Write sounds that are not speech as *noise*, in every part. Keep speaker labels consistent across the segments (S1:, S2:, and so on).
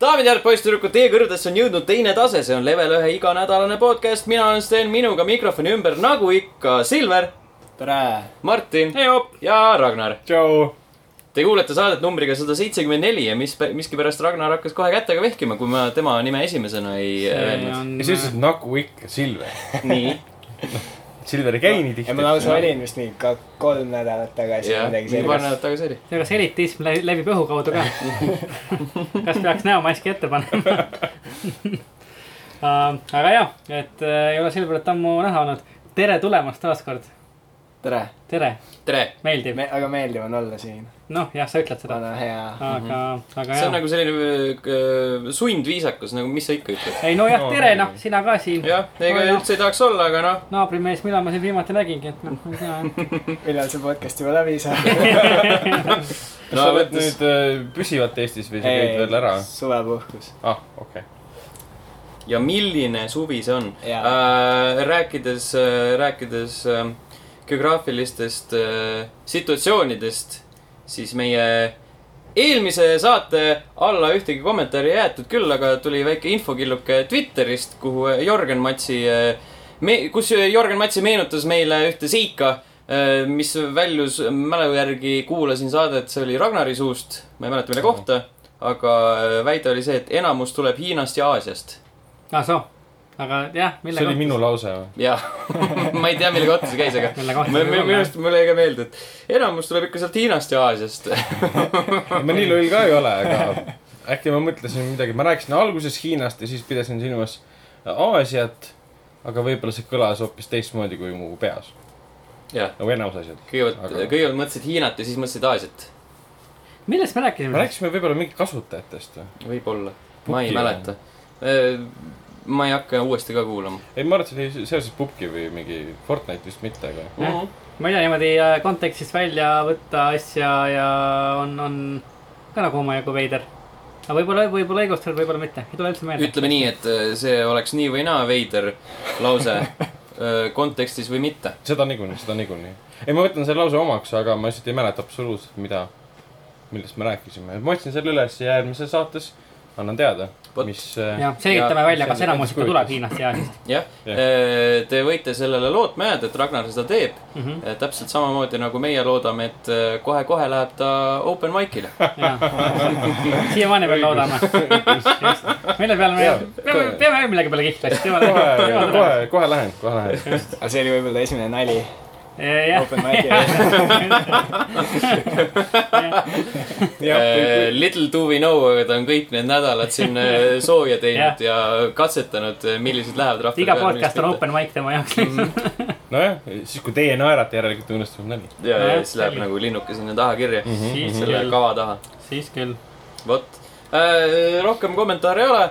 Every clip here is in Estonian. S1: daamid ja härrad , poisssüdrukud , teie kõrvadesse on jõudnud teine tase , see on level ühe iganädalane podcast , mina olen Sten , minuga mikrofoni ümber , nagu ikka , Silver ,
S2: tere .
S1: Martin
S2: Heop.
S1: ja Ragnar .
S2: tšau .
S1: Te kuulete saadet numbriga sada seitsekümmend neli ja mis , miskipärast Ragnar hakkas kohe kätega vehkima , kui ma tema nime esimesena ei äh, öelnud .
S2: on
S3: ja sa ütlesid nagu ikka , Silver .
S1: *laughs*
S2: *laughs*
S1: nii ,
S3: Silver ei käi nii
S4: ja
S3: tihti .
S4: ma lausa olin vist mingi ka kolm nädalat tagasi
S1: jah ,
S4: yeah. midagi
S1: nii paar
S4: sellist .
S1: nädalat tagasi oli .
S2: ja kas elitism lä- läbib õhu
S1: *laughs*
S2: kaudu ka ? kas peaks näomaski ette panema uh, ? aga jah , et uh, ei ole Silverit ammu näha olnud . tere tulemast taaskord .
S4: tere ,
S2: tere ,
S1: tere ,
S2: meeldib .
S4: väga meeldiv on olla siin ,
S2: noh , jah , sa ütled seda .
S4: vana hea .
S2: aga ,
S1: Mhm.
S2: aga
S1: see on
S2: jah .
S1: nagu selline äh, sundviisakus , nagu mis sa ikka ütled .
S2: ei nojah ,
S3: No,
S2: tere
S3: ei.
S2: noh , sina ka siin .
S1: jah , ega
S2: Nojah.
S1: üldse ei tahaks olla , aga noh ,
S2: naabrimees , millal ma sind viimati nägingi , et noh , ma ei tea .
S1: *laughs*
S4: millal see podcast juba läbi saab ?
S3: kas
S1: No
S3: sa oled
S1: võttes-
S3: nüüd äh, püsivalt Eestis või sa käid veel ära ?
S4: suvepuhkus .
S3: ah , okei .
S1: ja milline suvi see on .
S4: Jaa.
S1: Äh, rääkides , rääkides äh, geograafilistest äh, situatsioonidest , siis meie eelmise saate alla ühtegi kommentaari ei jäetud küll , aga tuli väike infokilluke Twitterist , kuhu Jörgen Matsi , kus Jörgen Matsi meenutas meile ühte seika , mis väljus mälu järgi , kuulasin saadet , see oli Ragnari suust , ma ei mäleta , mille kohta , aga äh, väide oli see , et enamus tuleb Hiinast ja Aasiast .
S2: ah soo , aga jah ,
S3: see
S2: mille
S3: oli minu lause või ?
S1: jah , *laughs* ma ei tea , mille kohta see käis , aga
S2: Mille
S1: ma-
S2: kohta see
S1: minu
S2: tuleb,
S1: meelest mulle jäi ka meelde , et enamus tuleb ikka sealt Hiinast ja Aasiast . *laughs*
S3: ma nii loll ka ei ole , aga äkki ma mõtlesin midagi , ma rääkisin alguses Hiinast ja siis pidasin silmas äh, Aasiat , aga võib-olla see kõlas hoopis teistmoodi kui mu peas ,
S1: jah ,
S3: nagu enamus asjad .
S1: kõigepealt
S3: Aga- ,
S1: kõigepealt mõtlesid Hiinat ja siis mõtlesid Aasiat .
S2: kohta- millest me
S3: me
S2: rääkisime ?
S3: rääkisime võib-olla mingi kasutajatest või ?
S1: võib-olla , ma ei
S3: Puki-
S1: mäleta . ma ei hakka uuesti ka kuulama .
S3: ei , ma arvan , et see oli seoses Pupki või mingi Fortnite vist mitte , aga
S2: Jah. ma ei tea , niimoodi äh, kontekstist välja võtta asja ja on , on ka nagu omajagu veider . aga võib-olla , võib-olla õigustatud , võib-olla mitte , ei tule üldse meelde .
S1: ütleme nii , et äh, see oleks nii või naa veider lause
S2: *laughs*
S1: äh, kontekstis või mitte .
S3: seda niikuinii , seda niikuinii . ei , ma võtan selle lause omaks , aga ma lihtsalt ei mäleta absoluutselt , mida , millest me rääkisime . ma otsin selle üles ja järgmises saates annan teada
S1: Vot. ,
S3: mis . äh,
S2: ja selgitame
S1: Ja-
S2: välja , kas
S3: see-
S2: enamus ikka
S3: see-
S2: tuleb Hiinast ja Aasiast
S1: jah ,
S3: Jah.
S1: te võite sellele lootma jääda , et Ragnar seda teeb .
S2: mm . -hmm.
S1: täpselt samamoodi nagu meie loodame , et äh, kohe-kohe läheb ta open mic'ile .
S2: siiamaani veel loodame . mille peale me
S3: Jaa. ,
S2: peame , peame veel millegi peale kihla , siis *laughs* tema
S3: kohe , kohe , kohe lähen , kohe lähen .
S4: aga see oli võib-olla esimene nali . Open
S3: *laughs*
S4: mic'i.
S2: tuleb .
S1: Äh, Little do we know , aga ta on kõik need nädalad siin
S2: *laughs*
S1: äh, sooja teinud ja katsetanud , millised lähevad rahvale .
S2: iga podcast on . open mic tema jaoks .
S3: nojah , siis kui teie naerate , järelikult õnnestus nali .
S1: ja , ja
S2: Jah, Mhm,
S1: siis läheb
S2: selge.
S1: nagu linnuke sinna taha kirja ,
S2: siis
S1: selle
S2: küll ,
S1: kava taha .
S2: siis küll .
S1: vot , rohkem kommentaare ei ole .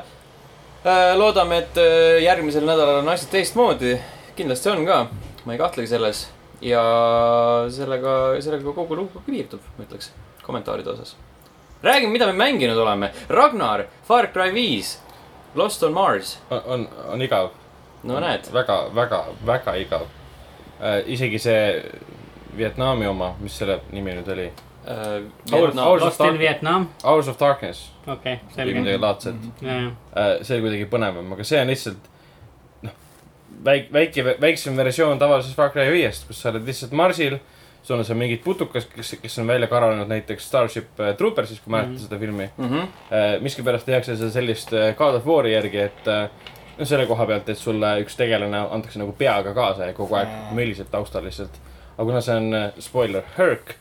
S1: loodame , et äh, järgmisel nädalal on asjad teistmoodi . kindlasti on ka , ma ei kahtlegi selles ja sellega , sellega kogu lugu piirdub , ma ütleks , kommentaaride osas . räägime , mida me mänginud oleme . Ragnar , Far Cry viis , Lost on Mars ,
S3: on , on igav .
S1: no näed ,
S3: väga , väga , väga igav äh, . isegi see Vietnami oma , mis selle nimi nüüd oli ?
S1: Äh, Vietnam ,
S3: aus-
S2: Lost in Vietnam ,
S3: Hours of Darkness
S2: okei ,
S3: või midagi
S2: selge .
S3: laadset . Äh, see oli kuidagi põnevam , aga see on lihtsalt noh , väike , väike , väiksem versioon tavalisest Far Cry viiest , kus sa oled lihtsalt marsil . sul on seal mingid putukad , kes , kes on välja karanud näiteks Starship äh, Troopersist , kui mäletad mm
S2: Mhm.
S3: -hmm. seda filmi
S1: mhmh ,
S3: äh, . miskipärast tehakse seda sellist äh, God of War'i järgi , et äh, no selle koha pealt , et sulle üks tegelane antakse nagu peaga kaasa ja kogu aeg
S4: Aa.
S3: möliseb taustal lihtsalt . aga kuna see on äh, spoiler , Herc ,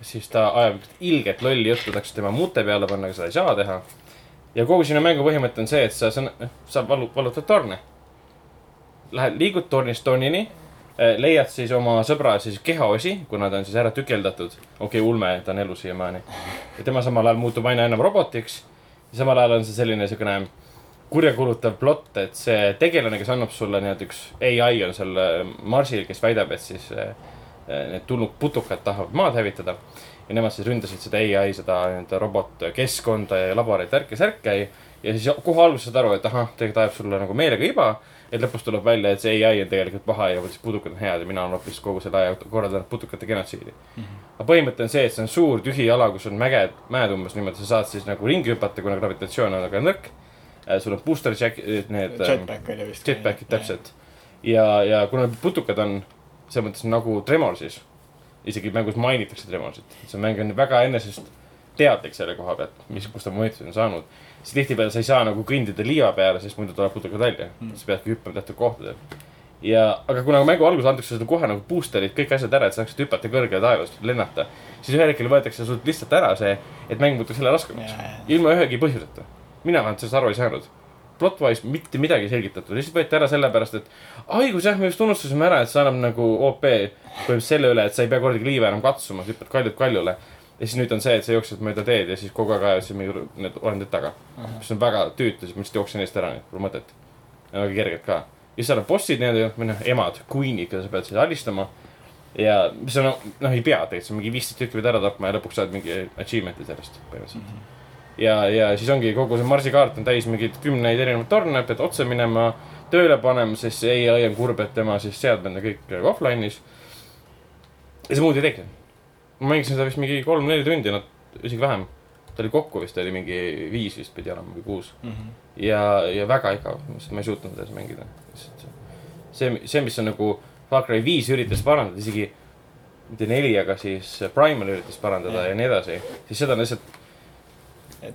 S3: siis ta ajab üks ilget lolli juttu , tahaks tema mute peale panna , aga seda ei saa teha . ja kogu sinu mängu põhimõte on see , et sa , sa , sa valu- , valutad torne . Lähed , liigud tornist tornini , leiad siis oma sõbra siis kehaosi , kuna ta on siis ära tükeldatud . okei okay, , ulme , ta on elus siiamaani . ja tema samal ajal muutub aina enam robotiks ja samal ajal on see selline siukene kurjakuulutav plott , et see tegelane , kes annab sulle nii-öelda üks ai on seal äh, marsil , kes väidab , et siis äh, äh, need tulnud putukad tahavad maad hävitada . ja nemad siis ründasid seda ai , seda nii-öelda robotkeskkonda ja laboreid , värke-särke ja ja siis kohe alguses saad aru , et ahah , tegelikult ajab sulle nagu meelega iba . et lõpus tuleb välja , et see ai on tegelikult paha ja siis putukad on head ja mina olen hoopis kogu selle aja korraldanud putukate genotsiidi mm . -hmm. aga põhimõte on see , et see on suur tühi ala , kus on mäged , mäed umbes niimoodi , sa saad siis nagu ringi hüpata , kuna gravitatsioon on väga nõrk . sul on booster jack , need . ähm,
S4: Jetpack oli vist .
S3: Jetpackid . äh, täpselt . ja , ja kuna putukad on selles mõttes nagu tremol siis , isegi mängus mainitakse tremolsit , see mäng on väga enesest teadlik selle koha pealt , mis , kust ta mõjutusi on saanud . siis tihtipeale sa ei saa nagu kõndida liiva peale , sest muidu tuleb putukad välja mm. , sa peadki hüppama teatud kohtadel . ja , aga kuna mängu alguses antakse sulle kohe nagu booster'id , kõik asjad ära , et sa saaksid hüpata kõrgele taevast , lennata , siis ühel hetkel võetakse sult lihtsalt ära see , et mäng muutub selle raskemaks
S4: Jaa.
S3: ilma ühegi põhjuseta . mina vähemalt sellest aru ei saanud . Plotwise mitte midagi ei selgitatud , lihtsalt võeti ära sellepärast , et haigus jah , me just unustasime ära , et see annab nagu OP põhimõtteliselt selle üle , et sa ei pea kordagi liiva enam katsuma , sa hüppad kaljult kaljule . ja siis nüüd on see , et sa jooksed mööda teed ja siis kogu aeg ajasid mingi ru- need olendid taga . mis on väga tüütu , siis ma lihtsalt jooksin neist ära , nii et pole mõtet . ja väga kergelt ka . ja siis seal on bossid nii-öelda , või noh , emad , queen'id , keda sa pead siis alistama . ja mis on , noh , ei pea tegelikult , sa mingi viisteist tükki pead ära tapma ja lõpuks saad mingi achievement'i sellest põhimõtteliselt
S4: Mhm,
S3: ja , ja siis ongi kogu see marsikaart on täis mingeid kümneid erinevaid torne , pead otse minema , tööle panema , sest see ai on kurb , et tema siis seadmed on kõik offline'is . ja see muud ei tekkinud . ma mängisin seda vist mingi kolm-neli tundi , no isegi vähem . ta oli kokku vist oli mingi viis vist pidi olema või kuus
S4: mhm.
S3: ja , ja väga igav , ma ei suutnud edasi mängida . see , see , mis on nagu Far Cry viis üritas parandada , isegi mitte neli , aga siis Primal üritas parandada
S4: Jah.
S3: ja nii edasi , siis seda on lihtsalt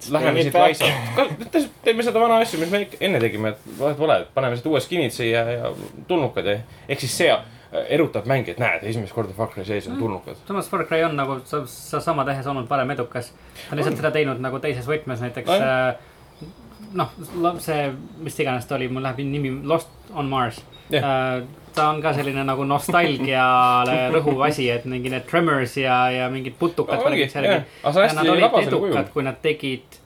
S3: Läheme siit
S4: Läheme
S3: laisalt , teeme seda vana asja , mis me ikka enne tegime , et vahet pole , et paneme siit uued skin'id siia ja tulnukad ja ehk siis see äh, erutab mänge , et näed , esimest korda Far Cry sees on tulnukad .
S2: samas Far Cry on nagu sa- seesama tehes olnud varem edukas . ta on lihtsalt seda teinud nagu teises võtmes näiteks
S3: On.
S2: äh, noh , see , mis iganes ta oli , mul läheb nimi Lost on Mars .
S3: Jah.
S2: ta on ka selline nagu
S3: *laughs*
S2: nostalgiale rõhuv asi , et mingi need Tremors ja , ja mingid putukad .
S3: ongi , jah ,
S2: ja
S3: aga see on
S2: nad
S3: hästi nagu
S2: olid
S3: vaba selle kujul
S2: edukad ,. kui nad tegid ,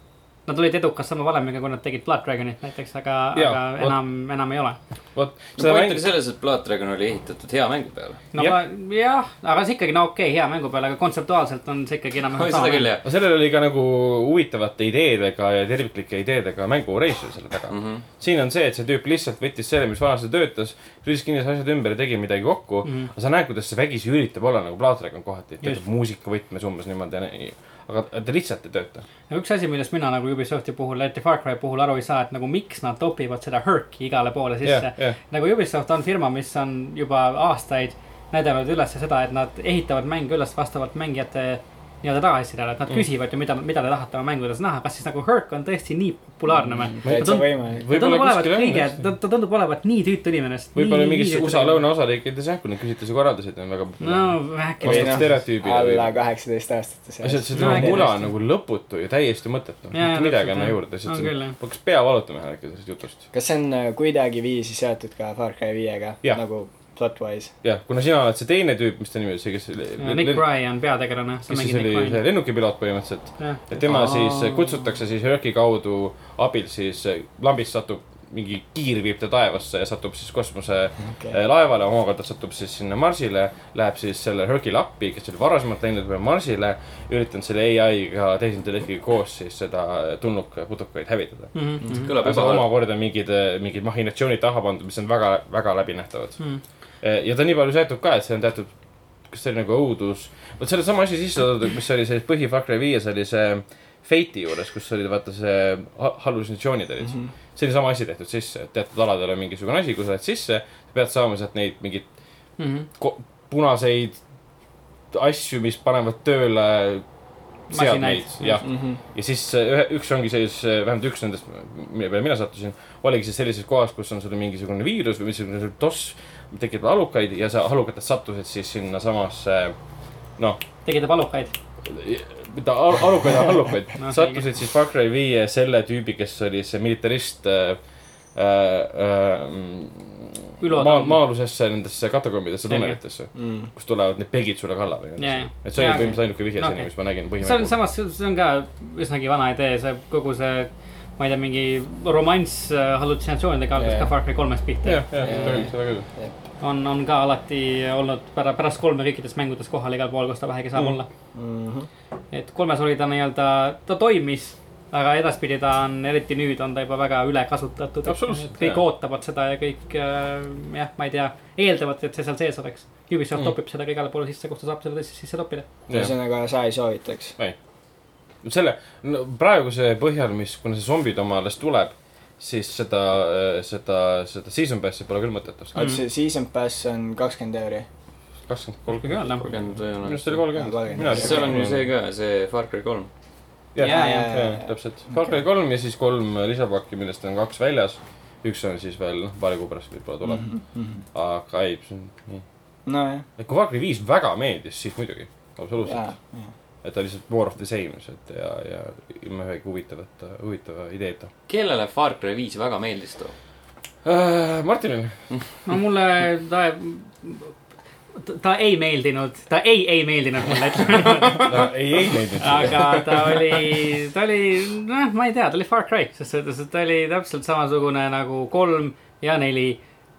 S2: nad olid edukas sama valemiga , kui nad tegid Blood Dragonit näiteks , aga ,
S3: Jaa,
S2: aga
S3: vot.
S2: enam , enam ei ole .
S3: vot ,
S1: no
S3: seda
S1: point
S3: mängu
S1: oli , selles , et Blood Dragon oli ehitatud hea mängu peale .
S2: no
S3: Jah.
S2: ma , jah , aga see ikkagi , no okei okay, , hea mängu peale , aga kontseptuaalselt on see ikkagi enam-vähem
S1: oi , seda küll
S2: mäng.
S1: jah .
S3: sellel oli ka nagu huvitavate ideedega ja terviklike ideedega mängu reisijal selle taga
S1: Mhm.
S3: mm . -hmm. siin on see , et see tüüp lihtsalt võttis selle , mis vanasti töötas , lüüs kindlasti asjad ümber ja tegi midagi kokku mm . -hmm. aga sa näed , kuidas see vägisi üritab olla nagu Plaatragon kohati , et
S2: Mhm. Just.
S3: töötab muusikavõtmes umbes niimoodi ja nii . aga ta lihtsalt ei tööta .
S2: no üks asi , millest mina nagu Ubisofti puhul , eriti Far Cry puhul aru ei saa , et nagu miks nad topivad seda hõrki igale poole sisse
S3: Jah, . jah.
S2: nagu Ubisoft on firma , mis on juba aastaid näidanud üles seda , et nad ehitavad mänge üles vastavalt mängijate nii-öelda tagasisidele , et nad
S3: Mm.
S2: küsivad ju , mida , mida te tahate oma mängudes näha , kas siis nagu hõrk on tõesti nii populaarne või ?
S4: täitsa võimalik .
S2: ta tundub olevat
S3: Mm. kuskil on
S2: kõige ,
S3: tõesti.
S2: ta ta tundub olevat nii tüütu inimene .
S3: võib-olla mingis USA . lõunaosariikides jah , kui need küsitlusi korraldasid , on väga
S2: no
S3: populaarne .
S2: äkki
S3: Või Vastab . noh, stereotüübile või-
S4: alla kaheksateist aastate
S3: see , see
S2: No
S3: tema
S2: äkki
S3: mula on nagu lõputu ja täiesti mõttetu .
S2: Jaa,
S3: mitte midagi ei
S2: täpselt,
S3: anna
S2: jah.
S3: juurde ,
S2: On
S3: lihtsalt
S2: küll,
S3: see
S2: jah.
S3: hakkas pea valutama ühel hetkel sellest jutust .
S4: kas see on äh, kuidagiviisi seotud ka Far Cry viiega
S3: Jah.
S4: nagu plot-wise ?
S3: jah , kuna sina oled see teine tüüp , mis ta nimi oli , see , kes .
S2: Nick Rye on peategelane , sa
S3: kes siis
S2: mängid
S3: oli
S2: Nick
S3: see
S2: Rye'i .
S3: lennukipiloot põhimõtteliselt .
S2: jah ,
S3: ja tema
S4: Aa.
S3: siis kutsutakse siis Herki kaudu abil siis eh, lambist satub mingi kiir viib ta taevasse ja satub siis kosmose
S4: okei ,
S3: eh, laevale , omakorda satub siis sinna Marsile , läheb siis selle Herkile appi , kes oli varasemalt läinud veel Marsile , üritanud selle ai-ga tehisintellektiga koos siis seda tulnuka putukaid hävitada .
S2: Mhm,
S1: kõlab
S3: aga
S1: juba halb .
S3: omakorda mingid , mingid mahhinatsioonid taha pandud , mis on väga , väga läbinähtavad
S2: Mhm.
S3: Eh, ja ta nii palju seotud ka , et see on teatud , kas see oli nagu õudus , vot selle sama asja sisse toodud , mis oli selles põhi Far Cry viies oli see Fate'i juures , kus olid vaata see ha- hallusinatsioonid
S4: Mhm.
S3: olid mm . -hmm. see oli sama asi tehtud sisse , et teatud aladel on mingisugune asi , kui sa lähed sisse , pead saama sealt neid mingeid
S2: Mhm.
S3: ko- punaseid asju , mis panevad tööle seadmeid ,
S2: Masinaid.
S3: jah .
S4: Mhm.
S3: ja siis äh, ühe , üks ongi siis , vähemalt üks nendest , mille peale mina sattusin , oligi siis sellises kohas , kus on sul mingisugune viirus või mingisugune toss , tekitab alukaid ja sa alukatest sattusid siis sinnasamasse , noh ,
S2: tegi ta palukaid .
S3: mitte al- alukaid , alukaid
S2: *laughs* No, ,
S3: sattusid siis Far Cry viie selle tüübi , kes oli see militarist äh, äh,
S2: Ülo-
S3: maa , maa-alusesse nendesse katakombidesse ,
S2: Selge.
S3: tunnelitesse ,
S4: Mhm.
S3: kust tulevad need pegid sulle kallale .
S2: Jaa, jaa.
S3: et see
S2: Jaa,
S3: oli
S2: okei.
S3: põhimõtteliselt ainuke vihje
S2: No
S3: sinna ,
S2: okei.
S3: mis ma nägin
S2: see on
S3: põhimõtteliselt .
S2: samas , see on ka üsnagi vana idee , see kogu see , ma ei tea , mingi romanss äh, hallutsinatsioonidega algas
S4: Jaa.
S2: ka Far Cry kolmest pihta .
S3: jah , jah , seda küll .
S2: on , on ka alati olnud pära- , pärast kolme kõikides mängudes
S4: Mhm.
S2: kohal igal pool , kus ta vähegi saab
S3: Mm.
S2: olla . et kolmes oli ta nii-öelda , ta toimis aga edaspidi ta on , eriti nüüd on ta juba väga ülekasutatud .
S3: Absoluutselt,
S2: kõik
S3: jaa.
S2: ootavad seda ja kõik äh, jah , ma ei tea , eeldavad , et see seal sees oleks . Ubisoft
S3: Mm.
S2: mm. topib seda ka igale poole sisse , kus ta saab selle tõesti sisse toppida .
S4: ühesõnaga , sa ei soovitaks .
S3: selle no, praeguse põhjal , alles kuna see zombid oma alles tuleb , siis seda , seda , seda season pass'i pole küll mõtet osta .
S4: oot , see season pass on kakskümmend euri .
S3: kakskümmend ,
S2: kui
S3: kolmkümmend .
S2: öelda .
S1: kolmkümmend ei
S3: minu
S1: ole .
S3: arust oli kolmkümmend .
S4: kolmkümmend.
S1: sest seal on ju see ka , see Far Cry kolm .
S3: jah ,
S2: Jaa,
S3: jah ,
S4: jaa,
S3: jah
S4: jaa. ,
S3: täpselt . Far Cry kolm ja siis kolm lisapakki , millest on kaks väljas . üks on siis veel , noh , paari kuu pärast võib-olla tuleb .
S1: Mhm.
S4: Mhm.
S3: aga ei , see on nii .
S4: nojah ,
S3: et kui Far Cry viis väga meeldis , siis muidugi , absoluutselt .
S4: jaa , jaa .
S3: et ta lihtsalt more of the same lihtsalt ja , ja ilma ühegi huvitavat , huvitava ideeta
S1: kellele Far Cry viis väga meeldis too ?
S3: äh, . Martinil ,
S1: *laughs*
S2: no mulle ta , ta ei meeldinud , ta ei , ei meeldinud mulle , ütleme niimoodi .
S3: ei , ei meeldinud sulle .
S2: aga ta oli , ta oli , noh , ma ei tea , ta oli Far Cry , selles suhtes , et ta oli täpselt samasugune nagu kolm ja neli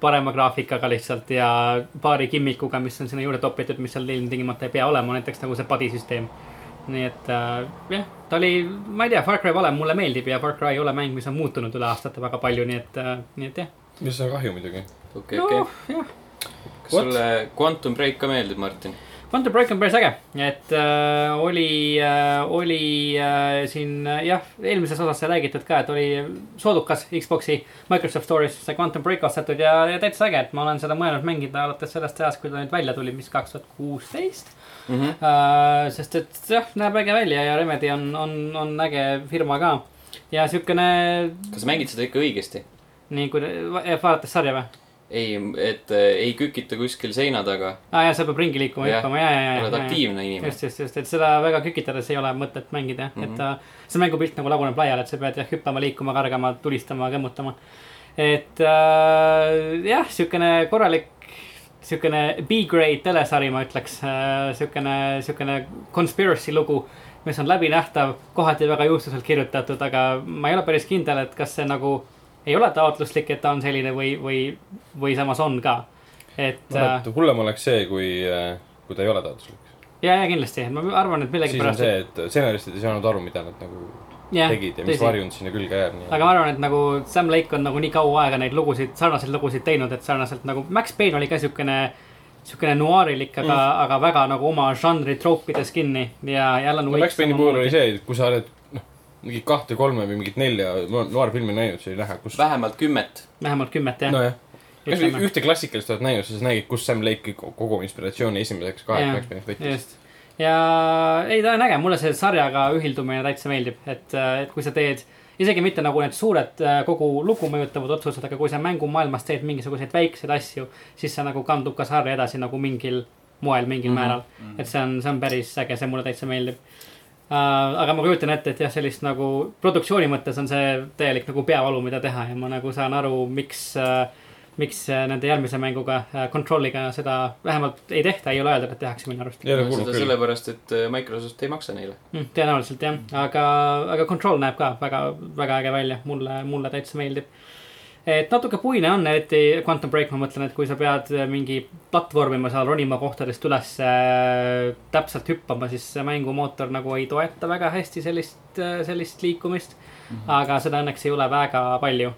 S2: parema graafikaga lihtsalt ja paari kimmikuga , mis on sinna juurde topitud , mis seal ilmtingimata ei pea olema , näiteks nagu see padisüsteem . nii et äh, jah , ta oli , ma ei tea , Far Cry valem mulle meeldib ja Far Cry ei ole mäng , mis on muutunud üle aastate väga palju , nii et äh, , nii et jah .
S3: mis on kahju muidugi .
S1: okei , okei .
S2: jah ,
S1: kas
S3: What?
S1: sulle Quantum Break ka meeldib , Martin ?
S2: Quantum Break on päris äge , et äh, oli äh, , oli äh, siin äh, jah , eelmises osas sai räägitud ka , et oli soodukas Xbox'i Microsoft Store'is sai Quantum Break ostetud ja, ja täitsa äge , et ma olen seda mõelnud mängida alates sellest ajast , kui ta nüüd välja tuli , mis kaks tuhat kuusteist .
S3: Mhm.
S2: sest et jah , näeb äge välja ja Remedi on , on , on äge firma ka ja siukene ,
S1: kas sa mängid seda ikka õigesti ?
S2: nii kui eh, vaadates sarja või ?
S1: ei , et äh, ei kükita kuskil seina taga ,
S2: aa jaa , sa pead ringi liikuma ,
S1: Jah,
S2: hüppama ja , ja , ja .
S1: oled aktiivne inimene .
S2: just , just , just , et seda väga kükitades ei ole mõtet mängida mm , -hmm. et ta , see mängupilt nagu laguneb laiali , et sa pead jah hüppama , liikuma , kargama , tulistama , kõmmutama . et äh, jah , siukene korralik , siukene B-grade telesari , ma ütleks äh, , siukene , siukene conspiracy lugu mis on läbinähtav , kohati väga juhtuselt kirjutatud , aga ma ei ole päris kindel , et kas see nagu ei ole taotluslik , et ta on selline või , või , või samas on ka . et äh,
S3: hullem oleks see , kui , kui ta ei ole taotluslik .
S2: ja , ja kindlasti , ma arvan , et
S3: siis on
S2: millegipärast .
S3: see , et stsenaristid ei saanud aru , mida nad nagu
S2: Jah,
S3: tegid ja mis
S2: tõsi.
S3: varjund sinna külge jääb .
S2: aga ma arvan , et nagu Sam Lake on nagu nii kaua aega neid lugusid , sarnaseid lugusid teinud , et sarnaselt nagu Max Payne oli ka siukene , siukene noirilik , aga mm. , aga väga nagu oma žanri troopides kinni ja , ja Alan
S3: no
S2: Wake .
S3: Max Payne'i puhul oli . see , et kui sa oled , noh , mingit kahte , kolme või mingit nelja no- noorfilmi näinud , sa ei lähe , kus .
S1: vähemalt kümmet .
S2: vähemalt kümmet jah no, ,
S3: nojah . kas või
S2: ütleme .
S3: ühte klassikalist oled näinud , siis nägid , kus Sam Lake'i ko- kogu inspiratsiooni esimeseks kaheks
S2: Jah,
S3: Max Payne'iks võttis .
S2: just , ja ei , ta on äge , mulle see sarjaga ühildumine täitsa meeldib , et , et kui sa teed isegi mitte nagu need suured äh, kogu lugu mõjutavad otsused , aga kui sa mängumaailmas teed mingisuguseid väikseid asju , siis see nagu kandub ka sarja edasi nagu mingil moel , mingil mm -hmm. määral . et see on , see on päris äge , see mulle täitsa meeldib . aga ma kujutan ette , et jah , sellist nagu produktsiooni mõttes on see täielik nagu peavalu , mida teha ja ma nagu saan aru , miks äh, miks äh, nende järgmise mänguga , Control'iga seda vähemalt ei tehta , ei ole öeldud , et tehakse minu arust .
S3: ei ole
S1: seda
S3: kuulnud küll .
S1: sellepärast , et äh, Microsoft ei maksa neile .
S2: Mm, tõenäoliselt jah , aga , aga Control näeb ka väga , väga äge välja , mulle , mulle täitsa meeldib . et natuke puine on , eriti Quantum Break , ma mõtlen , et kui sa pead mingi platvormima seal ronima kohtadest üles äh, täpselt hüppama , siis see mängumootor nagu ei toeta väga hästi sellist , sellist liikumist mm . -hmm. aga seda õnneks ei ole väga palju .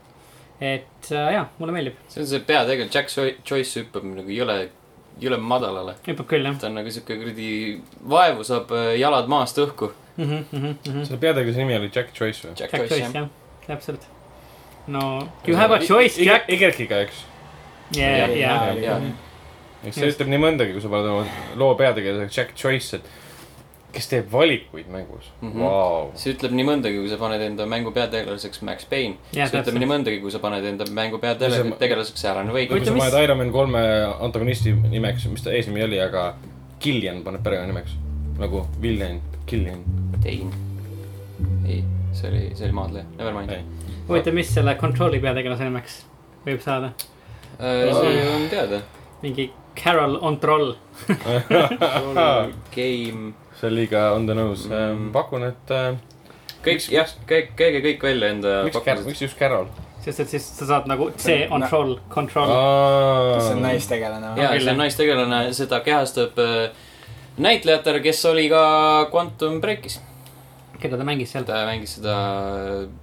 S2: et äh, jaa , mulle meeldib ,
S1: see on see peategelane , Jack Choi- Joyce hüppab nagu jõle , jõle madalale .
S2: hüppab küll jah
S1: ta on nagu siuke kuradi , vaevu saab äh, jalad maast õhku .
S2: mm . -hmm, mm -hmm, mm -hmm.
S3: selle peategelase nimi oli Jack Joyce või ?
S1: Jack
S2: Jack
S1: Joyce
S2: Joyce
S1: jah .
S2: jah , täpselt . no you have a choice , Jack .
S3: Egerikiga , eks .
S2: Yeah,
S1: Jah,
S2: yeah.
S1: jah, jah.
S3: eks see ütleb nii mõndagi , kui sa paned oma loo peategelaseks Jack Joyce , et kes teeb valikuid mängus .
S1: Mhm.
S3: Vau .
S1: see ütleb nii mõndagi , kui sa paned enda mängu peategelaseks Max Payne .
S2: Jah,
S1: see ütleb
S2: täpselt.
S1: nii mõndagi , kui sa paned enda mängu
S3: Kui sa-
S1: peategelaseks Alan
S3: kui
S1: Wake .
S2: Huvitav,
S3: sa
S2: mis-
S3: paned Iron Man kolme antagonisti nimeks , mis ta eesnimi oli , aga Killian paneb perekonnanimeks nagu Villien , Killian .
S1: Tein . ei , see oli , see oli Maadleja , never mind
S3: Ei. .
S2: huvitav , mis selle Control'i peategelase nimeks võib saada ?
S1: Äh, see on
S3: *laughs*
S1: teada .
S2: mingi Carol on troll .
S1: Game .
S3: see on liiga on the nose
S1: Mm.
S3: mm. , pakun , et äh,
S1: kõik
S3: Miks- ,
S1: jah , käige , käige kõik välja enda
S3: miks ,
S1: pakkumised .
S3: miks just Carol ?
S2: sest et siis sa saad nagu C on
S4: Nä-
S2: troll , control .
S4: kas see on
S3: see
S4: naistegelane või ?
S1: ja
S2: Okei,
S1: see
S2: jah.
S1: naistegelane , seda kehastab äh, näitlejatele , kes oli ka Quantum Breakis .
S2: keda ta mängis seal ?
S1: ta mängis seda ,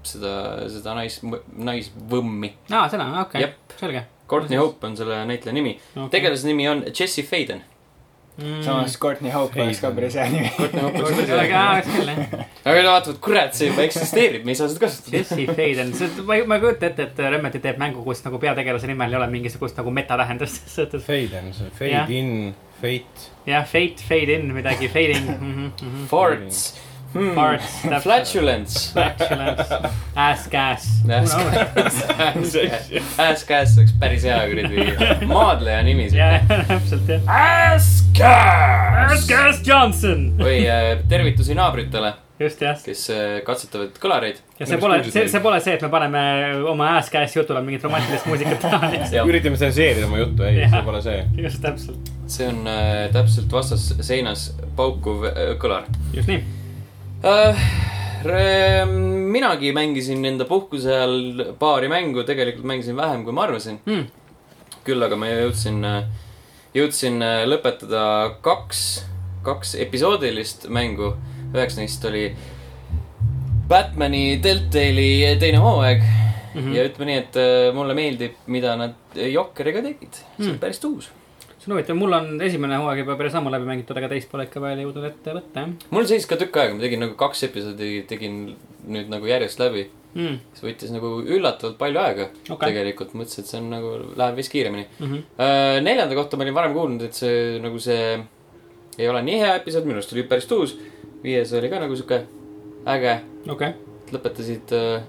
S1: seda , seda nais , naisvõmmi .
S2: aa , seda , okei
S1: Jep. ,
S2: selge .
S1: Courtney Hope on selle näitleja nimi . tegelasnimi on Jesse Faden .
S4: samas Courtney Hope oleks ka päris hea nimi .
S2: *laughs*
S1: Courtney Hope on selle
S2: aga ,
S1: nimi .
S2: Mm. oleks küll jah .
S1: aga no vaata , kurat , see juba eksisteerib , me ei saa seda kasutada .
S2: Jesse Faden , see , ma ei , ma ei kujuta ette , et Remeti teeb mängu , kus nagu peategelase nimel ei ole mingisugust nagu *laughs* metatähendust , selles suhtes .
S3: Fade on see , fade
S2: Jah.
S3: in , fate .
S2: jah , fate , fade in midagi , fading mm . -hmm, mm -hmm.
S1: Farts hmm. .
S2: Farts, täpselt.
S1: Flatulence .
S2: Flatulence , ass gas .
S1: Ass
S2: *laughs*
S1: Ass Cass oleks päris hea kuradi maadleja nimi .
S2: *laughs* jah , täpselt jah .
S1: Ass
S2: Ass
S1: Cass .
S2: gas Johnson .
S1: või äh, tervitusi naabritele ,
S2: just jah .
S1: kes äh, katsetavad kõlareid .
S2: ja see pole , see , see pole see , et me paneme oma ass gas jutule mingit romantilist muusikat taha .
S3: üritame tsenseerida oma juttu , ei ,
S2: Jah.
S3: see pole see .
S2: just täpselt ,
S1: see on äh, täpselt vastas seinas paukuv äh, kõlar
S2: just nii .
S1: äh, . minagi mängisin enda puhkuse ajal paari mängu , tegelikult mängisin vähem , kui ma arvasin .
S2: Mm.
S1: küll aga ma jõudsin , jõudsin äh, lõpetada kaks , kaks episoodilist mängu . üheks neist oli Batman'i Deltali teine hooaeg mm . -hmm. ja ütleme nii , et äh, mulle meeldib , mida nad Jokkeriga tegid . see on
S2: Mm.
S1: päris uus .
S2: see on huvitav , mul on esimene hooaeg juba päris ammu läbi mängitud , aga teist pole ikka veel jõudnud ette võtta jah
S1: mul seisis ka tükk aega , ma tegin nagu kaks episoodi , tegin nüüd nagu järjest läbi .
S2: mm. .
S1: see võttis nagu üllatavalt palju aega
S2: Okei.
S1: okay. tegelikult , mõtlesin , et see on nagu , läheb vist kiiremini
S2: Mm -hmm.
S1: Äh, neljanda kohta ma olin varem kuulnud , et see nagu see ei ole nii hea episood , minu arust oli päris tuus . viies oli ka nagu sihuke äge ,
S2: okei okay. ,
S1: lõpetasid äh, ,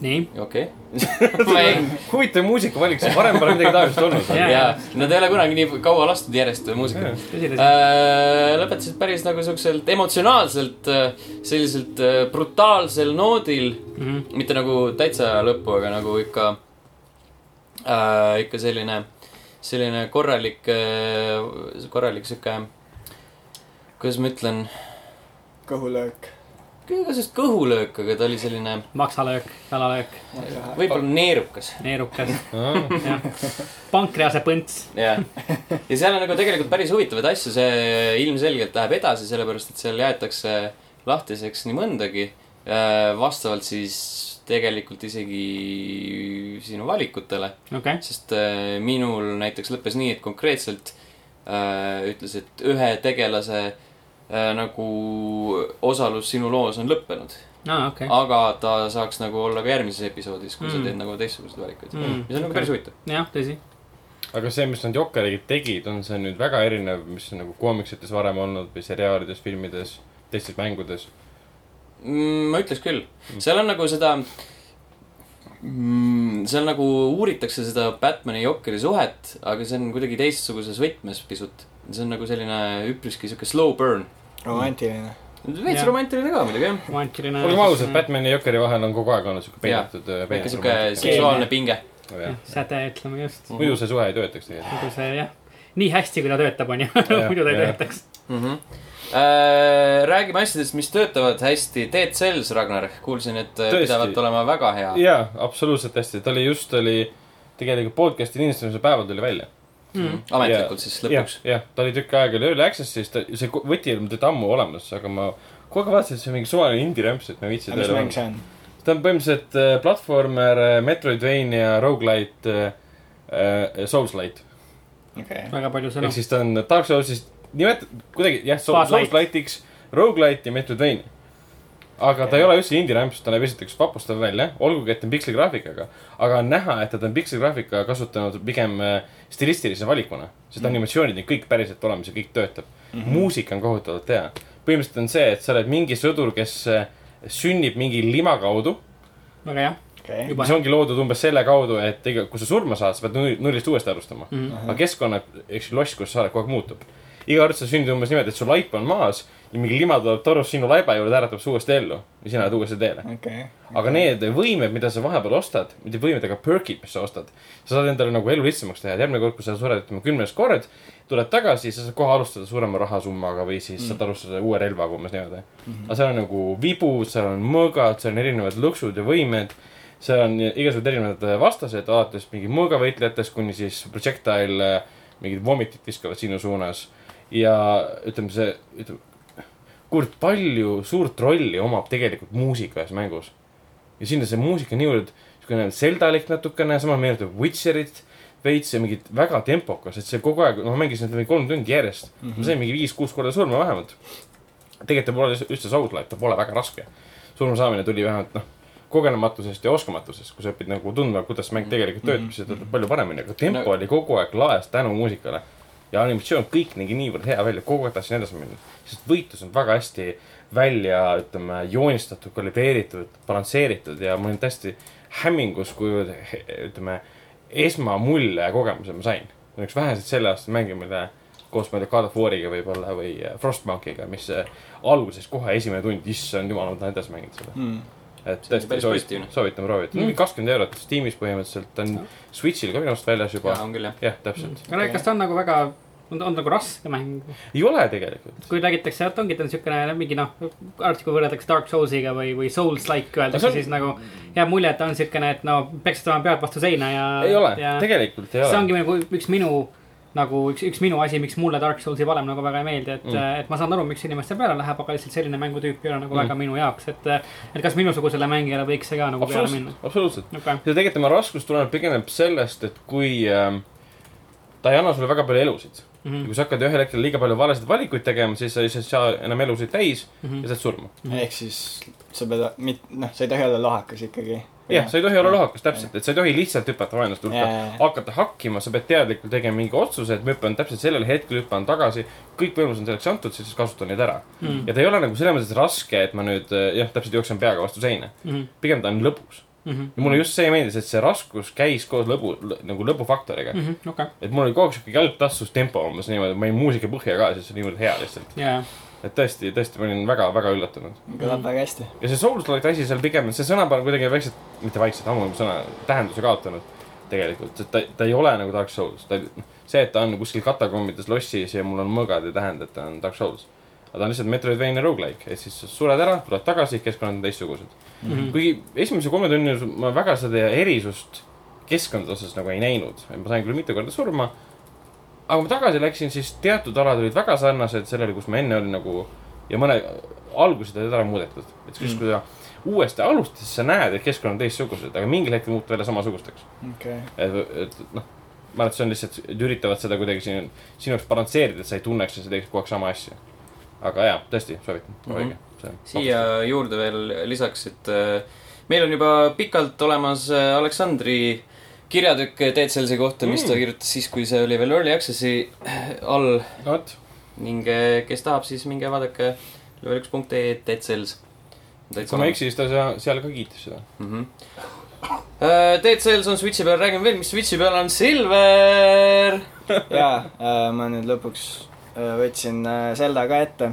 S2: nii .
S1: okei
S2: *laughs*
S1: okay. . ma ei ,
S3: huvitav muusikavalik , see varem pole midagi taolist olnud .
S1: *laughs*
S2: Jah.
S1: jaa , nad ei ole kunagi nii kaua lastud järjest muusikat .
S2: tõsi , tõsi .
S1: Äh, lõpetasid päris nagu siukselt emotsionaalselt , selliselt äh, brutaalsel noodil ,
S2: Mhm.
S1: mitte nagu täitsa lõppu , aga nagu ikka äh, , ikka selline , selline korralik äh, , korralik sihuke , kuidas ma ütlen ,
S4: kõhulöök .
S1: igasugust kõhulöök , aga ta oli selline
S2: maksalöök , jalalöök ,
S1: võib-olla neerukas .
S2: neerukas ,
S3: aa ,
S2: jah . pankrease põnts .
S1: jah , *laughs* ja seal on nagu tegelikult päris huvitavaid asju , see ilmselgelt läheb edasi , sellepärast et seal jäetakse lahtiseks nii mõndagi . vastavalt siis tegelikult isegi sinu valikutele ,
S2: okei okay. ,
S1: sest äh, minul näiteks lõppes nii , et konkreetselt äh, ütles , et ühe tegelase äh, nagu osalus sinu loos on lõppenud .
S2: aa Ah, okei okay. ,
S1: aga ta saaks nagu olla ka järgmises episoodis , kui mm.
S2: Mm.
S1: sa teed nagu teistsuguseid valikuid mm.
S2: Mm. .
S1: mis on nagu päris huvitav .
S2: jah , tõsi .
S3: aga see , mis nad Jokkeriga tegid , on see nüüd väga erinev , mis on nagu koomiksites varem olnud või seriaalides , filmides , teistes mängudes .
S1: mm, . ma ütleks küll , seal on nagu seda mm, , seal nagu uuritakse seda Batman'i ja Jokeri suhet , aga see on kuidagi teistsuguses võtmes pisut . see on nagu selline üpriski sihuke slow burn .
S4: romantiline .
S1: veits
S2: Jah.
S1: romantiline ka muidugi jah .
S2: romantiline .
S3: olgem ausad , Batman'i ja Jokeri vahel on kogu aeg olnud siuke äh,
S1: Jaa.
S3: peidetud .
S1: väike sihuke seksuaalne pinge . Mhm.
S3: siuke .
S2: säde , ütleme just .
S1: Mm.
S3: muidu see suhe ei töötaks tegelikult .
S2: nagu see jah , nii hästi , kui ta töötab , onju .
S3: Jah,
S2: *laughs* muidu ta ei
S3: jah.
S2: töötaks .
S1: Mm -hmm. äh, räägime asjadest , mis töötavad hästi . Dead Cells , Ragnar , kuulsin , et äh,
S3: Tõesti.
S1: pidavat olema väga hea .
S3: jaa , absoluutselt hästi , ta oli just , oli tegelikult podcast'i lindistamise päeval tuli välja .
S1: Mhm.
S2: Hmm.
S1: ametlikult siis lõpuks ..
S3: jah , ta oli tükk aega oli Early Access'is , ta , see ko- võti oli mul teda ammu olemas , aga ma kogu aeg vaatasin , et see on mingi suvaline indie-rämps , et ma ei viitsi
S4: mis mäng see on ?
S3: ta on põhimõtteliselt äh, platvormer , Metroidvania , Roguelite äh, , äh, Soulslite .
S4: okei .
S2: väga palju sõnu
S3: ehk . siis ta on Dark Soulsist , nimet- , kuidagi jah ,
S2: Spotlight.
S3: Soulslite'iks , Roguelite ja Metroidvania . aga ta ei ole üldse indie-rämps , ta näeb esiteks vapustav välja , olgugi , et ta on piksligraafikaga . aga on näha , et ta on piksligraafika kasutanud pigem äh, stilistilise valikuna , sest animatsioonid on kõik päriselt olemas ja kõik töötab mm . -hmm. muusika on kohutavalt hea . põhimõtteliselt on see , et sa oled mingi sõdur , kes äh, sünnib mingi lima kaudu
S2: väga hea .
S4: okei .
S2: Juba
S3: mis ongi loodud umbes selle kaudu , et ega kui sa surma saad , sa pead nulli- nullist uuesti alustama mm .
S2: Mhm.
S3: -hmm. aga keskkonna , eks ju , loss , kus sa oled , kogu aeg muutub . iga kord sa sünnid umbes niimoodi , et su laip on maas ja mingi lima tuleb torust sinu laiba juurde , äratab su uuesti ellu ja sina oled uuesti teele .
S4: okei .
S3: aga need võimed , mida sa vahepeal ostad , mitte võimed , aga perk'id , mis sa ostad , sa saad endale nagu elu lihtsamaks teha , et järgmine kord , kui sa sured , ütleme , kümnes kord , tuled tagasi , sa saad kohe alustada suurema rahasummaga või siis mm. saad alustada uue relvaga umbes niimoodi mm. . aga seal on nagu vibud , seal on mõõgad , seal on erinevad lõksud ja võimed , seal on igasugused erinevad vastased , alates mingi mõõgavõitlejatest kuni siis projectile , eh, mingid vomitid viskavad sinu suunas ja ütleme , see , ütleme , kurat , palju suurt rolli omab tegelikult muusika ühes mängus . ja siin on see muusika niivõrd siukene seldalik natukene , sama meenutab Witcherit veits ja mingit väga tempokas , et see kogu aeg , noh , ma mängisin seda mingi kolm tundi järjest mm . -hmm. ma sain mingi viis-kuus korda surma vähemalt . tegelikult ta pole üldse- üldse soul-like , ta pole väga raske . surma saamine tuli vähemalt , noh , kogenematusest ja oskamatusest , kui sa õpid nagu tundma , kuidas mäng tegelikult töötab , siis ta töötab palju paremini , aga tempo
S1: No-
S3: oli kogu aeg laes tänu muusikale . ja animatsioon , kõik nägi niivõrd hea välja , kogu aeg tahtsin edasi minna . sest võitlus on väga hästi välja , ütleme , joonistatud , kalibreeritud , balansseeritud ja ma olin täiesti hämmingus , kui he- ütleme , esmamulje ja kogemuse ma sain . see on üks väheseid selle aasta mänge , mille koos , ma ei tea , God of War'iga võib-olla või Frostbankiga , mis eh, alguses kohe esimene tund , issand jumal , ma tahan edasi mängida seda .
S4: mm. .
S3: et
S1: See on
S3: tõesti
S1: päris
S3: soovitan
S1: positiivne. ,
S3: soovitan proovida
S2: Mm.
S3: mm. . kakskümmend eurot Steamis põhimõtteliselt , ta on Switch'il ka minu arust väljas juba
S1: jaa ,. on küll jah .
S3: jah , täpselt .
S2: aga kas ta on nagu väga , on ta on nagu raske mäng ?
S3: ei ole tegelikult .
S2: kui räägitakse , et ongi , ta on siukene mingi noh , arvati , kui võrreldakse Dark Soulsiga või , või Souls-like öeldakse
S3: see
S2: on...
S3: on-
S2: siis nagu jääb mulje , et ta on siukene , et no peksad oma pead vastu seina ja .
S3: ei ole
S2: ja... ,
S3: tegelikult ei
S2: see
S3: ole .
S2: ongi nagu üks minu nagu üks , üks minu asi , miks mulle Dark Soulsi valem nagu väga ei meeldi , et mm. , et ma saan aru , miks inimeste peale läheb , aga lihtsalt selline mängutüüp ei ole nagu mm. väga minu jaoks , et . et kas minusugusele mängijale võiks see ka nagu peale minna ?
S3: absoluutselt , absoluutselt .
S2: okei ,
S3: ja tegelikult tema raskus tuleneb pigem sellest , et kui ähm, ta ei anna sulle väga palju elusid mm .
S2: Mhm.
S3: -hmm. kui sa hakkad ühel hetkel liiga palju valesid valikuid tegema , siis sa ei saa enam elusid täis mm
S2: Mhm.
S3: -hmm. ja saad surma .
S4: ehk siis sa pead , noh , sa ei tohi olla lohakas ikkagi .
S3: jah , sa ei tohi olla lohakas , täpselt , et sa ei tohi lihtsalt hüpata vaenlaste hulka
S4: Jaa, jaa, jaa. ,
S3: hakata hakkima , sa pead teadlikult tegema mingi otsuse , et ma hüppan täpselt sellel hetkel , hüppan tagasi . kõik võimalused on selleks antud , siis kasutan neid ära
S2: Mhm.
S3: mm. . ja ta ei ole nagu selles mõttes raske , et ma nüüd äh, jah , täpselt jooksen peaga vastu seina mm .
S2: Mhm.
S3: -hmm. pigem ta on lõbus mm .
S2: Mhm.
S3: -hmm. ja mulle just see meeldis , et see raskus käis koos lõbu , nagu lõbufaktoriga mm .
S2: Mhm. okei ,
S3: -hmm. et mul oli kogu aeg sihuke jalg tassus tempo umbes niimoodi , ma jäin muusika põhja ka , siis see oli niivõrd hea lihtsalt .
S2: ja ,
S3: et tõesti , tõesti , ma olin väga-väga üllatunud .
S4: kõlab väga hästi .
S3: ja see Souls-like asi seal pigem , see sõna on kuidagi vaikselt , mitte vaikselt , ammu sõna , tähenduse kaotanud tegelikult , et ta , ta ei ole nagu Dark Souls , ta , see , et ta on kuskil katakombides lossis ja mul on mõõgad , ei tähenda , et ta on Dark Souls . aga ta on lihtsalt Metroidvania rogu-like , ehk siis sa sured ära , tuled tagasi , keskkonnad on teistsugused mm .
S2: Mhm.
S3: -hmm. kuigi esimese kolme tunni jooksul ma väga seda erisust keskkondade osas nagu ei näinud , ma sain küll mitu korda surma . aga kui ma tagasi läksin , siis teatud alad olid väga sarnased sellele , kus ma enne olin nagu ja mõne , algused olid ära muudetud , et siis mm. kui sa uuesti alustad , siis sa näed , et keskkonnad on teistsugused , aga mingil hetkel muutub jälle samasugusteks .
S4: okei ,
S3: et , et noh , ma arvan , et see on lihtsalt , et üritavad seda kuidagi siin , sinu jaoks balansseerida , et sa ei tunneks ja sa teeks kogu aeg sama asja . aga jaa , tõesti , soovitan , proovige mm .
S1: siia juurde veel lisaks , et äh, meil on juba pikalt olemas äh, Aleksandri kirjatükk Dead Cellsi kohta , mis ta kirjutas siis , kui see oli veel Early Access'i äh, all
S3: no vot ,
S1: ning äh, kes tahab , siis minge vaadake level üks punkt E ee Dead Cells .
S3: kui ma ei eksi , siis ta seal- seal ka kiitis seda .
S1: mm . -hmm. Dead Cells on Switchi peal , räägime veel , mis Switchi peal on Silver .
S4: jaa , ma nüüd lõpuks äh, võtsin äh, Zelda ka ette ,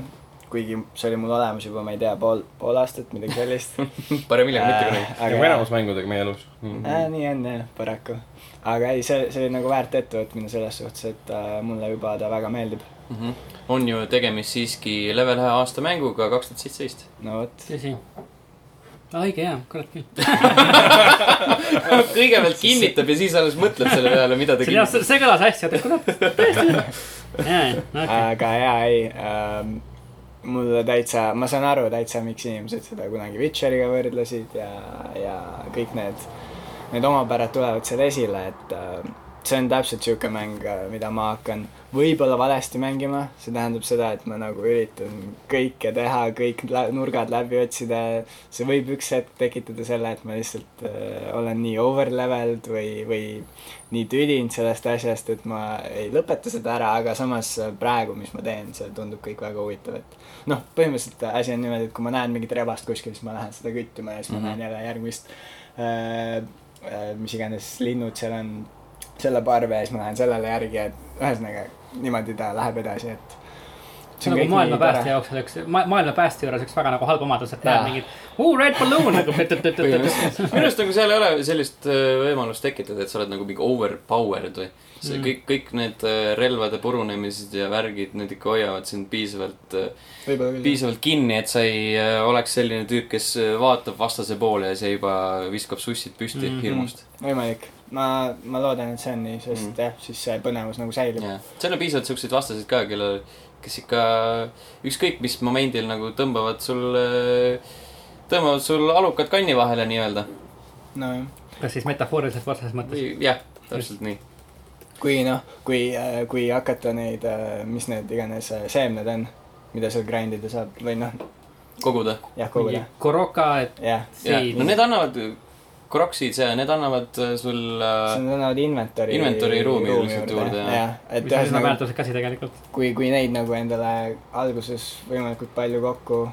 S4: kuigi see oli mul olemas juba , ma ei tea , pool , pool aastat , midagi
S1: *laughs*
S4: sellist .
S1: parem hiljem , mitte kunagi .
S3: nagu enamus mängudega meie elus mm. .
S4: äh, . nii on jah , paraku . aga ei , see , see oli nagu väärt ettevõtmine selles suhtes , et äh, mulle juba ta väga meeldib .
S1: Mhm. on ju tegemist siiski level ühe aasta mänguga kaks tuhat seitseteist .
S4: no vot ,
S2: tõsi . õige jaa , kurat küll .
S1: *laughs* kõigepealt kinnitab ja siis alles mõtleb selle peale , mida ta
S2: see jah ,
S1: kinnitab .
S2: see kõlas hästi , oota
S1: *laughs*
S2: kurat , tõesti . jaa , okei ,
S4: aga jaa , ei ähm, , mulle täitsa , ma saan aru täitsa , miks inimesed seda kunagi Witcheriga võrdlesid ja , ja kõik need , need omapärad tulevad seal esile , et äh, see on täpselt niisugune mäng , mida ma hakkan võib-olla valesti mängima , see tähendab seda , et ma nagu üritan kõike teha , kõik lä- nurgad läbi otsida , see võib üks hetk tekitada selle , et ma lihtsalt äh, olen nii over leveled või , või nii tüdinud sellest asjast , et ma ei lõpeta seda ära , aga samas praegu , mis ma teen , see tundub kõik väga huvitav , et noh , põhimõtteliselt asi on niimoodi , et kui ma näen mingit rebast kuskil , siis ma lähen seda küttima ja siis ma
S1: Mhm.
S4: näen jälle järgmist äh, , äh, mis iganes linnud seal on , selle parve ja siis ma lähen sellele järgi , et ühesõnaga niimoodi ta läheb edasi , et .
S2: see on nagu maailma päästja . jaoks on üks , maailma päästja juures üks väga nagu halb omadus , et
S4: Jaa.
S2: näed mingit , oo red balloon nagu .
S1: minu arust nagu seal ei ole sellist äh, võimalust tekitada , et sa oled nagu mingi overpowered või .
S2: Mm.
S1: see kõik , kõik need äh, relvade purunemised ja värgid , need ikka hoiavad sind piisavalt , äh,
S4: võib-olla küll .
S1: piisavalt kinni , et sa ei äh, oleks selline tüüp , kes äh, vaatab vastase poole ja see juba viskab sussid püsti
S2: Mhm.
S1: hirmust .
S4: võimalik , ma , ma loodan , et see on nii , sest
S1: Mm.
S4: jah , siis see põnevus nagu säilib .
S1: jah , seal on piisavalt siukseid vastaseid ka , kellel , kes ikka ükskõik mis momendil nagu tõmbavad sul , tõmbavad sul alukad kanni vahele nii-öelda .
S4: nojah ,
S2: kas siis metafooriliselt või otseses mõttes .
S1: jah , täpselt nii .
S4: kui noh , kui , kui hakata neid , mis need iganes äh, seemned on , mida seal grind ida saab või noh ,
S1: koguda .
S4: jah ,
S2: mingi
S4: koguda ,
S2: Koroka ,
S4: jah .
S1: no
S2: Seed ,
S1: need annavad , kroksid ja need annavad äh, sul
S4: see
S1: äh,
S4: on annavad inventory .
S1: Inventory ruumi üldiselt juurde, jah.
S4: jah ,
S1: nagu-
S2: mis on
S4: et
S2: üsna
S4: ühesõnaga ,
S2: väärtuslik asi tegelikult .
S4: kui , kui neid nagu endale alguses võimalikult palju kokku .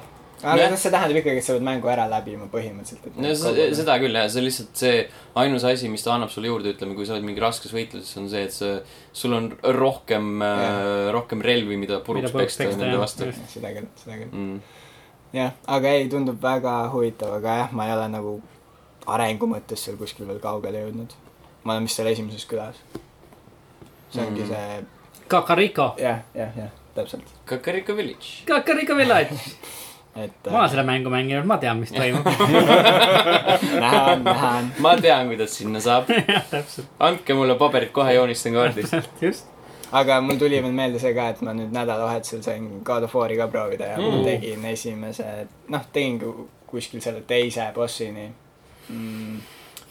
S4: aga
S1: Nojah.
S4: noh , see tähendab ikkagi , et sa pead mängu ära läbima põhimõtteliselt , et .
S2: Nagu
S4: nagu
S1: no se- seda küll jah , see on lihtsalt see ainus asi , mis ta annab sulle juurde , ütleme , kui sa oled mingi raskes võitluses , on see , et sa , sul on rohkem , rohkem relvi , mida puruks
S2: Mida puruks
S1: peksta
S2: peksta,
S1: nende
S2: jah,
S1: vastu
S2: just. .
S4: seda küll , seda küll .
S1: Mm.
S4: jah , aga ei , tundub väga huvitav , aga jah , ma ei ole nagu arengu mõttes seal kuskil veel kaugele jõudnud . ma olen vist seal esimeses külas . see ongi
S1: Mm.
S4: see ,
S2: Kakariko ,
S4: jah , jah , jah , täpselt ,
S1: Kakariko Village .
S2: Kakariko Village ,
S4: et
S2: ma olen seda mängu mänginud , ma tean , mis
S1: *laughs*
S2: toimub .
S4: äh, näha on , näha on .
S1: ma tean , kuidas sinna
S2: *laughs*
S1: saab .
S2: täpselt ,
S1: andke mulle paberid , kohe joonistan kaardist .
S2: just .
S4: aga mul tuli veel meelde see ka , et ma nüüd nädalavahetusel sain God of War'i ka proovida ja mm.
S1: Mm.
S4: ma tegin esimese , noh , tegin ku- kuskil selle teise bossini mm. .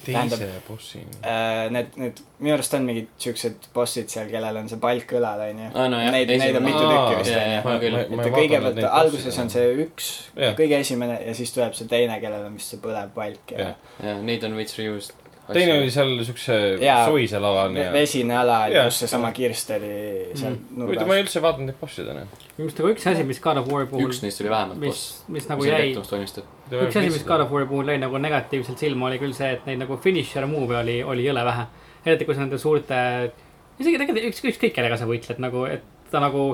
S3: teise bossini .
S4: äh, Need , need minu arust on mingid siukesed bossid seal , kellel on see palk õlal , onju .
S1: Aa, nojah,
S4: Neid , neid on
S1: esimene.
S4: mitu tükki vist ,
S1: Aa,
S4: onju
S1: jah, . küll.
S4: et kõigepealt alguses on see üks
S3: Jah.
S4: kõige esimene ja siis tuleb see teine , kellel on vist see põlev palk ja
S3: Jah.
S1: ja neid on veits reused .
S3: teine oli seal siukse
S4: Jaa.
S3: soisel alal
S4: ve-
S3: ja .
S4: vesine ala ,
S3: Jah.
S4: kus seesama kirst oli seal
S3: huvitav , ma
S4: nurgas .
S3: ei üldse vaadanud neid bosse täna .
S2: just nagu üks asi , mis God of War'i puhul
S1: üks , neist oli vähemalt
S2: mis
S1: boss .,
S2: mis nagu jäi , üks asi , mis God of War'i puhul jäi nagu negatiivselt silma , oli küll see , et neid nagu finisher move'e oli , oli jõle vähe . eriti kui sa nende suurte , isegi tegelikult üks , ükskõik kellega sa võitled nagu , et ta nagu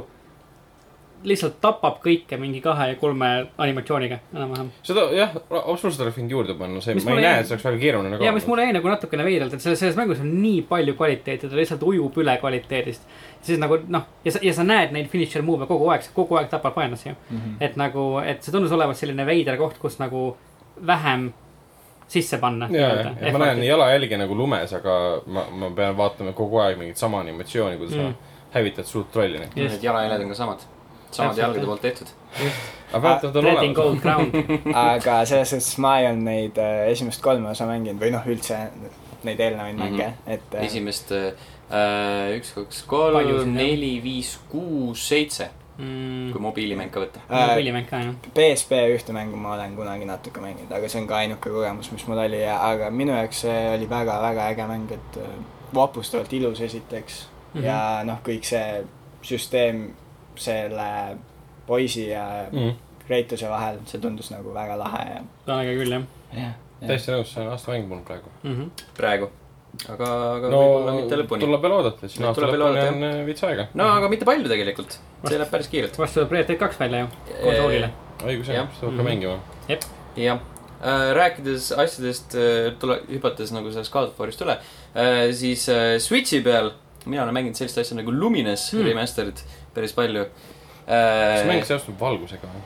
S2: lihtsalt tapab kõike mingi kahe ja kolme animatsiooniga enam-vähem .
S3: seda jah , absoluutselt oleks võinud juurde panna , see ,
S2: Mis
S3: ma ei
S2: mulle
S3: näe ,
S2: jäi-
S3: et see oleks väga keeruline
S2: ja mis mulle jäi nagu natukene veidralt , et selles , selles mängus on nii palju kvaliteeti , ta lihtsalt ujub üle kvaliteedist . siis nagu noh , ja sa , ja sa näed neid finisher move'e kogu aeg , sa kogu aeg tapad vaenlasi ju .
S4: Mhm.
S2: et nagu , et see tundus olevat selline veider koht , kus nagu vähem sisse panna .
S3: ja , ja ma näen . jalajälge nagu lumes , aga ma , ma pean vaatama kogu aeg mingit sama animatsiooni , kuidas
S2: Mm.
S3: sa hävitad suurt trolli .
S2: Just.
S1: Need jalajäljed on ka samad , samad
S2: Täpselt,
S1: jalgade
S2: jah.
S1: poolt tehtud .
S4: Ah,
S3: aga vähemalt nad on
S2: Treading gold
S3: olemas . *laughs*
S2: ground ,
S4: aga selles suhtes ma ei olnud neid äh, esimest kolme osa mänginud või noh , üldse neid eelnevaid
S1: Mhm.
S4: mänge , et äh,
S1: esimest äh, üks , kaks , kolm ,
S2: Paljusid, jah.
S1: neli , viis , kuus , seitse ,
S2: Mm,
S1: kui mobiilimäng ka võtta .
S4: äh,
S2: mobiilimäng nagu ka jah .
S4: PSP ühte mängu ma olen kunagi natuke mänginud , aga see on ka ainuke kogemus , mis mul oli ja , aga minu jaoks see oli väga-väga äge mäng , et äh, vapustavalt ilus esiteks mm
S2: Mhm.
S4: -hmm. ja noh , kõik see süsteem selle poisi ja
S3: Mhm,
S4: Kreituse vahel , see tundus nagu väga lahe ja,
S2: ta on äge küll jah
S4: ja.
S3: täiesti nõus , see on aastamäng mul praegu .
S2: mm . -hmm.
S1: praegu . aga , aga no, võib-olla mitte
S3: no
S1: lõpuni .
S3: tuleb veel oodata , siis
S1: Nüüd
S3: aasta
S1: tuleb veel
S3: lõpuni on
S1: oodata,
S3: äh, veits aega .
S1: no aga mitte palju tegelikult , see läheb päris kiirelt .
S2: vastu tuleb Red Dead kaks välja
S1: Äh,
S2: ju , konsoolile .
S1: mm.
S3: õigus
S1: Jah. Äh,
S3: jah , seda peab
S2: Mhm.
S3: ka mängima .
S1: Eh, jah , rääkides asjadest , tule , hüpates nagu sellest God of War'ist üle , siis äh, Switchi peal mina olen mänginud sellist asja nagu Lumines
S2: Mm.
S1: mm. remaster'it päris palju .
S3: kas mäng seostub valgusega või ?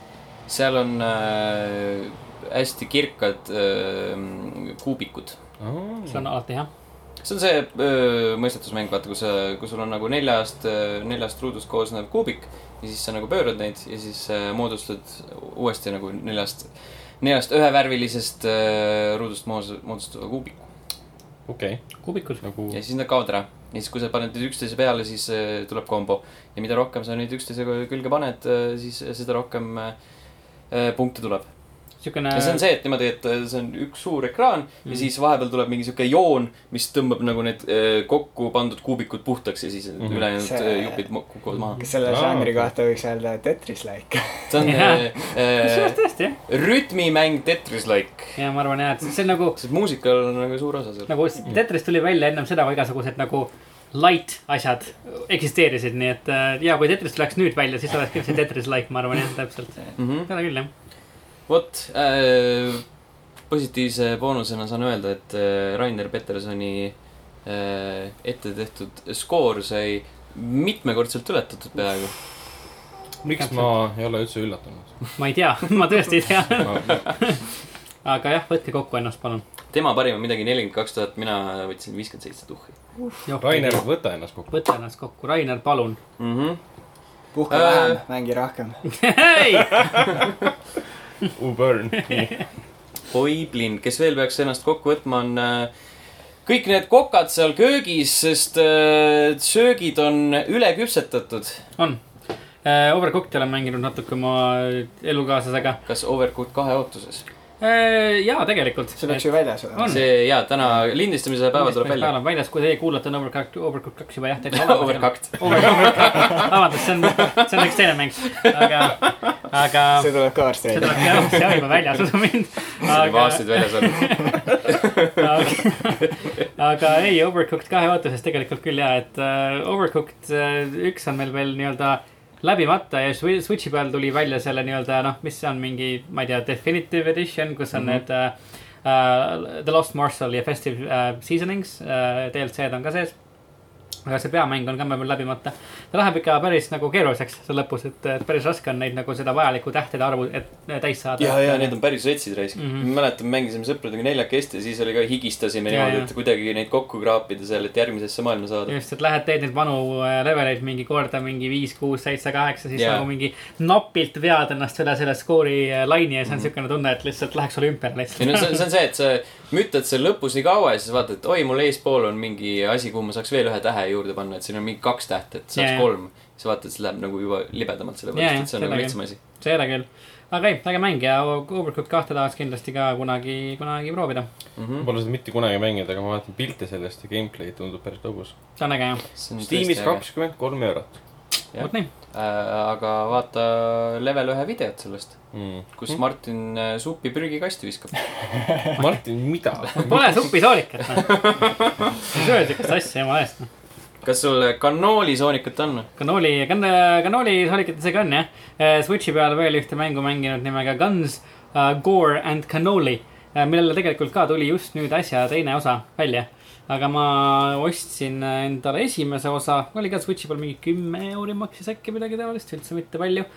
S1: seal on äh, hästi kirkad äh, kuubikud .
S2: see on alati hea .
S1: see on see öö, mõistetusmäng , vaata , kus , kus sul on nagu neljast , neljast ruudust koosnev kuubik ja siis sa nagu pöörad neid ja siis äh, moodustad uuesti nagu neljast , neljast ühevärvilisest äh, ruudust moos- moodustuva kuubiku .
S3: okei ,
S2: kuubikud .
S3: nagu
S1: ja siis nad kaovad ära ja siis , kui sa paned need üksteise peale , siis äh, tuleb kombo ja mida rohkem sa neid üksteise külge paned , siis seda rohkem äh, äh, punkte tuleb .
S2: siukene
S1: ja see on see , et niimoodi , et see on üks suur ekraan mm.
S2: Mhm.
S1: ja siis vahepeal tuleb mingi sihuke joon , mis tõmbab nagu need eh, kokku pandud kuubikud puhtaks ja siis mm
S3: Mhm.
S1: -hmm. ülejäänud
S4: See- Mhm.
S1: see... jupid mo- kukuvad maha .
S4: kas selle
S3: Aa,
S4: no, žanri
S3: okei.
S4: kohta võiks öelda Tetris-like ?
S1: see on
S2: Jaa.
S1: eh, eh,
S2: kusjuures tõesti jah ,
S1: rütmimäng Tetris-like ,
S2: ja ma arvan jah , et see on nagu ,
S1: sest muusikal on väga suur osa seal .
S2: nagu Tetris tuli välja ennem seda , kui igasugused nagu light asjad eksisteerisid , nii et äh, ja kui Tetris tuleks nüüd välja , siis oleks küll see Tetris like , ma arvan jah , täpselt . seda küll jah ,
S1: Mhm. vot , positiivse boonusena saan öelda , et eh, Rainer Petersoni eh, ette tehtud skoor sai mitmekordselt ületatud peaaegu .
S3: miks ma ei ole üldse üllatunud ?
S2: ma ei tea , *laughs* ma tõesti ei tea . aga jah , võtke kokku ennast , palun .
S1: tema parim on midagi nelikümmend kaks tuhat , mina võtsin viiskümmend seitse tuhhi *laughs*
S3: Rainer , võta ennast kokku .
S2: võta ennast kokku , Rainer , palun . *laughs*
S1: mm . -hmm.
S4: puhka
S1: Äh.
S4: vähem , mängi rohkem .
S2: ei ,
S3: U-Burn .
S1: oi plinn , kes veel peaks ennast kokku võtma , on äh, kõik need kokad seal köögis , sest äh, söögid on üleküpsetatud .
S2: on . Overcooked olen mänginud natuke oma elukaaslasega .
S1: kas Overcooked kahe ootuses ?
S2: jaa , tegelikult .
S4: see peaks ju väljas olema .
S2: On.
S1: see ja täna lindistamise päeval tuleb välja .
S2: päeval on väljas , kui teie kuulate , on Overcooked , Overcooked kaks juba jah , teil
S1: *laughs*
S2: on olemas .
S1: Overcooked .
S2: Overcooked , vabandust , see on , see on üks teine mäng , aga , aga
S4: see tuleb ka varsti
S2: Ah. see tuleb
S4: välja .
S2: jah , see on juba väljas , usu mind .
S1: see on juba aastaid väljas
S2: *laughs*
S1: olnud .
S2: aga, *laughs* aga ei , Overcooked kahe ootuses tegelikult küll ja , et uh, Overcooked uh, üks on meil veel nii-öelda läbimata ja Swi- Switchi peal tuli välja selle nii-öelda noh , mis see on mingi , ma ei tea , definitive edition , kus on mm -hmm. need uh, uh, The Lost Morsel ja Festive uh, Seasonings uh, DLC-d on ka sees aga see peamäng on ka meil läbimata . ta läheb ikka päris nagu keeruliseks seal lõpus , et et päris raske on neid nagu seda vajalikku tähtede arvu , et äh, täis saada .
S1: ja , ja need on päris retsid raisk mm .
S2: Mhm.
S1: -hmm. mäletan , mängisime sõpradega neljakesti ja siis oli ka higistasime
S2: Ja,
S1: niimoodi
S2: ja. ,
S1: et kuidagi neid kokku kraapida seal , et järgmisesse maailma saada .
S2: just , et lähed , teed neid vanu äh, leveleid mingi korda mingi viis , kuus , seitse , kaheksa , siis
S1: Jaa.
S2: nagu mingi napilt vead ennast üle selle skoori äh, laini ja siis on siukene tunne , et lihtsalt läheks sulle ümber
S1: ei
S2: *laughs*
S1: no see
S2: lihtsalt .
S1: on , see on see , et sa mütad seal lõpus nii kaua ja siis vaatad , et oi , mul eespool on mingi asi , kuhu ma saaks veel ühe tähe juurde panna , et siin on mingi kaks tähte , et saaks
S2: Jaa, jaa.
S1: kolm . siis vaatad , siis läheb nagu juba libedamalt ,
S2: Jaa,
S1: sellepärast et see on
S2: jaa,
S1: nagu
S2: sellega.
S1: lihtsam asi .
S2: seda küll . aga ei , äge mäng ja Overcooked kahte tahaks kindlasti ka kunagi , kunagi proovida .
S1: Mhm.
S3: Pole seda mitte kunagi mänginud , aga ma vaatan pilte sellest ja gameplay tundub päris lõbus .
S1: Mm,
S2: see on äge jah .
S3: Steamis . kakskümmend kolm eurot
S1: Jah.
S2: vot nii .
S1: Äh, aga vaata level ühe videot sellest ,
S3: mm. .
S1: kus Martin äh, supi prügikasti viskab . *laughs*
S3: Martin , mida ?
S2: Pole supisoolikat noh . söö siukest asja jumala eest . noh.
S1: kas sul kanoolisoonikut on ?
S2: kanooli , kanooli soolikat isegi on jah . Switchi peal veel ühte mängu mänginud nimega Guns uh, , Gore and Cannoli uh, , millele tegelikult ka tuli just nüüd äsja teine osa välja . aga ma ostsin endale esimese osa , oli ka Switchi peal mingi kümme euri maksis äkki midagi taolist , üldse mitte palju uh, .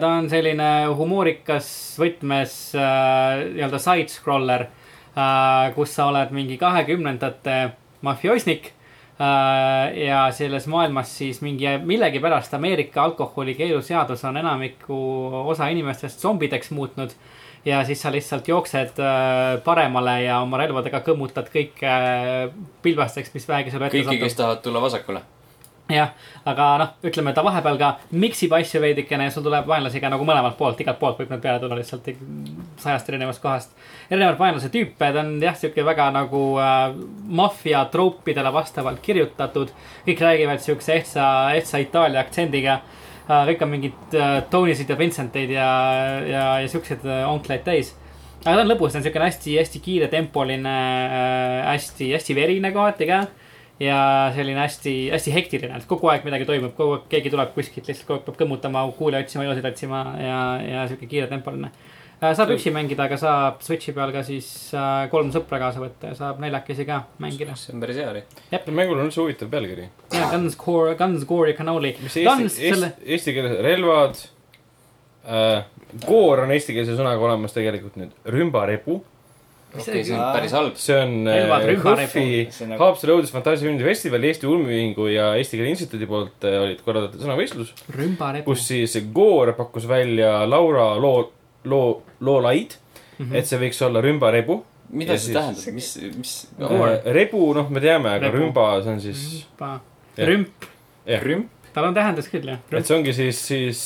S2: ta on selline humoorikas võtmes uh, nii-öelda side-scroller uh, , kus sa oled mingi kahekümnendate mafioosnik Äh, ja selles maailmas siis mingi millegipärast Ameerika alkoholikeeluseadus on enamiku osa inimestest zombideks muutnud . ja siis sa lihtsalt jooksed äh, paremale ja oma relvadega kõmmutad kõik äh, pilbasteks , mis vähegi sulle ette
S1: kõiki , kes tahavad tulla vasakule .
S2: jah , aga noh , ütleme ta vahepeal ka miksib asju veidikene ja sul tuleb vaenlasi ka nagu mõlemalt poolt , igalt poolt võib nad peale tulla lihtsalt ik- sajast erinevast kohast . erinevad vaenlase tüüpe , ta on jah , sihuke väga nagu äh, maffia troopidele vastavalt kirjutatud . kõik räägivad siukse ehtsa , ehtsa Itaalia aktsendiga äh, . kõik on mingid äh, Tonysid ja Vincenteid ja , ja , ja siuksed äh, onkleid täis aga ta on lõbus , ta on siukene hästi-hästi kiiretempoline , hästi-hästi äh, verine kohati ka . ja selline hästi-hästi hektiline , et kogu aeg midagi toimub , kogu aeg keegi tuleb kuskilt , lihtsalt kogu aeg peab kõmmutama , kuule otsima , ilusaid otsima ja , ja siuke kiiretempoline . saab üksi mängida , aga saab Switchi peal ka siis äh, kolm sõpra kaasa võtta ja saab neljakesi ka mängida .
S1: see on päris hea oli .
S3: mängul on üldse huvitav pealkiri .
S2: ja Guns , Guns , Gore ja Cannoli .
S3: mis see eesti , eesti , eesti keeles , relvad äh, . koor on eestikeelse sõnaga olemas tegelikult nüüd , rümbarepu .
S1: okei , see on päris halb .
S3: see on
S2: Relvad,
S3: äh,
S2: rümbarepu.
S3: HÖFFi ,
S4: See on nagu-
S3: Haapsalu õudusfantaasiaündi festivali Eesti Ulmiühingu ja Eesti Keele Instituudi poolt äh, olid korraldatud sõnavõistlus ,
S2: rümbarepu .
S3: kus siis Goor pakkus välja Laura loo , loo , loolaid mm ,
S1: Mhm.
S3: -hmm. et see võiks olla rümbarebu .
S1: mida
S3: Ja
S1: see
S3: siis-
S1: tähendab , mis , mis ?
S2: Goor.
S3: rebu , noh , me teame , aga
S2: Rebu.
S3: rümba , see on siis , Jah.
S2: rümp ,
S1: rümp .
S2: tal on tähendus küll jah .
S1: Mhm.
S3: et see ongi siis , siis ,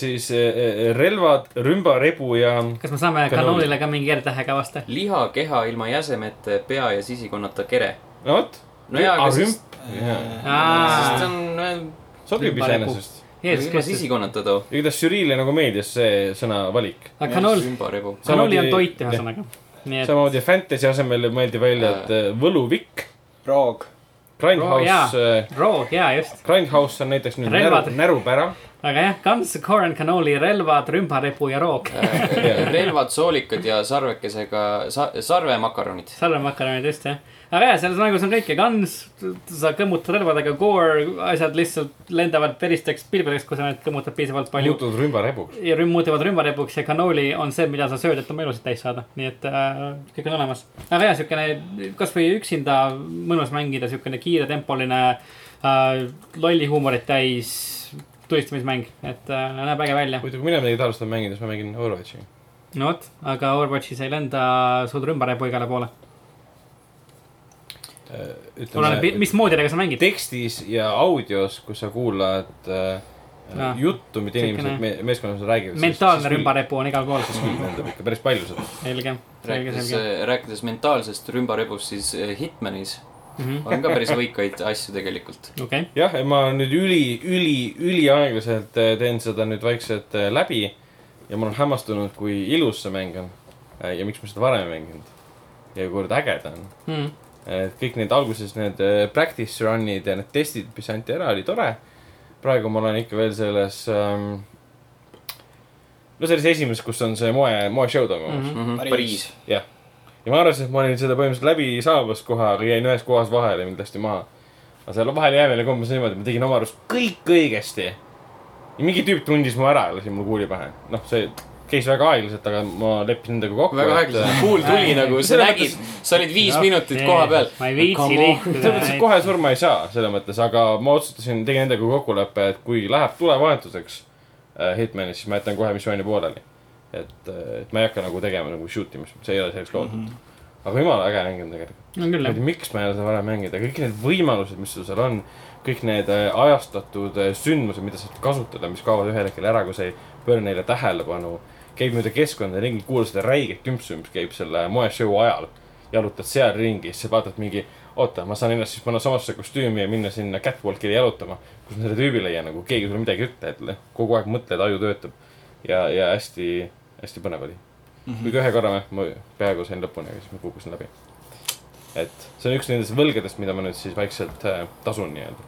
S3: siis äh, relvad , rümbarebu ja
S2: kas me saame
S3: Cannoli.
S2: Cannolile ka mingi R-tähega vasta ?
S1: liha , keha ilma jäsemete , pea ja sisikonnata kere .
S3: no vot ,
S1: no jaa , aga siis ,
S3: rümp , jaa ,
S1: siis
S2: Aa,
S1: on äh, ,
S3: sobib
S2: rümbarebu.
S3: iseenesest .
S2: Jeesus
S1: ilma
S2: Kristus ,
S1: sisikonnata too .
S3: ja kuidas Žüriile nagu meeldis see sõnavalik .
S2: aga kanool ,
S1: rümbarebu .
S2: kanooli on
S3: Samamoodi-
S2: toit
S3: jah.
S2: ühesõnaga . nii et ,
S3: samamoodi Fantasy asemel mõeldi välja , et äh, võluvikk ,
S4: roog ,
S2: Oh, jaa.
S3: Grindhouse oh, ,
S2: roog , jaa just ,
S3: Grindhouse on näiteks nüüd näru
S2: Relvad. ,
S3: närupära .
S2: aga jah , kants , korn , kanooli , relvad , rümbarepu ja roog .
S1: Äh, relvad , soolikad ja sarvekesega sa, , sarvemakaronid .
S2: salvemakaronid just jah , aga jah , selles mängus on kõike , kans , sa kõmmutad relvadega , core , asjad lihtsalt lendavad peristeks pilvedeks , kui sa neid kõmmutad piisavalt palju .
S3: muutunud rümbarebuks .
S2: ja rüm- , muutuvad rümbarepuks ja kanooli on see , mida sa sööd , et oma elusid täis saada , nii et äh, kõik on olemas . aga jah , siukene kasvõi üksinda mõnus mängida , siukene kiiretempoline äh, , lolli huumorit täis , tulistamismäng , et äh, näeb äge välja .
S3: muidu , kui mina midagi taolist olen mänginud , siis ma mängin Overwatchi .
S2: no vot , aga Overwatchis ei lenda suudab ümber ja igale poole .
S3: Äh,
S2: oleneb , mis moodidega sa mängid .
S3: tekstis ja audios , kus sa kuulad äh,
S2: Jaa.
S3: juttu , mida inimesed
S2: Siukene
S3: me, meeskonnas räägivad .
S2: mentaalne . rümbarepu on igal pool ,
S3: siis küll lendab ikka päris palju seda .
S2: selge , selge ,
S1: rääkides äh,
S2: selge .,
S1: rääkides mentaalsest rümbarebust , siis äh, Hitmanis
S2: okei
S1: on ka päris võikaid asju tegelikult .
S2: okay. ,
S3: jah , ma nüüd üli , üli , üliaeglaselt äh, teen seda nüüd vaikselt äh, läbi ja ma olen hämmastunud , kui ilus see mäng on äh, ja miks ma seda varem ei mänginud ja kui kord äge ta on .
S2: mm.
S3: et kõik need alguses need äh, practice run'id ja need testid , mis anti ära , oli tore . praegu ma olen ikka veel selles ähm, , no selles esimeses , kus on see moe , moeshow toimumas mm .
S2: Mhm.
S4: Pariis.
S1: Pariis .
S3: -hmm. ja ma arvasin , et ma olin seda põhimõtteliselt läbi saabas kohe , aga jäin ühes kohas vahele ja mind lasti maha . aga seal vahele jäämine kombes niimoodi , et ma tegin oma arust kõik õigesti . ja mingi tüüp tundis mu ära ja lasi mul kuuli pähe . noh , see käis väga aeglaselt , aga ma leppisin nendega kokku .
S1: väga aeglaselt ,
S3: *laughs*
S1: kuul tuli
S2: Ei,
S1: nagu , sa
S2: selles
S1: nägid , sa olid viis
S2: Noh,
S1: minutit
S2: see-
S1: koha peal .
S2: ma ei viitsi
S1: *laughs*
S3: selles mõttes , et
S2: liikuda .
S3: kohe surma ei saa , selles mõttes , aga ma otsustasin , tegin endaga kokkuleppe , et kui läheb tulevahetuseks äh, Hitmanis , siis ma jätan kohe missiooni pooleli . et , et ma ei hakka nagu tegema nagu shoot imist , see ei ole selleks loodud mm .
S1: Mhm.
S3: -hmm. aga jumala äge mäng on tegelikult .
S2: on küll
S3: ma ei
S2: jah ,
S3: tea , miks ma ei ole seda varem mänginud , aga kõik need võimalused , mis sul seal on , kõik need äh, ajastatud äh, sündmused , mida saad kasutada , mis kaovad ühel hetkel ära , kui sa ei pööra neile tähelepanu . käid mööda keskkonda ringi , kuulad seda räiget kümpsu , mis käib selle moeshow ajal . jalutad seal ringi , siis sa vaatad mingi , oota , ma saan ennast siis panna samasse kostüümi ja minna sinna catwalk'ile jalutama . kus ma selle tüübi leian , nagu keegi sulle midagi ei ütle , et kogu aeg mõtled , aju töötab . ja , ja hästi , hästi põnev oli mm . -hmm. kuigi ühe korra ma- ma peaaegu sain lõpuni , aga siis ma kukkusin läbi . et see on üks nendest võlgadest , mida ma nüüd siis vaikselt äh, tasun nii-öelda .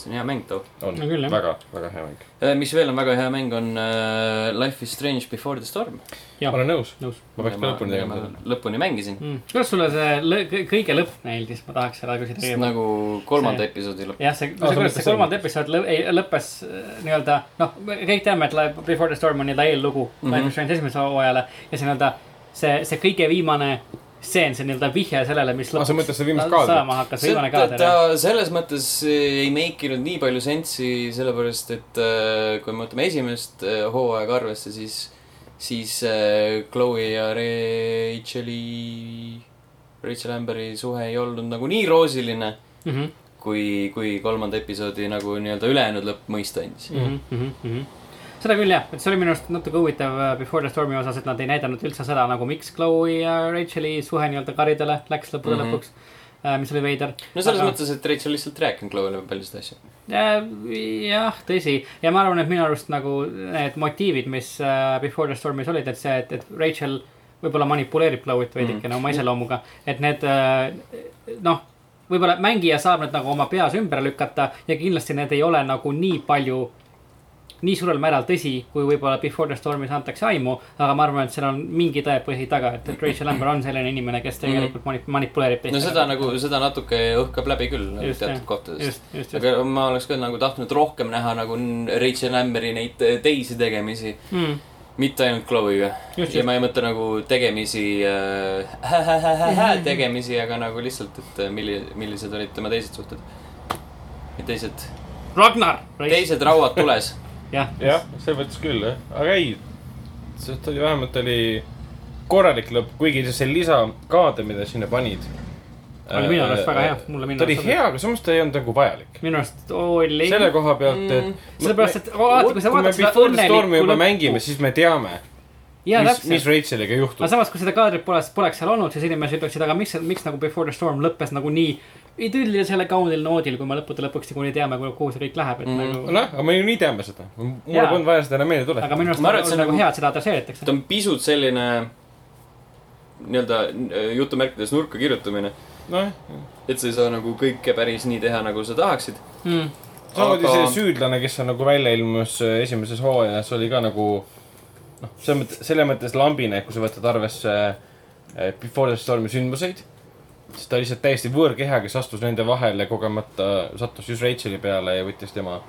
S1: see on hea mäng too .
S3: on
S2: No küll, jah.
S3: väga , väga hea mäng .
S1: mis veel on väga hea mäng , on äh, Life is Strange Before the Storm .
S3: ma olen nõus ,
S2: nõus
S3: ma peaks ka lõpuni tegema seda ..
S1: lõpuni mängisin .
S2: mm. . kuidas sulle see lõ- kõ- kõige lõpp meeldis , ma tahaks seda küsida .
S1: nagu kolmanda
S2: See-
S1: episoodi lõpp .
S2: jah , see ,
S3: Aa, sa
S2: kuidas
S3: mõtled
S2: see kolmas
S3: seda?
S2: episood lõ- ei- lõppes äh, nii-öelda , noh , me kõik teame , et Life Before the Storm on nii-öelda eellugu
S1: Mhm.
S2: mm -hmm. Life is Strange esimesele hooajale ja see nii-öelda , see , see kõige viimane stseen , see nii-öelda vihje sellele , mis
S3: aa , Ah, sa mõtled seda viimast
S2: kaadrit .
S3: kaadrit ?
S2: saama hakkas ,
S1: see ,
S2: viimane kaader .
S1: ta selles mõttes ei make inud nii palju sensi , sellepärast et äh, kui me võtame esimest äh, hooaega arvesse , siis , siis äh, Chloe ja Rachel'i , Rachel Amberi suhe ei olnud nagu nii roosiline ,
S2: mm . -hmm.
S1: kui , kui kolmanda episoodi nagu nii-öelda ülejäänud lõpp mõista andis .
S2: Mm -hmm. mm -hmm. seda küll jah , et see oli minu arust natuke huvitav äh, Before the Stormi osas , et nad ei näidanud üldse seda nagu , miks Chloe ja Rachel'i suhe nii-öelda karidele läks lõppude
S1: Mhm.
S2: mm -hmm. lõpuks . mis oli veider .
S1: no selles
S2: Aga-
S1: mõttes , et Rachel lihtsalt rääkinud Chloe'le paljusid asju .
S2: jah , tõsi ja ma arvan , et minu arust nagu need motiivid , mis äh, Before the Stormis olid , et see , et , et Rachel võib-olla manipuleerib Chloe't veidikene mm. oma iseloomuga , et need äh, noh , võib-olla mängija saab need nagu oma peas ümber lükata ja kindlasti need ei ole nagu nii palju nii suurel määral tõsi , kui võib-olla Before the Stormis antakse aimu , aga ma arvan , et seal on mingi tõepõhi taga , et , et Rachel Amber on selline inimene , kes tegelikult manip- manipuleerib
S1: Mhm. no seda . nagu , seda natuke õhkab läbi küll nagu
S2: Just,
S1: teatud
S2: jah.
S1: kohtades .
S2: just , just , just
S1: aga ma oleks küll nagu tahtnud rohkem näha nagu n- Rachel Amberi neid äh, teisi tegemisi ,
S2: mm. .
S1: mitte ainult Chloe'ga .
S2: Just,
S1: ja
S2: just.
S1: ma ei mõtle nagu tegemisi äh, ,
S2: Mhm.
S1: tegemisi , aga nagu lihtsalt , et milli- , millised olid tema teised suhted . teised ,
S2: Ragnar !
S1: teised rauad tules .
S2: jah ,
S3: jah , selles mõttes küll jah , aga ei , sealt oli vähemalt oli korralik lõpp , kuigi see lisakaade , mida sinna panid .
S2: Oli minu arust väga hea, mulle minu
S3: ta oli
S2: arust sobib.
S3: hea , aga samas ta ei olnud nagu vajalik .
S2: minu arust oli .
S3: selle koha pealt ,
S1: Mm,
S3: et .
S2: sellepärast, et vaata, kui sa vaatad seda
S3: seda õnnelikku
S2: õnnelikku
S3: lõppu . juba
S2: lõppu-
S3: mängime , siis me teame ,
S2: jaa ,
S3: mis , mis
S2: täpselt .
S3: Racheliga
S2: aga
S3: juhtub .
S2: samas , kui seda kaadrit poleks , poleks seal olnud , siis inimesed ütleksid , aga miks , miks nagu Before the Storm lõppes nagu nii idüllisele kaunil noodil , kui me lõppude lõpuks niikuinii teame , kuhu see kõik läheb ,
S3: Mm.
S2: et
S1: Mhm.
S2: nagu .
S3: nojah , Noh, aga me ju nii teame seda . mulle
S2: Jaa.
S3: polnud vaja seda enam meelde
S2: aga
S3: tuletada .
S2: minu arust
S1: Ma
S2: on
S1: arvan, et see
S2: nagu,
S1: on nagu-
S2: nagu hea , et seda adresseeritakse
S1: ta . on pisut selline nii-öelda äh, jutumärkides nurka kirjutamine ,
S3: nojah ,
S1: et sa ei saa nagu kõike päris nii teha , nagu sa tahaksid .
S2: Mm.
S3: samamoodi
S1: Aga-
S3: see süüdlane , kes on nagu välja ilmus äh, esimeses hooajas , oli ka nagu noh , selles mõttes , selles mõttes lambine , kui sa võtad arvesse äh, Before the Stormi sündmuseid . siis ta lihtsalt täiesti võõrkeha , kes astus nende vahele , kogemata sattus just Racheli peale ja võttis tema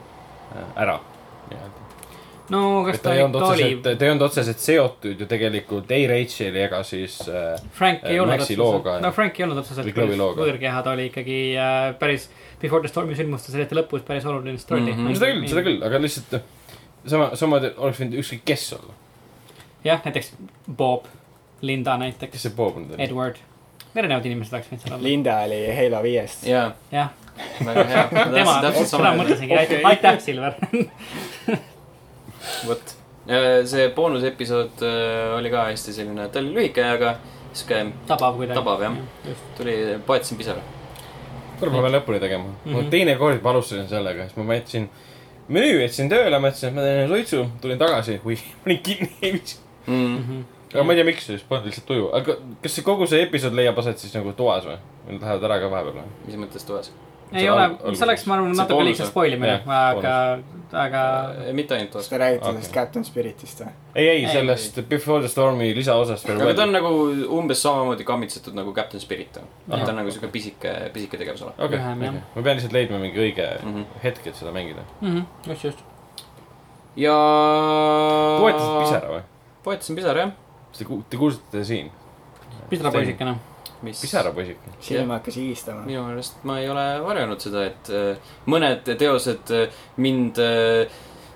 S3: äh, ära .
S2: no kas
S3: et
S2: ta
S3: ta ei olnud
S2: ikka oli ,
S3: otseselt , ta ei olnud otseselt seotud ju tegelikult ei Rachel'i ega siis äh,
S2: Frank ei
S3: eh,
S2: olnud
S3: Maxi looga,
S2: otseselt , no Frank ei olnud otseselt
S3: Või Chloe looga.
S2: võõrkeha , ta oli ikkagi äh, päris Before the Stormi sündmuste selliste lõpus päris oluline story mm .
S1: Mhm.
S2: -hmm.
S3: seda küll , seda küll , aga lihtsalt noh, sama , sama te- oleks võinud ükskõik kes olla ,
S2: jah , näiteks Bob , Linda näiteks ,
S3: kes see Bob nüüd on .
S2: Edward , erinevad inimesed oleks võinud seal olla ,
S4: Linda oli Halo viiest .
S1: jaa ,
S2: jah .
S1: väga hea . ma
S2: tema
S1: tahtsin , täpselt
S2: seda
S1: sama
S2: ma
S1: öelda .
S2: mõtlesingi , aitäh , aitäh , Silver .
S1: vot , see boonusepisood äh, oli ka hästi selline , ta oli lühike , aga sihuke
S2: tabav kuidagi .
S1: Tabav, jah. . tuli , poetasin pisara .
S3: tuleb ma veel lõpuni tegema mm . -hmm.
S2: Mhm.
S3: ma teine kord ma alustasin sellega , siis ma võtsin menüü , jätsin tööle , mõtlesin , et ma teen suitsu , tulin tagasi , oih , *laughs* panin kinni , ei viitsi .
S1: Mm.
S3: aga ma ei tea , miks , siis polnud lihtsalt tuju , aga kas see kogu see episood leiab aset siis nagu toas või ? või nad lähevad ära ka vahepeal või ?
S1: mis mõttes toas ?
S2: ei ole , see oleks , ma arvan ,
S3: See
S2: natuke
S3: boonus,
S2: liiga
S3: jah.
S2: spoilimine
S3: Jah, ,
S2: aga , aga
S1: Äh, mitte ainult toas
S4: kas . te räägite
S3: Okei.
S4: sellest Captain Spiritist või ?
S3: ei , ei
S1: Ei, ,
S3: sellest Before the Stormi lisaosast veel
S1: aga ta on . nagu umbes samamoodi kammitsetud nagu Captain Spirit on . ta on nagu sihuke pisike , pisike tegevusala .
S3: okei ,
S2: lühem, jah.
S3: ma pean lihtsalt leidma mingi õige
S1: Mhm.
S3: hetk , et seda mängida .
S2: Mhm, just , just .
S1: ja .
S3: poetasid pisara või ?
S1: poetasin pisara jah .
S3: Te ku- , te kuulsite siin ?
S2: pisarapoisikene .
S1: mis
S3: pisarapoisik .
S1: Jah.
S4: silm hakkas higistama .
S1: minu meelest ma ei ole varjanud seda , et äh, mõned teosed äh, mind äh,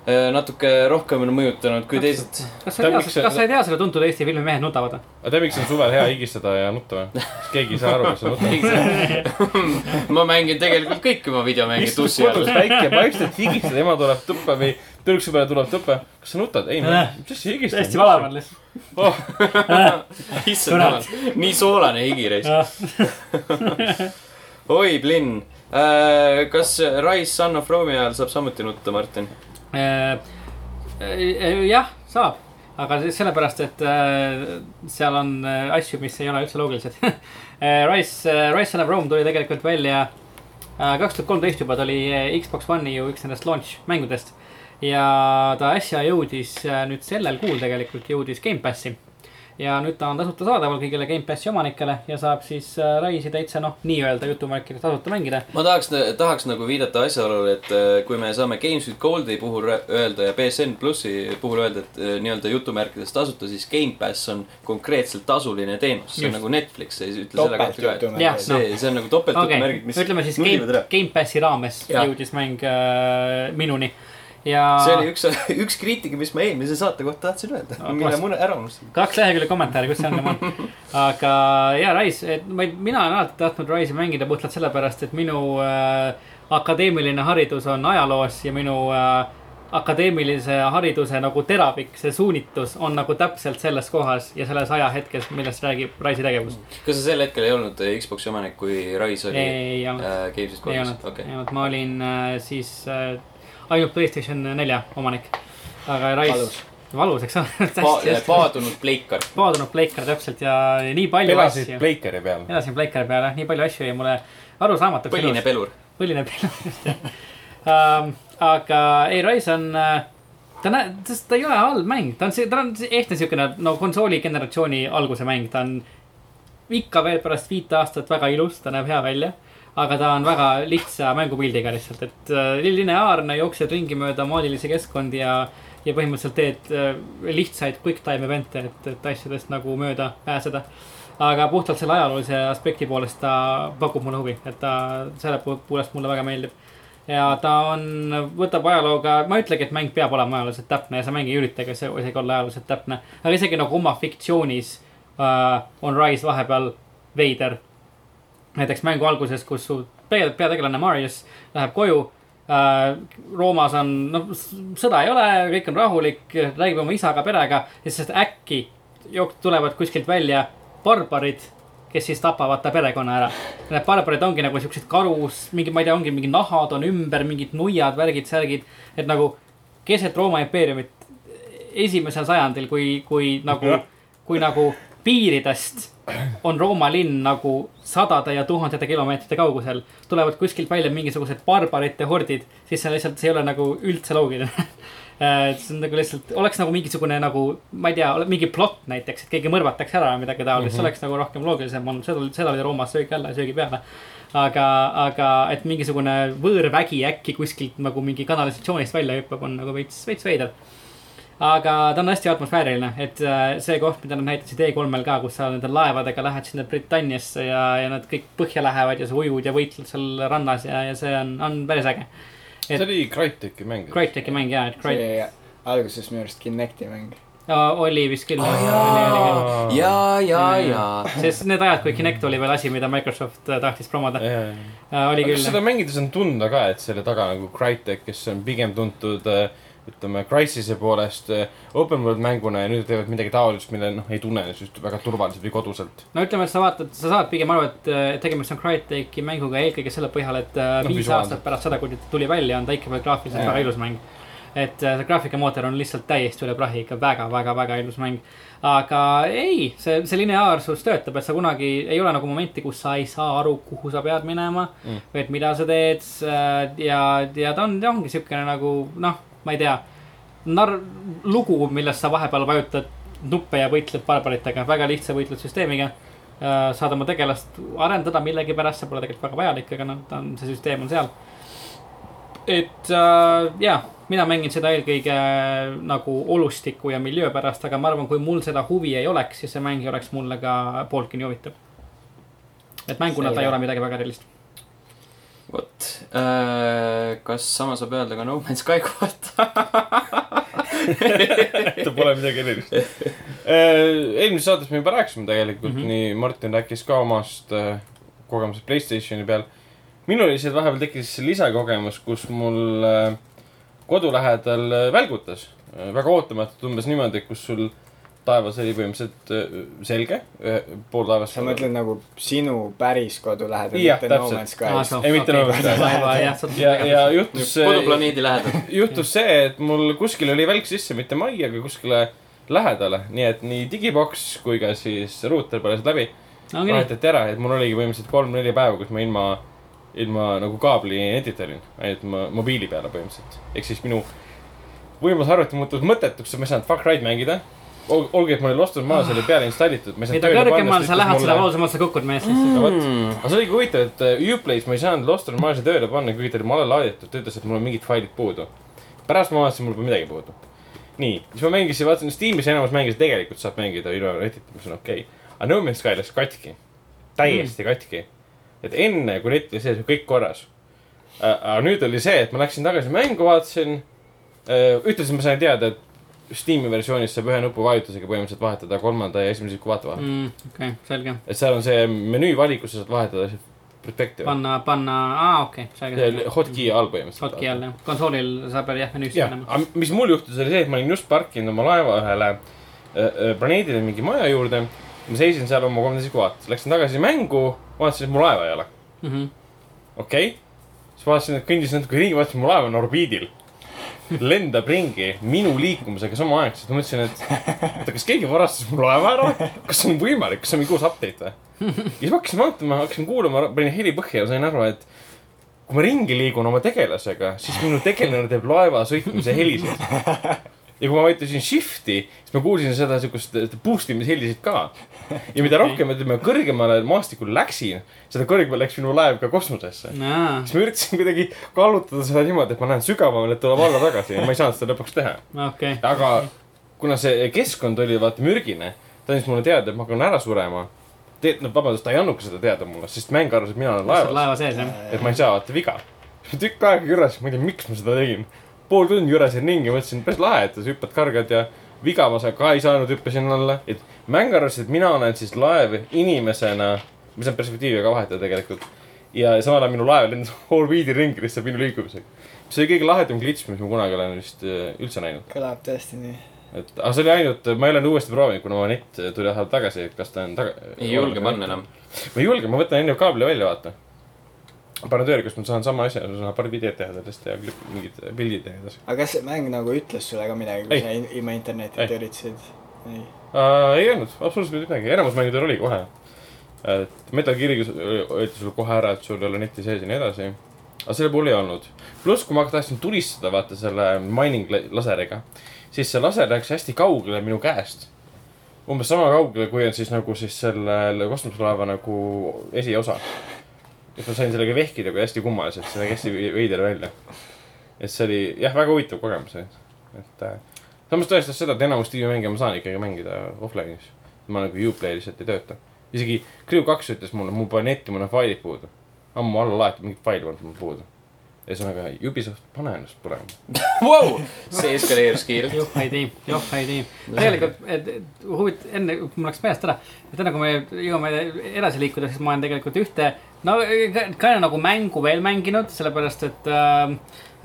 S1: äh, natuke rohkem on mõjutanud kui teised .
S2: kas sa ei
S3: Ta-
S2: tea
S3: miks , see-
S2: kas sa ei tea selle tuntud Eesti filmi Mehed nutavad ?
S3: aga tead , miks on suvel hea higistada ja nutta või ? sest keegi ei saa aru , kas sa nutad .
S1: *laughs* ma mängin tegelikult kõiki oma videomänge
S3: istud
S1: tussi all
S3: kodus . väike , vaikselt higistad , ema tuleb tuppa või tüdruksõber tuleb tuppa . kas sa nutad ? ei , mis asja higistad ?
S2: täiesti valev on . lihtsalt .
S1: issand jumal , nii soolane higireis . *laughs* oi , Blinn . kas Rise Son of Rome'i ajal saab samuti nutta , Martin ?
S2: Äh, äh, jah , saab , aga se- sellepärast , et äh, seal on äh, asju , mis ei ole üldse loogilised . *laughs* Äh, Rise , Rise Son of Rome tuli tegelikult välja äh, kaks tuhat kolmteist juba , ta oli äh, Xbox One'i ju üks nendest launch mängudest . ja ta äsja jõudis äh, nüüd sellel kuul tegelikult jõudis Gamepassi . ja nüüd ta on tasuta saadaval kõigile Gamepassi omanikele ja saab siis äh, Rise'i täitsa noh , nii-öelda jutumärkides tasuta mängida .
S1: ma tahaks , tahaks nagu viidata asjaolule , et äh, kui me saame Games with Goldi puhul rää- öelda ja BSN plussi puhul öelda , et äh, nii-öelda jutumärkides tasuta , siis Gamepass on konkreetselt tasuline teenus , see on
S2: Just.
S1: nagu Netflix , ei ütle selle kohta ka , et
S4: topeltjutumärk .
S2: Jah, no.
S1: see , see on nagu topeltjutumärgid , mis
S2: ütleme siis
S1: nullivad
S2: Game
S1: ära. ,
S2: Gamepassi raames ja.
S1: Jah.
S2: jõudis mäng äh, minuni ja
S1: see oli üks , *laughs* üks kriitika , mis ma eelmise saate kohta tahtsin öelda
S2: Ah, ,
S1: mille
S2: klass.
S1: ma ära unustasin .
S2: kaks lehekülge kommentaare , kus see on
S1: *laughs*
S2: tema . aga ja Rise , et ma ei , mina olen alati tahtnud Rise'i mängida puhtalt sellepärast , et minu äh, akadeemiline haridus on ajaloos ja minu äh, akadeemilise hariduse nagu teravik , see suunitlus on nagu täpselt selles kohas ja selles ajahetkes , millest räägib Rise'i tegevus .
S1: kas sa sel hetkel ei olnud äh, Xbox'i omanik , kui Rise oli äh,
S2: ei olnud ,
S1: Games with
S2: ei
S1: Goldis
S2: olnud ,
S1: okei
S2: ei . olnud , ma olin äh, siis äh, ainult Playstation nelja omanik . aga Rise
S4: Valus. ,
S2: valus , eks ole , *laughs*
S1: Pa-
S2: hästi , hästi
S1: paadunud pleikar .
S2: paadunud Playcar täpselt ja nii palju
S3: elasid
S2: asju .
S3: Playcari peal .
S2: elasin Playcari peal jah , nii palju asju jäi mulle arusaamatuks .
S1: põline pelur .
S2: põline peal , *laughs* just jah um, . aga ei , Rise on , ta näe- , ta ei ole halb mäng , ta on see , ta on see- ehtne siukene no konsooli generatsiooni alguse mäng , ta on ikka veel pärast viit aastat väga ilus , ta näeb hea välja . aga ta on väga lihtsa mängupildiga lihtsalt , et äh, lineaarne , jooksed ringi mööda maadilisi keskkondi ja , ja põhimõtteliselt teed äh, lihtsaid quick time event'e , et , et asjadest nagu mööda pääseda . aga puhtalt selle ajaloolise aspekti poolest ta pakub mulle huvi , et ta selle pu- poolest mulle väga meeldib . ja ta on , võtab ajalooga , ma ei ütlegi , et mäng peab olema ajalooliselt täpne ja see mäng ei ürita ka see- isegi olla ajalooliselt täpne , aga isegi nagu oma fiktsioonis äh, on Rise vahepeal veider näiteks mängu alguses , kus su pea- peategelane Marius läheb koju äh, . Roomas on , noh , sõda ei ole , kõik on rahulik , räägib oma isaga , perega ja siis äkki jook- tulevad kuskilt välja barbarid , kes siis tapavad ta perekonna ära . Need barbarid ongi nagu siuksed karus , mingi , ma ei tea , ongi mingi nahad on ümber , mingid nuiad , värgid , särgid , et nagu keset Rooma impeeriumit esimesel sajandil , kui , kui nagu , kui nagu piiridest on Rooma linn nagu sadade ja tuhandete kilomeetrite kaugusel , tulevad kuskilt välja mingisugused barbarite hordid , siis see lihtsalt , see ei ole nagu üldse loogiline . *laughs* see on nagu lihtsalt , oleks nagu mingisugune nagu , ma ei tea , mingi plott näiteks , et keegi mõrvatakse ära või midagi taolist mm , -hmm. see oleks nagu rohkem loogilisem olnud , seda , seda oli Roomas söögi alla ja söögi peale . aga , aga et mingisugune võõrvägi äkki kuskilt nagu mingi kanalisatsioonist välja hüppab , on nagu veits , veits veider aga ta on hästi atmosfääriline , et äh, see koht , mida nad näitasid E3-l ka , kus sa nende laevadega lähed sinna Britanniasse ja , ja nad kõik põhja lähevad ja sa ujud ja võitled seal rannas ja , ja see on , on päris äge .
S3: see oli Crytek'i mäng .
S2: Crytek'i mäng ja , et Crytek
S4: see alguses minu arust Kinecti mäng .
S2: oli vist küll oh, .
S1: jaa , jaa , jaa, jaa. .
S2: sest need ajad , kui Kinect oli veel asi , mida Microsoft äh, tahtis promoda ,
S3: aga
S2: oli
S3: kas
S2: küll
S3: seda . mängides on tunda ka , et selle taga nagu Crytek , kes on pigem tuntud äh, ütleme , Crysis poolest äh, open world mänguna ja nüüd teevad midagi taolist , mille noh , ei tunne just väga turvaliselt või koduselt .
S2: no ütleme , et sa vaatad , sa saad pigem aru , et äh, tegemist on Crytek'i mänguga eelkõige selle põhjal , et äh,
S3: No
S2: viis no,
S3: visuaalselt.
S2: aastat pärast seda , kui ta tuli välja , on ta ikka veel graafiliselt väga ilus mäng . et äh, see graafikamootor on lihtsalt täiesti üle prahi , ikka väga-väga-väga ilus mäng . aga ei , see , see lineaarsus töötab , et sa kunagi , ei ole nagu momenti , kus sa ei saa aru , kuhu sa pead minema mm. . või et mida sa teed äh, ja , ja ta on , ongi siukene nagu noh , ma ei tea , narr- , lugu , milles sa vahepeal vajutad nuppe ja võitled barbaritega , väga lihtsa võitlussüsteemiga . saad oma tegelast arendada millegipärast , see pole tegelikult väga vajalik , aga noh , ta on , see süsteem on seal . et äh, ja , mina mängin seda eelkõige nagu olustiku ja miljöö pärast , aga ma arvan , kui mul seda huvi ei oleks , siis see mäng ei oleks mulle ka pooltki nii huvitav . et mänguna ta ei ole midagi väga erilist .
S1: vot äh, , kas sama saab öelda ka No Man's Sky *laughs* kohta ?
S3: ta pole midagi erilist . eelmises saates me juba rääkisime tegelikult mm , -hmm. nii Martin rääkis ka omast äh, kogemusest Playstationi peal . minul lihtsalt vahepeal tekkis lisakogemus , kus mul äh, kodu lähedal äh, välgutas . väga ootamatult , umbes niimoodi , kus sul taevas oli põhimõtteliselt äh, selge , pool taevast .
S4: sa mõtled nagu sinu päris kodu lähedal ,
S3: Jah,
S4: mitte No
S3: täpselt.
S4: Man's
S2: Ah,
S4: Sky .
S3: ei, mitte nagu seda. ja , ja juhtus .
S1: koduplaneedi lähedal .
S3: juhtus see , et mul kuskil oli välk sisse , mitte majja , aga kuskile lähedale , nii et nii digiboks kui ka siis ruuter põlesid läbi .
S2: ongi nii ,
S3: vahetati ära , et mul oligi põhimõtteliselt kolm-neli päeva , kus ma ilma , ilma nagu kaabli netit olin , ainult ma mobiili peale põhimõtteliselt . ehk siis minu võimas arvuti muutus mõttetuks , sest ma ei saanud Fuck Right mängida . olgugi , et mul oli Lost on Maas oli peale installitud .
S2: mida kõrgemal sa lähed , seda . valusamalt sa kukud mees lihtsalt .
S3: no vot , aga see oligi huvitav , et äh, Uplay's ma ei saanud Lost on Mars'i tööle panna , kuigi ta oli male laaditud , ta ütles , et mul on mingid failid puudu . pärast ma vaatasin , mul pole midagi puudu . nii , siis ma mängisin , vaatasin Steamis enamus mängijaid tegelikult saab mängida ilma netita , ma ütlesin okei okay. . aga No Man's Sky läks katki , täiesti mm. katki . et enne , kui net oli sees , oli kõik korras . aga nüüd oli see , et ma läksin tagasi mängu , vaatasin . ütlesin , ma sain teada , et Steam'i versioonis saab ühe nupuvajutusega põhimõtteliselt vahetada kolmanda ja esimese kuvata vahel .
S2: Mm, okei , selge .
S3: et seal on see menüü valikus , sa saad vahetada see perspektiivi .
S2: panna , panna , aa okei okay, , selge .
S3: Hotkey all põhimõtteliselt .
S2: Hotki all jah , konsoolil saab veel jah menüüsse
S3: jah ,
S2: minema .
S3: aga mis mul juhtus , oli see , et ma olin just parkinud oma laeva ühele äh, äh, planeedile mingi maja juurde . ma seisin seal oma kolmteist kuvat , läksin tagasi mängu , vaatasin , et mu laeva ei ole ,
S2: Mhm.
S3: okei okay. . siis vaatasin , et kõndis natuke ringi , vaatasin , mu laev on orbiidil . lendab ringi minu liikumisega samaaegselt , ma mõtlesin , et oota , kas keegi varastas mu laeva ära , kas see on võimalik , kas see on mingi uus update või ? ja siis ma hakkasin vaatama , hakkasin kuulama , panin heli põhja ja sain aru , et kui ma ringi liigun oma tegelasega , siis minu tegelane teeb laeva sõitmise heliseid . ja kui ma vajutasin shift'i , siis ma kuulsin seda siukest boost imise heliseid ka . ja mida rohkem , ütleme , kõrgemale maastikul läksin , seda kõrgemale läks minu laev ka kosmosesse .
S2: aa ,
S3: siis ma üritasin kuidagi kallutada seda niimoodi , et ma lähen sügavamale , et tuleb alla tagasi ja ma ei saanud seda lõpuks teha .
S2: okei .
S3: aga kuna see keskkond oli vaata mürgine , ta andis mulle teada , et ma hakkan ära surema . tegelikult , no vabandust , ta ei andnudki seda teada mulle , sest mäng arvas , et mina olen
S2: laeva,
S3: laevas ,
S2: laeva sees jah .
S4: Äh,
S3: et ma ei saa vaata viga . *laughs* tükk aega jürasin , ma ei tea , miks ma seda tegin . pool tundi jürasin ringi , mõtlesin , päris lahe , et sa hüppad kargad ja viga ma sa- ka ei saanud , hüppasin alla . et mäng arvas , et mina olen siis laev inimesena , ma saan perspektiivi ka vahetada tegelikult . ja samal ajal minu laev *laughs* lendas orbiidi ringi lihtsalt minu liikumisega . see oli kõige lahedam glitch , mis ma kunagi olen vist äh, üldse näinud
S4: kõlab tõesti nii .
S3: et , aga see oli ainult , ma ei ole nüüd uuesti proovinud , kuna oma nett äh, tuli ajal tagasi , et kas ta on taga .
S1: ei julge panna . enam .
S3: ma ei julge , ma võtan enne kaabli välja , vaata . panen tööle , kus ma saan sama asja , saan paar videot teha sellest ja klip- mingid pildid teha edasi
S4: aga kas see mäng nagu ütles sulle ka
S3: Ei.
S4: midagi , kui sa in- ilma internetita
S3: Ei.
S4: üritasid ? ei .
S3: uh, . ei olnud , absoluutselt mitte midagi , enamus mängudel oli kohe . et Metal Gear'iga öeldi sulle kohe ära , et sul ei ole neti sees ja nii edasi . aga selle puhul ei olnud . pluss , kui ma tahtsin tulistada , vaata selle mining la- laseriga , siis see laser läks hästi kaugele minu käest . umbes sama kaugele , kui on siis nagu siis selle kosmoselaeva nagu esiosa . et ma sain sellega vehkida kui hästi kummaliselt , see nägi hästi veider välja . et see oli jah , väga huvitav kogemus , et , et äh, samas tõestas seda , et enamus tiimimänge ma saan ikkagi mängida offline'is . ma nagu Uplay'i lihtsalt ei tööta . isegi Crew kaks ütles mulle , mul pole netti , mul on failid puudu . ammu alla laeti mingid failid on mul puudu . ühesõnaga Ubisoft , pane ennast põlema .
S1: wow! . see eskaleerus kiirelt .
S2: joh , ei tee , joh , ei tee . tegelikult , et et huvit- , enne , mul läks meelest ära , et enne kui me jõuame edasi liikuda , siis ma olen tegelikult ühte , no ka- ka nagu mängu veel mänginud , sellepärast et äh,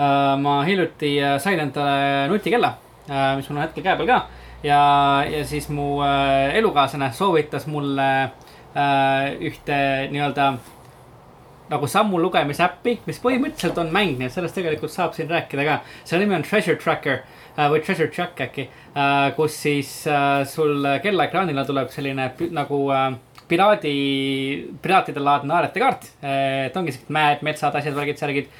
S2: äh, ma hiljuti äh, sain endale nutikella äh, , mis mul on hetkel käe peal ka . ja , ja siis mu äh, elukaaslane soovitas mulle äh, ühte nii-öelda nagu sammu lugemise äppi , mis põhimõtteliselt on mäng , nii et sellest tegelikult saab siin rääkida ka . selle nimi on Treasure Tracker äh, või Treasure Track äkki , kus siis äh, sul kellaekraanile tuleb selline pi- nagu äh, piraadi , piraatide laadne aarete-kaart . et ongi siuksed mäed , metsad , asjad , värgid , särgid .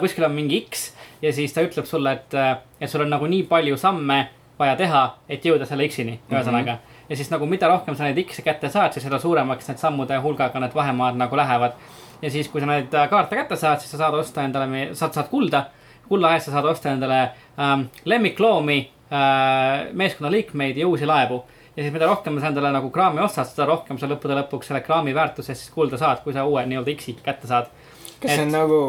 S2: kuskil on mingi X ja siis ta ütleb sulle , et , et sul on nagu nii palju samme vaja teha , et jõuda selle X-ini , ühesõnaga . ja siis nagu mida rohkem sa neid X-e kätte saad , siis seda suuremaks need sammude hulgaga need vahemaad nagu lähevad . ja siis , kui sa neid äh, kaarte kätte saad , siis sa saad osta endale , saad , saad kulda . kulla eest sa saad osta endale ähm, lemmikloomi äh, , meeskonnaliikmeid ja uusi laevu . ja siis mida rohkem sa endale nagu kraami ostad , seda rohkem sa lõppude lõpuks selle kraami väärtuses siis kulda saad , kui sa uue nii-öelda X-i kätte saad .
S4: kas see
S2: Et-
S4: on nagu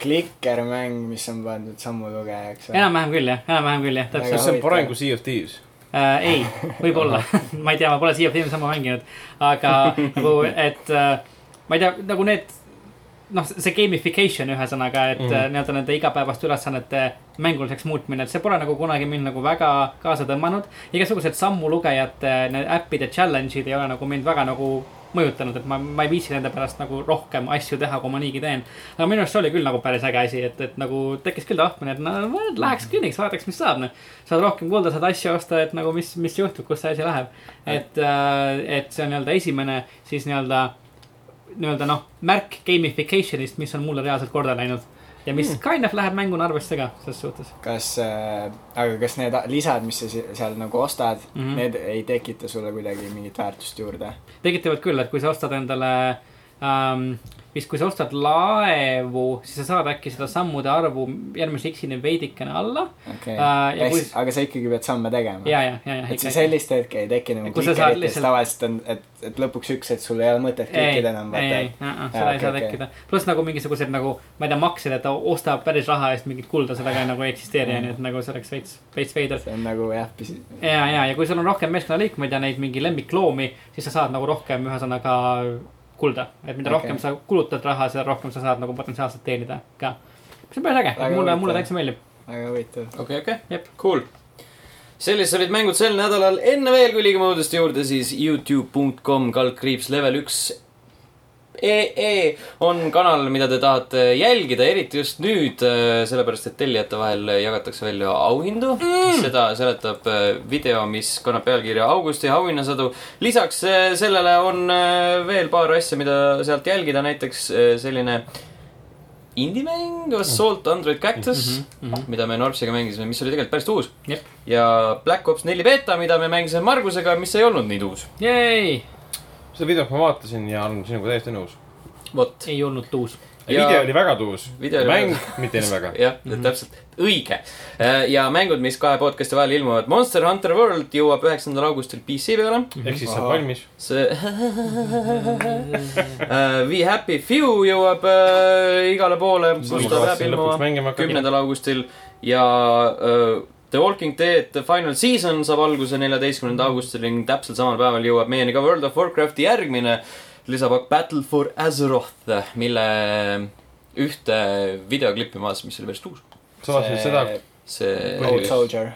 S4: klikkermäng , mis on pandud sammu lugejaks ?
S2: enam-vähem küll jah , enam-vähem küll jah ,
S4: Väga
S2: täpselt
S3: kas . see on parem kui Sea of Thieves ?
S2: äh, . ei , võib-olla , *laughs* ma ei tea , ma pole Sea of Thieves sama mänginud , aga nagu , et äh, ma ei tea , nagu need . noh , see gamification ühesõnaga , et mm.
S3: Mhm.
S2: nii-öelda nende igapäevaste ülesannete mänguliseks muutmine , et see pole nagu kunagi mind nagu väga kaasa tõmmanud . igasugused sammulugejate , need äppide challenge'id ei ole nagu mind väga nagu mõjutanud , et ma , ma ei viitsi nende pärast nagu rohkem asju teha , kui ma niigi teen . aga minu arust see oli küll nagu päris äge asi , et , et nagu tekkis küll tahtmine , et no ma läheks kinniks , vaataks , mis saab , noh . saad rohkem kuulda , saad asju osta , et nagu mis , mis juhtub , kus see asi läheb . et , et see on nii-öelda esimene siis nii-öelda , nii-öelda noh , märk gamification'ist , mis on mulle reaalselt korda läinud . ja
S4: Hmm.
S2: mis mm. kind of läheb mänguna arvesse ka selles suhtes .
S4: kas , aga kas need a- lisad , mis sa si- seal nagu ostad mm ,
S2: Mhm.
S4: -hmm. need ei tekita sulle kuidagi mingit väärtust juurde ?
S2: tekitavad küll , et kui sa ostad endale ähm, , vist kui sa ostad laevu , siis sa saad äkki seda sammude arvu järgmise X-ini veidikene alla .
S4: okei
S2: Äh, ja
S4: okay.
S2: kui-
S4: uh, , aga sa ikkagi pead samme tegema .
S2: ja , ja , ja , ja .
S4: et sa sellist hetke ei teki nagu
S2: Kui sa saad
S4: klikerites
S2: lihtsalt-
S4: lihtsalt... tavaliselt on , et , et lõpuks üks hetk sul ei ole mõtet klikkida enam ,
S2: ei , ei ,
S4: vaata .
S2: seda
S4: Jaa,
S2: ei saa
S4: okei, okei.
S2: tekkida . pluss nagu mingisugused nagu , ma ei tea , maksed , et ta ostab päris raha eest mingit kulda , seda ka nagu ei eksisteeri ,
S4: Mm.
S2: onju , et nagu see oleks veits , veits veider .
S4: see on nagu jah , pisi- .
S2: ja , ja , ja kui sul on rohkem meeskonnaliikmeid ja neid mingi lemmikloomi , siis sa saad nagu rohkem , ühesõnaga kulda . et mida
S4: Okei.
S2: rohkem sa kulutad raha , seda rohkem sa saad nagu potentsiaalselt teenida ka . see on päris äge ,
S4: Väga
S2: mulle , mulle
S4: huvitav.
S2: täitsa meeldib .
S4: väga huvitav .
S1: okei , okei
S2: Jep. ,
S1: cool . sellised olid mängud sel nädalal , enne veel , kui liigume uudiste juurde , siis Youtube.com kaldkriips level üks ee on kanal , mida te tahate jälgida , eriti just nüüd , sellepärast et tellijate vahel jagatakse välja auhindu mm. . seda seletab äh, video , mis kannab pealkirja Augusti auhinnasadu . lisaks äh, sellele on äh, veel paar asja , mida sealt jälgida , näiteks äh, selline indie-mäng Assault Android Cactus mm , -hmm, mm -hmm. mida me Norpsiga mängisime , mis oli tegelikult päris uus .
S2: Jep.
S1: ja Black Ops neli beeta , mida me mängisime Margusega , mis ei olnud nii uus .
S2: jäi ,
S3: seda videot ma vaatasin ja olen sinuga täiesti nõus .
S1: vot ,
S2: ei olnud
S4: *laughs*
S2: tuus .
S1: Ja-
S3: video oli väga tuus .
S1: Video oli
S3: mäng , *laughs* mitte nii väga .
S1: jah , täpselt , õige . ja mängud , mis kahe podcast'i vahel ilmuvad , Monster Hunter World jõuab üheksandal augustil PC peale .
S3: ehk siis saab
S4: Ahah.
S3: valmis .
S1: see *laughs* äh, We Happy Few jõuab äh, igale poole , kus ta peab ilmuma
S3: mängima hakata .
S1: kümnendal augustil ja öö, The Walking Dead The Final Season saab alguse neljateistkümnenda augustil ning täpselt samal päeval jõuab meieni ka World of Warcrafti järgmine lisapakk Battle for Azeroth , mille ühte videoklippi ma vaatasin , mis oli päris uus .
S3: sa vaatasid seda ,
S1: see
S4: Old , Soldier .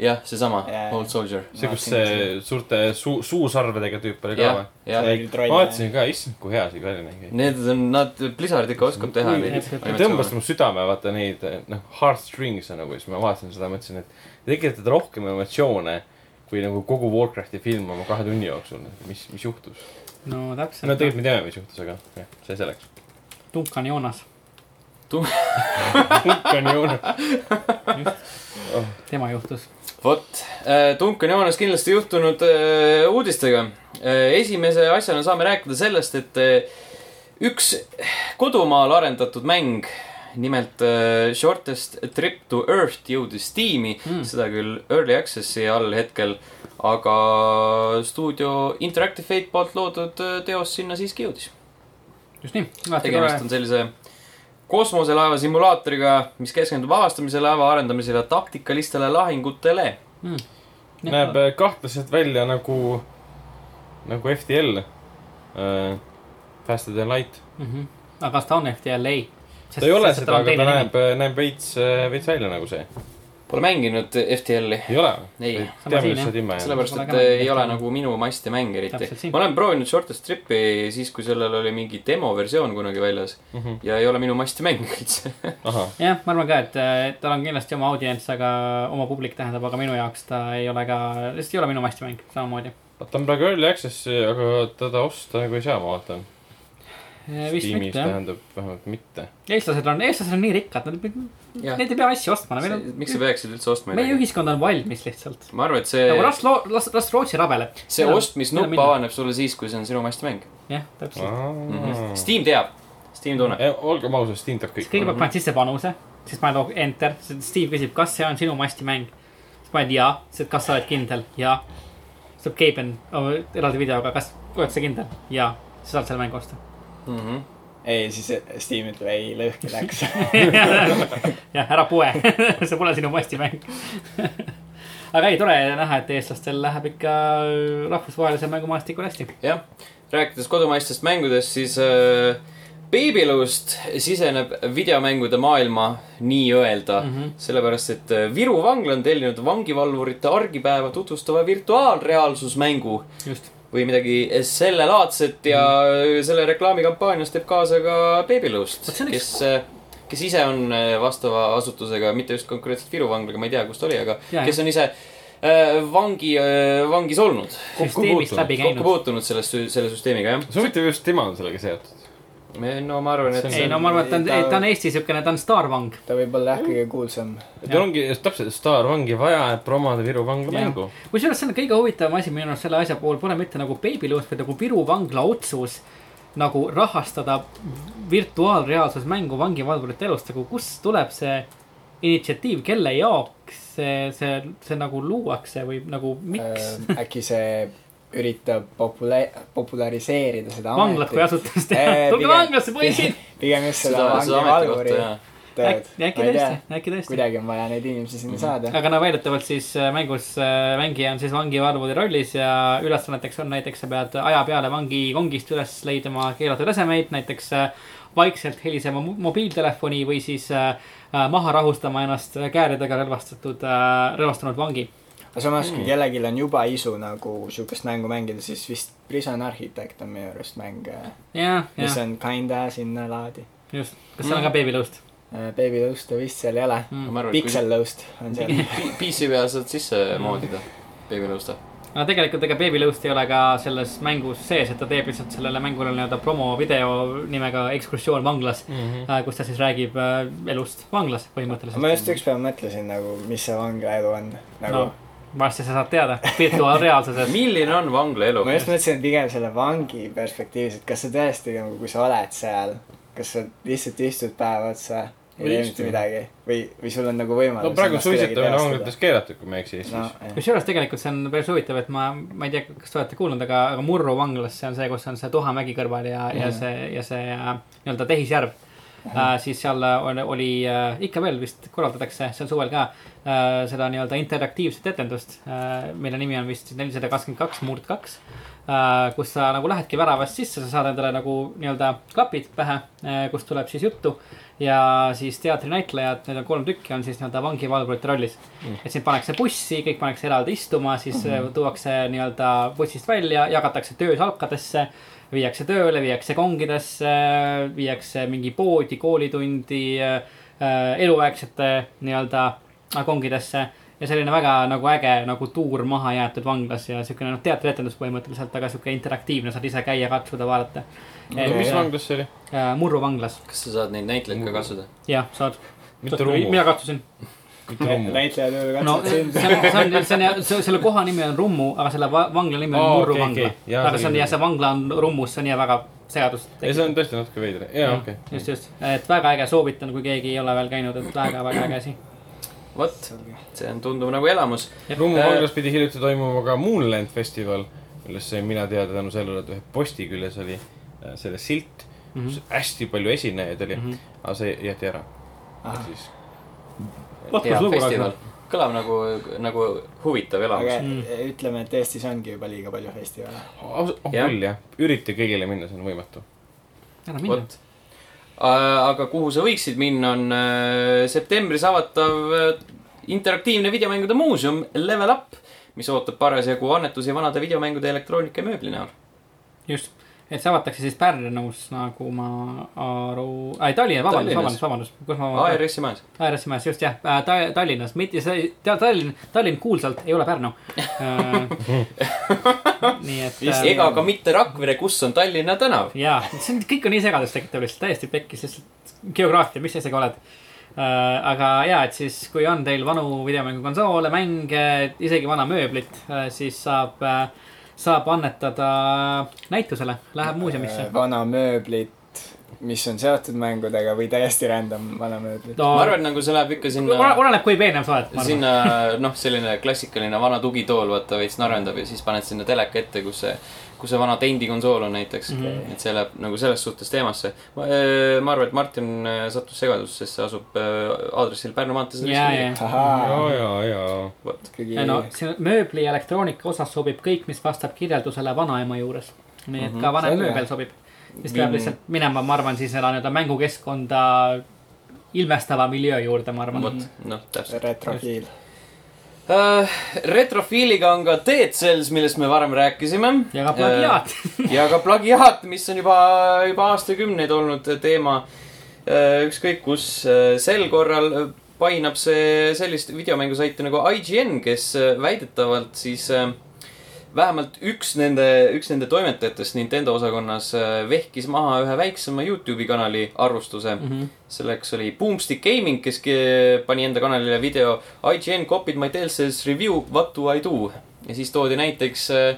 S1: jah , seesama
S4: Jaa.
S1: Old Soldier .
S3: see , kus see suurte suu , suusarvedega tüüp oli ka
S1: jah
S3: või ?,
S1: jah .
S3: ma vaatasin ka , issand , kui hea see ka oli nägi .
S1: Need on , nad , Blizzard ikka oskab teha
S2: Kui-
S1: neid
S2: et- et-
S1: animatsioone.
S3: tõmbas mu südame , vaata neid , noh , heartstrings on nagu , siis ma vaatasin seda , mõtlesin , et te tekitate rohkem emotsioone kui nagu kogu Warcrafti film oma kahe tunni jooksul , mis , mis juhtus .
S2: no
S3: no
S2: täpselt ,
S3: tegelikult me teame , mis juhtus , aga jah , see selleks .
S2: Duncan Jonas ,
S3: on ju , Oh.
S2: tema juhtus .
S1: vot , Duncan Joonas kindlasti juhtunud äh, uudistega . esimese asjana saame rääkida sellest , et äh, üks kodumaal äh, arendatud mäng nimelt äh, Shortest Trip to Earth jõudis tiimi mm. ,
S2: mm. .
S1: seda küll Early Access'i all hetkel , aga stuudio Interactive Fate poolt loodud äh, teos sinna siiski jõudis .
S2: just nii , alati tore
S1: tegemist . on sellise kosmoselaeva simulaatoriga , mis keskendub avastamisele , laeva arendamisele , taktikalistele lahingutele .
S3: näeb äh, kahtlaselt välja nagu , nagu FTL äh, . Fast and Light .
S2: Mhm. aga kas ta on FTL , ei .
S3: ta ei ole seda , aga ta . näeb , näeb veits , veits välja nagu see .
S1: Pole mänginud FTL-i ,
S3: ei ole ?
S1: ei .
S2: Sama siin,
S3: teame , mis sa
S2: jah.
S3: timme ajad .
S1: sellepärast ,
S2: Pole
S1: et
S2: ka mänginud
S1: ei ole
S2: FTL-i.
S1: nagu minu maste mäng eriti
S2: Täpselt . siin.
S1: ma olen proovinud Shortest Tripi siis , kui sellel oli mingi demoversioon kunagi väljas ja ei ole minu maste mäng *laughs* üldse .
S3: Mhm. ahah ,
S2: jah , ma arvan ka , et äh, tal on kindlasti oma audients , aga oma publik tähendab , aga minu jaoks ta ei ole ka , lihtsalt ei ole minu mastimäng samamoodi .
S3: ta on praegu Early Access , aga teda osta nagu ei saa , ma vaatan .
S2: Äh, vist
S3: Steamis
S2: mitte jah .
S3: tähendab vähemalt mitte .
S2: eestlased on , eestlased on nii rikkad , nad ,
S1: Jah.
S2: neid ei pea asju ostma , meil on ,
S1: miks sa peaksid üldse ostma
S2: meie ? ühiskond on valmis lihtsalt .
S1: ma arvan , et see ,
S2: nagu las loo- , las , las Rootsi rabeleb .
S1: see ostmisnupp
S2: Meil on minna.
S1: avaneb sulle siis , kui see on sinu maste mäng
S2: jah , täpselt .
S1: mm .
S2: Mhm.
S1: -hmm.
S3: olgem
S1: Steam teab , Steam tunneb .
S3: ausad , Steam teab
S2: siis
S3: kõik .
S2: kõigepealt paned sisse panuse , siis paned ok- enter , siis Steve küsib , kas see on sinu mastimäng . siis paned ja , siis , et kas sa oled kindel , ja . siis tuleb Gaben oma eraldi videoga , kas oled sa kindel , ja , siis saad selle mängu osta .
S1: mm . -hmm.
S4: ei , siis Steam ütleb ei , lõhki
S2: *laughs*
S4: läks .
S2: jah , ära poe , *laughs* see pole sinu mastimäng . *laughs* aga ei , tore näha , et eestlastel läheb ikka rahvusvahelisel mängumaastikul hästi .
S1: jah , rääkides kodumaistest mängudest , siis äh, Babylust siseneb videomängude maailma nii-öelda mm ,
S2: Mhm.
S1: -hmm. sellepärast et äh, Viru vangla on tellinud vangivalvurite argipäeva tutvustava virtuaalreaalsusmängu
S2: just ,
S1: või midagi sellelaadset ja äh, selle reklaamikampaanias teeb kaasa ka Babylust
S2: Mhm. Vot see , on
S1: kes äh,
S2: üks- ,
S1: kes ise on äh, vastava asutusega , mitte just konkreetselt Viru vanglaga , ma ei tea , kus ta oli , aga
S2: Jaa,
S1: kes on ise äh, vangi , vangis olnud
S2: süsteemist läbi
S1: kokku
S2: käinud .
S1: puutunud sellest , selle süsteemiga , jah .
S3: see on huvitav , just tema on sellega seotud .
S1: no ma arvan , et
S2: ei no ma arvan , et ta on , ta on Eesti siukene , ta on staarvang .
S4: ta võib olla jah , kõige kuulsam .
S3: tal ongi just täpselt Star ongi vaja , et promoda Viru vangla
S2: Jah.
S3: mängu .
S2: kusjuures see on kõige huvitavam asi minu arust selle asja puhul pole mitte nagu Babyloos , vaid nagu Viru vangla otsus nagu rahastada virtuaalreaalsusmängu vangivalvurite elust , nagu kust tuleb see initsiatiiv , kelle jaoks see , see , see nagu luuakse või nagu miks äh,
S4: Ehm, äkki see üritab popula- , populariseerida seda
S2: vanglat kui
S4: ametit .
S2: asutust
S4: Äh,
S2: teha , *laughs* tulge
S4: pigem-
S2: vanglasse
S4: *laughs*
S2: poisid .
S4: pigem just seda
S1: seda , seda
S4: vangivalvuri
S1: ametikohta ja
S4: tööd .
S2: äkki tõesti , äkki tõesti .
S4: kuidagi on vaja neid inimesi sinna
S1: Mhm.
S4: saada .
S2: aga no väidetavalt siis äh, mängus äh, mängija on siis vangivalvuri rollis ja ülesanneteks on näiteks sa pead aja peale vangi kongist üles leidma keelatud esemeid , näiteks äh, vaikselt helisema mo- mobiiltelefoni või siis äh, äh, maha rahustama ennast kääridega relvastatud , relvastunud vangi .
S4: aga samas ,
S1: Mhm.
S4: kui kellelgi on juba isu nagu sihukest mängu mängida , siis vist Prison Architect on minu arust mäng ,
S2: jah ,
S4: mis Mm.
S2: jah ,
S4: on kinda sinnalaadi .
S2: just . kas seal on ka beebilõust ? Mm.
S4: Baby Loost'e vist seal ei ole .
S1: ma arvan , et kui
S4: Pixel Loast
S2: *laughs*
S4: on seal .
S1: pi- PC peal saad sisse moodida , beebilõusta .
S2: no tegelikult ega beebilõust ei ole ka selles mängus sees , et ta teeb lihtsalt sellele mängule nii-öelda promovideo nimega Ekskursioon vanglas mm , -hmm. kus ta siis räägib äh, elust vanglas põhimõtteliselt .
S4: ma just ükspäev mõtlesin nagu , mis see vanglaelu on . nagu
S2: no varsti sa saad teada virtuaalreaalsuses .
S1: milline on vangla elu
S4: ma ? just mõtlesin pigem selle vangi perspektiivis , et kas sa tõesti nagu , kui sa oled seal , kas sa lihtsalt istud päev otsa , ei
S3: Ei
S4: tee
S3: istu.
S4: mitte midagi või , või sul on nagu võimalus .
S3: no praegu on suitsetamine vanglates keelatud , kui ma ei eksi Eestis .
S4: vanglates .
S2: kusjuures tegelikult see on päris huvitav , et ma , ma ei tea , kas te olete kuulnud , aga , aga Murru vanglas , see on see , kus on see Tuhamägi kõrval ja mm , -hmm. ja see , ja see äh, nii-öelda tehisjärv mm . -hmm. siis seal on, oli äh, , ikka veel vist korraldatakse seal suvel ka äh, seda nii-öelda interaktiivset etendust äh, , mille nimi on vist nelisada kakskümmend kaks murd kaks . Uh, kus sa nagu lähedki väravast sisse , sa saad endale nagu nii-öelda klapid pähe uh, , kust tuleb siis juttu . ja siis teatrinäitlejad , neid on kolm tükki , on siis nii-öelda vangivalvurite rollis mm. . et sind pannakse bussi , kõik pannakse eraldi istuma , siis mm -hmm. tuuakse nii-öelda bussist välja , jagatakse töösalkadesse . viiakse tööle , viiakse kongidesse , viiakse mingi poodi , koolitundi uh, , eluaegsete nii-öelda kongidesse ja selline väga nagu äge nagu tuur maha jäetud vanglas ja siukene noh , teatrietendus põhimõtteliselt , aga siuke interaktiivne , saad ise käia , katsuda , vaadata .
S3: mis vanglas see oli ?
S2: Murru vanglas ,
S1: kas sa saad neid näitlejaid ka katsuda ?
S2: jah , saad .
S3: Mitte Rummu.
S2: mina katsusin .
S3: mitte Rummu .
S4: näitleja tööle
S2: no
S4: katsud
S2: see on ,
S4: sind .
S2: see on , see on , selle koha nimi on Rummu , aga selle va- vangla nimi on
S3: Aa,
S2: Murru
S3: okei,
S2: vangla
S3: okei. . Jaa,
S2: aga see on
S3: selge.
S2: jah , see vangla on Rummus , see on jah väga segadust
S3: ei , see on tõesti natuke veider , jaa , okei .
S2: just , just , et väga äge , soovitan , kui keegi ei ole veel käinud , et väga , väga äge asi .
S1: vot , see on , tundub nagu elamus .
S3: Rummu
S1: Äh,
S3: vanglas pidi hiljuti toimuma ka Moonland festival , millest sain mina teada tänu sellele , et ühe posti küljes oli äh, selle silt
S2: Mhm.
S3: mm , -hmm. kus hästi palju esinejaid oli mm , -hmm. aga see jäeti ära ah. .
S4: Ah.
S3: siis
S1: hea
S2: lugu,
S1: festival , kõlab nagu , nagu huvitav
S4: aga
S1: elamus .
S4: mm. ütleme , et Eestis ongi juba liiga palju festivale .
S3: ausalt , on
S1: Jah.
S3: oh, küll jah , ürita kõigile minna , see on võimatu .
S2: ära mine .
S1: vot . aga kuhu sa võiksid minna , on äh, septembris avatav äh, interaktiivne videomängude muuseum Level Up , mis ootab parasjagu annetusi vanade videomängude ja elektroonika ja mööbli näol .
S2: just , et see avatakse siis Pärnus , nagu ma aru , ei Tallinnas , vabandust ,
S1: Tallinnas.
S2: vabandust , vabandust , kus ma .
S1: ARS-i majas .
S2: ARS-i majas , just jah , Tallinnas , mitte see , tead Tallinn , Tallinn kuulsalt ei ole Pärnu . *laughs* nii et .
S1: ega ka mitte Rakvere , kus on Tallinna tänav .
S2: jaa , see on , kõik on nii segadust tekitav lihtsalt , täiesti pekkis lihtsalt geograafia , mis sa isegi oled . aga jaa , et siis , kui on teil vanu videomängukonsoole , mänge , isegi vana mööblit , siis saab , saab annetada näitusele , läheb muuseumisse .
S4: Äh, vana mööblit , mis on seotud mängudega või täiesti random vana mööblit
S2: no
S1: ma arvan , nagu see läheb ikka
S2: ole-
S1: sinna ,
S2: oleneb , kui peenem sa oled , ma arvan .
S1: sinna noh , selline klassikaline vana tugitool , vaata veits narendab ja siis paned sinna teleka ette , kus see , kus see vana tendikonsool on näiteks mm .
S2: Mhm.
S1: -hmm. et see läheb nagu selles suhtes teemasse . ma äh, ma arvan , et Martin äh, sattus segadusse , sest see asub äh, aadressil Pärnu maantee .
S2: ja , ja ,
S3: ja
S4: ahaa ,,
S3: ja , ja .
S1: vot ,
S4: ikkagi
S2: ja no siin mööbli ja elektroonika osas sobib kõik , mis vastab kirjeldusele vanaema juures . nii et ka
S1: Mhm.
S2: vanem
S4: selge.
S2: mööbel sobib , siis peab
S1: Vinn-
S2: lihtsalt minema , ma arvan , siis selle nii-öelda mängukeskkonda ilmestava miljöö juurde , ma arvan .
S1: vot , noh , täpselt .
S4: retrofiil .
S1: Uh, retrofiiliga on ka Dead Cells , millest me varem rääkisime . Äh,
S2: ja ka plagiaat .
S1: *laughs* ja ka plagiaat , mis on juba , juba aastakümneid olnud teema . ükskõik kus , sel korral äh, painab see sellist videomängusaiti nagu IGN , kes äh, väidetavalt siis äh, vähemalt üks nende , üks nende toimetajatest Nintendo osakonnas äh, vehkis maha ühe väiksema Youtube'i kanali
S2: *laughs*
S1: arvustuse
S2: Mhm.
S1: mm . -hmm. selleks oli Boomstick Gaming , kes ke- pani enda kanalile video IGN copied my DLC's review , what do I do ? ja siis toodi näiteks äh,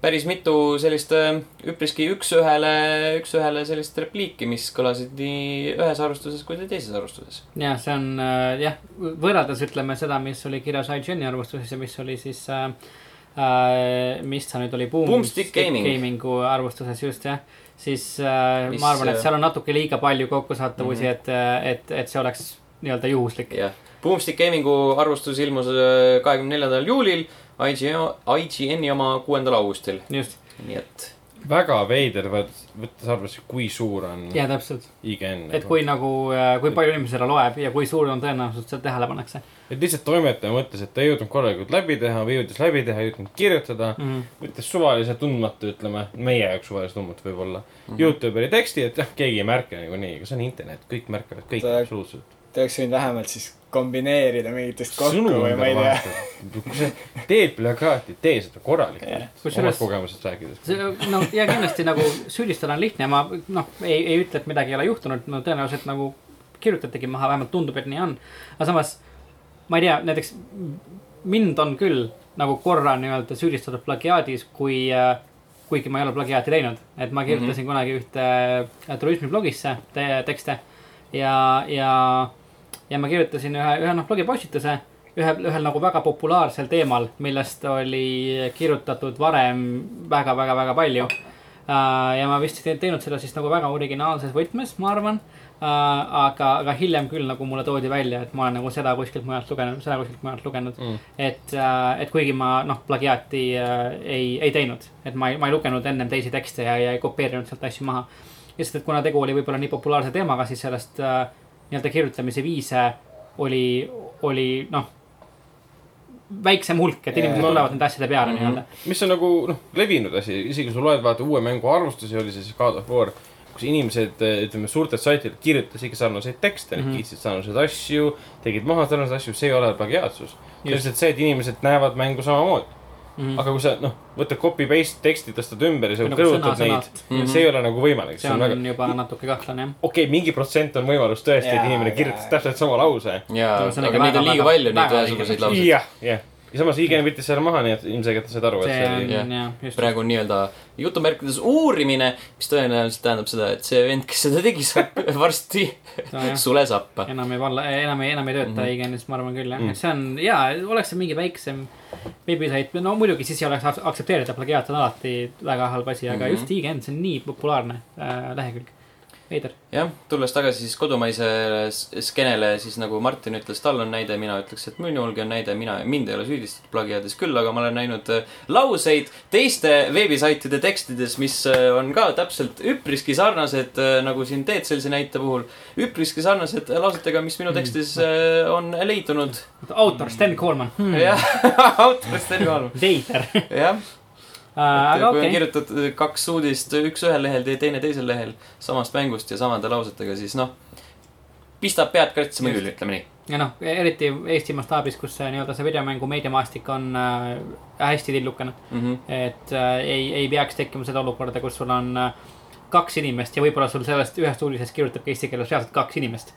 S1: päris mitu sellist äh, üpriski üks-ühele , üks-ühele sellist repliiki , mis kõlasid nii ühes arvustuses kui ka teises arvustuses .
S2: ja see on äh, jah , võrreldes ütleme seda , mis oli kirjas IGN-i arvustuses ja mis oli siis äh, , äh, mis ta nüüd oli ,
S1: Boomstick Gaming.
S2: Gamingu arvustuses just jah , siis äh,
S1: Mis,
S2: ma arvan ,
S1: äh, Mhm.
S2: et seal on natuke liiga palju kokkusattuvusi mm , -hmm. et , et , et see oleks nii-öelda juhuslik .
S1: jah , Boomstick Gamingu arvustus ilmus äh, kahekümne neljandal juulil , IGN , IGN-i oma kuuendal augustil ,
S2: just ,
S1: nii et
S3: väga veider , võttes arvesse , kui suur on
S1: Mhm.
S2: ja täpselt ,
S3: IGN .
S2: et kui nagu , kui palju inimesi seda loeb ja kui suur on tõenäosus , et seda tähele pannakse
S3: et lihtsalt toimetaja mõtles , et ta ei jõudnud korralikult läbi teha või jõudis läbi teha , ei jõudnud kirjutada mm .
S2: Mhm.
S3: -hmm. võttis suvalise tundmatu , ütleme , meie jaoks suvalise tundmatu võib-olla mm
S2: Mhm.
S3: -hmm. . Youtuberi teksti , et jah , keegi ei märka niikuinii , aga see on internet , kõik märkavad kõik
S4: Ta-
S3: absoluutselt .
S4: Te oleks võinud vähemalt siis kombineerida mingitest kokku
S3: sõnum
S4: või
S3: on
S4: ma ei
S3: väga
S4: tea .
S3: vahetu . kui sa teed plakaati , tee seda
S4: Jah.
S3: korralikult .
S2: Kusjuures-
S3: omast kogemusest rääkides .
S2: see no ja kindlasti nagu süüdistada on lihtne , ma noh , ei , ei ütle , et midagi ei ole juhtunud , no tõenäoliselt nagu kirjutatigi maha , vähemalt tundub , et nii on . aga samas ma ei tea , näiteks mind on küll nagu korra nii-öelda süüdistatud plagiaadis , kui , äh, kuigi ma ei ole plagiaati teinud , et ma kirjutasin mm -hmm. kunagi ühte äh, turismiblogisse te tekste ja , ja , ja ma kirjutasin ühe , ühe noh blogipostituse ühel , ühel nagu väga populaarsel teemal , millest oli kirjutatud varem väga-väga-väga palju . Äh, ja ma vist ei teinud seda siis nagu väga originaalses võtmes , ma arvan . aga , aga hiljem küll nagu mulle toodi välja , et ma olen nagu seda kuskilt mujalt lugenud , seda kuskilt mujalt lugenud mm. . et , et kuigi ma noh , plagiaati äh, ei , ei teinud , et ma ei , ma ei lugenud ennem teisi tekste ja , ja ei kopeerinud sealt asju maha . lihtsalt , et kuna tegu oli võib-olla nii populaarse teemaga , siis sellest äh, nii-öelda kirjutamise viise oli , oli noh , väiksem hulk , et inimesed
S3: Ma-
S2: tulevad nende asjade peale nii-öelda .
S3: mis on nagu noh , levinud asi , isegi kui sa loed vaata uue mängu arvustusi , oli see siis God of War , kus inimesed , ütleme suurtelt saitidelt kirjutasid ikka sarnaseid tekste
S2: Mhm.
S3: mm , -hmm. kiitsid sarnaseid asju , tegid maha sarnaseid asju , see ei ole plagiaatsus . see on
S2: Just. Mhm.
S3: lihtsalt see , et inimesed näevad mängu samamoodi mm . -hmm. aga kui sa noh , võtad copy paste teksti , tõstad ümber ja sa
S2: Nagu
S3: kõrvutad
S2: sõna
S3: neid ,
S2: sõnalt.
S3: see ei ole nagu võimalik ,
S2: see on väga... juba natuke kahtlane jah .
S3: okei okay, , mingi protsent on võimalus tõesti , et
S4: Jaa,
S3: inimene
S4: aga-
S3: kirjutas täpselt sama lause .
S1: jaa ,
S2: See on ikka
S1: aga neid
S2: väga-
S1: on liiga
S2: väga-
S1: palju , neid
S2: väga
S1: ühesuguseid
S2: liiga-
S1: lauseid .
S3: jah , jah . ja samas
S2: Mm.
S3: IGN võttis selle maha , nii et ilmselgelt nad said aru , et
S2: see
S3: see oli
S2: on
S1: jah.
S2: jah , just .
S1: praegu on nii-öelda jutumärkides uurimine , mis tõenäoliselt tähendab seda , et see vend , kes seda tegi , saab varsti sulesappa .
S2: enam ei valla , enam ei , enam ei tööta mm
S1: Mhm.
S2: -hmm. IGN-is , ma arvan küll jah
S3: Mm.
S2: mm. , et see on ja , oleks see mingi väiksem veebisait , no muidugi siis ei oleks ak- aktsepteerida , plagiaat on alati väga halb asi , aga mm
S1: Mhm.
S2: -hmm. just IGN , see on nii populaarne äh, lehekülg . veider ,
S1: jah , tulles tagasi siis kodumaisele s- skeenele , siis nagu Martin ütles , tal on näide , mina ütleks , et minulgi on näide , mina , mind ei ole süüdistatud plagiaadis küll , aga ma olen näinud äh, lauseid teiste veebisaitide tekstides , mis äh, on ka täpselt üpriski sarnased , nagu siin Teetselsi näite puhul , üpriski sarnased äh, lausetega , mis minu tekstis äh, on leidunud .
S2: autor Sten Koolman hmm. ,
S1: jah , *laughs* autorist on ju halb , *laughs*
S2: veider ,
S1: jah . et
S2: aga
S1: kui okay. on
S2: okei okay. ,
S1: kirjutatud eh, kaks uudist , üks ühel lehel , teine teisel lehel samast mängust ja samade lausetega , siis noh , pistab pead kratsima
S2: Just.
S1: küll , ütleme nii .
S2: ja noh , eriti Eesti mastaabis , kus see nii-öelda see videomängu meediamaastik on äh, hästi tillukene ,
S1: Mm -hmm.
S2: et äh, ei , ei peaks tekkima seda olukorda , kus sul on äh, kaks inimest ja võib-olla sul sellest ühest uudisest kirjutabki eesti keeles reaalselt kaks inimest .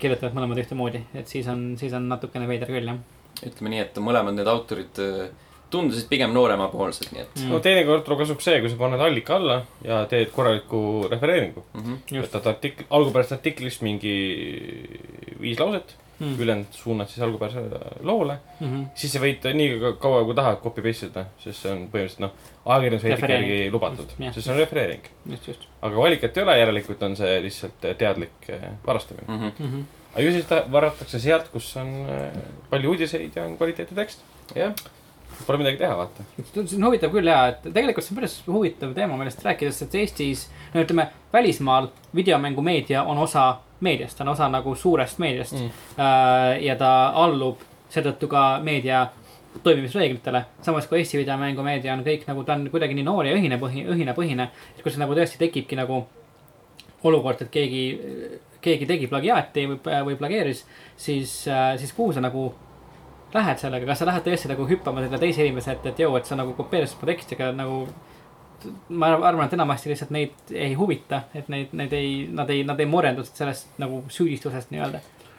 S2: kirjutavad mõlemad ühtemoodi , et siis on , siis on natukene veider küll jah
S1: ütleme nii , et mõlemad need autorid äh, tundusid pigem nooremapoolsed , nii et
S2: mm. .
S3: no teinekord tuleb kasuks see , kui sa paned allika alla ja teed korraliku refereeringu .
S1: mm . -hmm.
S2: Mhm. Just.
S3: võtad artikli , algupärast artiklist mingi viis lauset mm. ,
S2: Mm.
S3: ülejäänud suunad siis algupärasele loole ,
S2: Mm -hmm.
S3: siis sa võid nii ka- kaua , kui tahad copy paste ida , sest see on põhimõtteliselt noh , ajakirjanduse eetika
S2: Refereering.
S3: järgi lubatud ,
S2: Jah.
S3: sest see on refereering .
S2: just , just
S3: aga valikat ei ole , järelikult on see lihtsalt teadlik eh, varastamine .
S1: Mm -hmm.
S2: mm . -hmm.
S3: aga ju siis ta varatakse sealt , kus on eh, palju uudiseid ja on kvaliteetne tekst .
S1: jah ,
S3: Pole midagi teha , vaata .
S2: see on huvitav küll ja , et tegelikult see on päris huvitav teema , millest rääkides , et Eestis , no ütleme , välismaal videomängumeedia on osa meediast , ta on osa nagu suurest meediast
S3: Mm.
S2: mm. . ja ta allub seetõttu ka meedia toimimisreeglitele , samas kui Eesti videomängumeedia on kõik nagu ta on kuidagi nii noor ja ühine põhi , ühine põhine , et kus nagu tõesti tekibki nagu olukord , et keegi , keegi tegi plagiaati või , või plageeris , siis , siis kuhu sa nagu lähed sellega , kas sa lähed tõesti nagu hüppama selle teise inimese ette , et jõu , et sa nagu kopeerisid mu teksti , aga nagu . ma arvan , et enamasti lihtsalt neid ei huvita , et neid , neid ei , nad ei , nad ei morendu sellest nagu süüdistusest nii-öelda .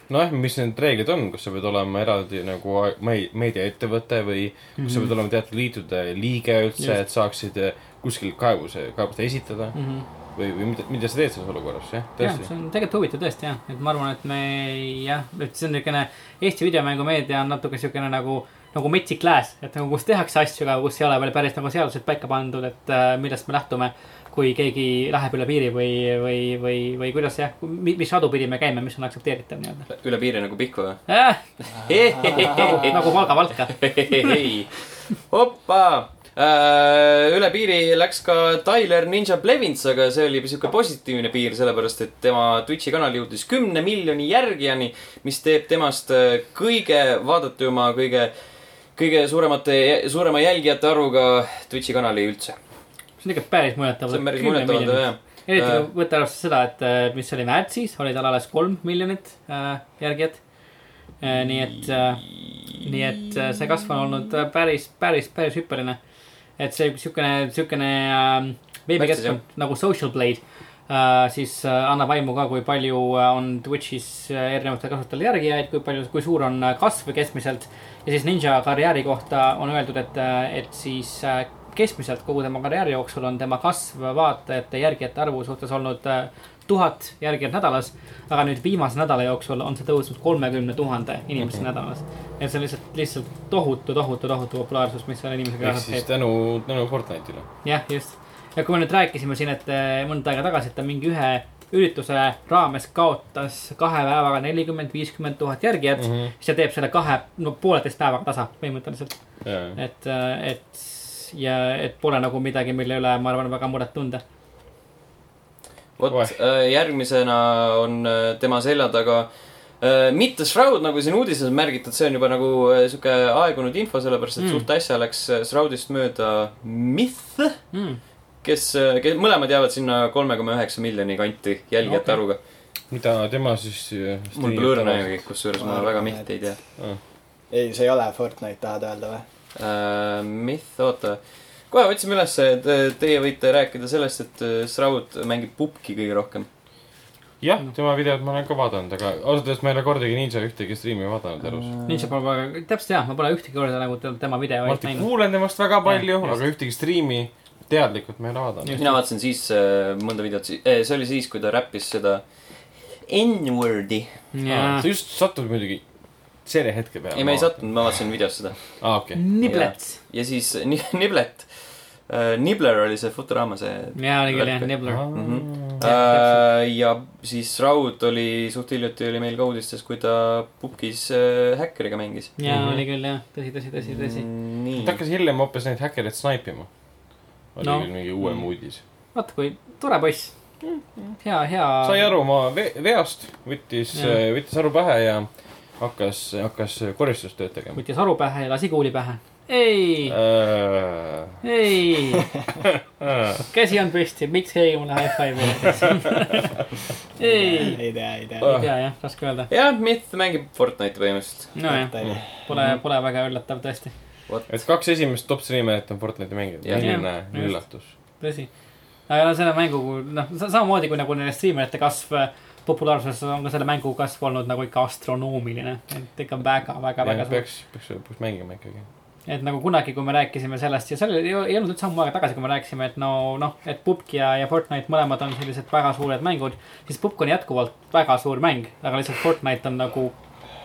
S3: nojah , Noh, mis need reeglid on , kas sa pead olema eraldi nagu a- mei- meediaettevõte või kas mm -hmm. sa pead olema teatud liitude liige üldse ,
S2: Mhm. Just.
S3: et saaksid eh, kuskil kaebuse , kaebust esitada
S2: mm . -hmm.
S3: või , või mida , mida sa teed selles olukorras , jah ,
S2: jah , see
S3: tõesti .
S2: on tegelikult huvitav tõesti jah , et ma arvan , et me ei- jah , et see on niisugune Eesti videomängumeedia on natuke niisugune nagu , nagu metsik lääs , et nagu kus tehakse asju , aga kus ei ole veel päris nagu seadused paika pandud , et äh, millest me lähtume . kui keegi läheb üle piiri või , või , või , või kuidas jah , mis radu pidi me käime , mis on aktsepteeritav nii-öelda
S1: üle piiri nagu Pihkva
S2: *laughs*
S1: või ?
S2: äh, .
S1: Hehehehe.
S2: nagu Valga-Valka .
S1: Ei. opa , Äh, üle piiri läks ka Tyler Ninja Blevins , aga see oli sihuke positiivne piir , sellepärast et tema Twitch'i kanal jõudis kümne miljoni järgijani , mis teeb temast äh, kõige vaadatuma , kõige , kõige suuremate , suurema jälgijate arvuga Twitch'i kanali üldse .
S2: see on ikka päris muljetav .
S1: see on päris muljetavaldav jah .
S2: eriti
S1: Äh.
S2: kui võtta arvesse seda , et äh, mis oli Madsis , oli tal alles kolm miljonit äh, järgijat . nii et , nii et äh, see kasv on olnud äh, päris , päris , päris hüppeline . et see siukene , siukene äh, veebikeskkond nagu Social Blade äh, siis äh, annab aimu ka , kui palju äh, on Twitch'is äh, erinevatel kasutajatel järgijaid , kui palju , kui suur on äh, kasv keskmiselt . ja siis Ninja karjääri kohta on öeldud , et , et siis äh, keskmiselt kogu tema karjääri jooksul on tema kasv vaatajate , järgijate arvu suhtes olnud äh, tuhat järgijat nädalas . aga nüüd viimase nädala jooksul on see tõusnud kolmekümne tuhande
S3: Mhm.
S2: inimese nädalas . et see on lihtsalt , lihtsalt tohutu , tohutu , tohutu populaarsus , mis selle inimesega
S3: ehk
S2: kaasas käib
S3: siis tänu , tänu Fortnite'ile .
S2: jah , just . ja kui me nüüd rääkisime siin , et eh, mõnda aega tagasi , et ta mingi ühe ürituse raames kaotas kahe päevaga nelikümmend , viiskümmend tuhat järgijat mm , -hmm. siis ta teeb selle kahe , no pooleteist päevaga tasa põhimõtteliselt .
S3: Mhm.
S2: et , et ja , et pole nagu midagi , mille üle ma arvan , väga muret tunda .
S3: Kohe.
S1: vot , järgmisena on äh, tema selja taga äh, mitte Shroud , nagu siin uudises on märgitud , see on juba nagu äh, sihuke aegunud info , sellepärast et
S2: Mm.
S1: mm. suht äsja läks äh, Shroudist mööda Myth ,
S2: Mm.
S1: kes, kes , mõlemad jäävad sinna kolme koma üheksa miljoni kanti jälgijate okay.
S2: Okei.
S1: arvuga .
S3: mida tema siis . äh,
S1: mul pole õrna aimugi , kusjuures ma
S4: Ma
S1: väga
S4: arvan,
S1: Mythi ei tea
S4: ei , see ei ole Fortnite , tahad öelda või ?
S1: äh, . Myth , oota , kohe võtsime ülesse , et äh, teie võite rääkida sellest , et äh, Shroud mängib pubki kõige rohkem .
S3: jah ,
S2: Noh.
S3: tema videot ma olen ka vaadanud , aga ausalt öeldes ma ei ole kordagi Ninja ühtegi striimi
S2: Mm,
S3: vaadanud elus .
S2: Ninja pole , täpselt jah , ma pole ühtegi korda nagu te- tema
S3: ma
S2: videoid
S3: alati
S2: näinud .
S3: kuulen temast väga palju ,
S2: Jah, just.
S3: aga ühtegi striimi teadlikult ma ei ole vaadanud .
S1: mina vaatasin siis äh, mõnda videot , see oli siis , kui ta räppis seda N-word'i .
S2: jaa
S3: sa , Ah, just sattud muidugi selle hetke peale .
S1: ei , ma ei . sattunud , ma vaatasin videos seda .
S3: aa , okei .
S2: niblets .
S1: ja siis ni- Niblet äh, , Nibler oli see Futurama see
S2: jaa , oli küll jah ,
S1: Räpp-
S2: nibler . Mhm.
S1: äh, . ja siis Raud oli , suht hiljuti oli meil ka uudistes , kui ta pukis äh, häkkeriga mängis .
S2: jaa ,
S3: Mhm.
S2: oli küll jah , tõsi , tõsi , tõsi ,
S1: Mhm.
S2: tõsi .
S1: nii
S3: ta . hakkas hiljem hoopis neid häkkereid snaipima . oli
S2: No. Mm.
S3: küll mingi uuem uudis .
S2: vaata kui tore poiss . hea , hea .
S3: sai aru oma ve- veast , võttis ,
S2: Jah.
S3: võttis aru pähe ja hakkas , hakkas koristustööd tegema .
S2: võttis aru pähe ja lasi kuuli pähe . ei ,
S3: Äh,
S2: ei , käsi on püsti , miks keegi mulle high five'i ei tee ? *laughs* ei ,
S4: ei tea , ei tea .
S2: ei tea jah , raske öelda .
S1: jah , Myth mängib Fortnite'i põhimõtteliselt .
S2: nojah , pole , pole väga üllatav tõesti ,
S3: et kaks esimest top streamerit on Fortnite'i mängijad ,
S1: Jah.
S3: milline
S2: Jah,
S3: üllatus .
S2: tõsi . aga no selle mängu , noh , samamoodi kui nagu nende striimerite kasv äh, populaarsuses on ka selle mängu kasv olnud nagu ikka astronoomiline , et ikka väga-väga-väga suur .
S3: peaks , peaks , peaks mängima ikkagi .
S2: et nagu kunagi , kui me rääkisime sellest ja seal ei, ei olnud üldse ammu aega tagasi , kui me rääkisime , et no noh , et Pupk ja , ja Fortnite mõlemad on sellised väga suured mängud , siis Pupk on jätkuvalt väga suur mäng , aga lihtsalt Fortnite on nagu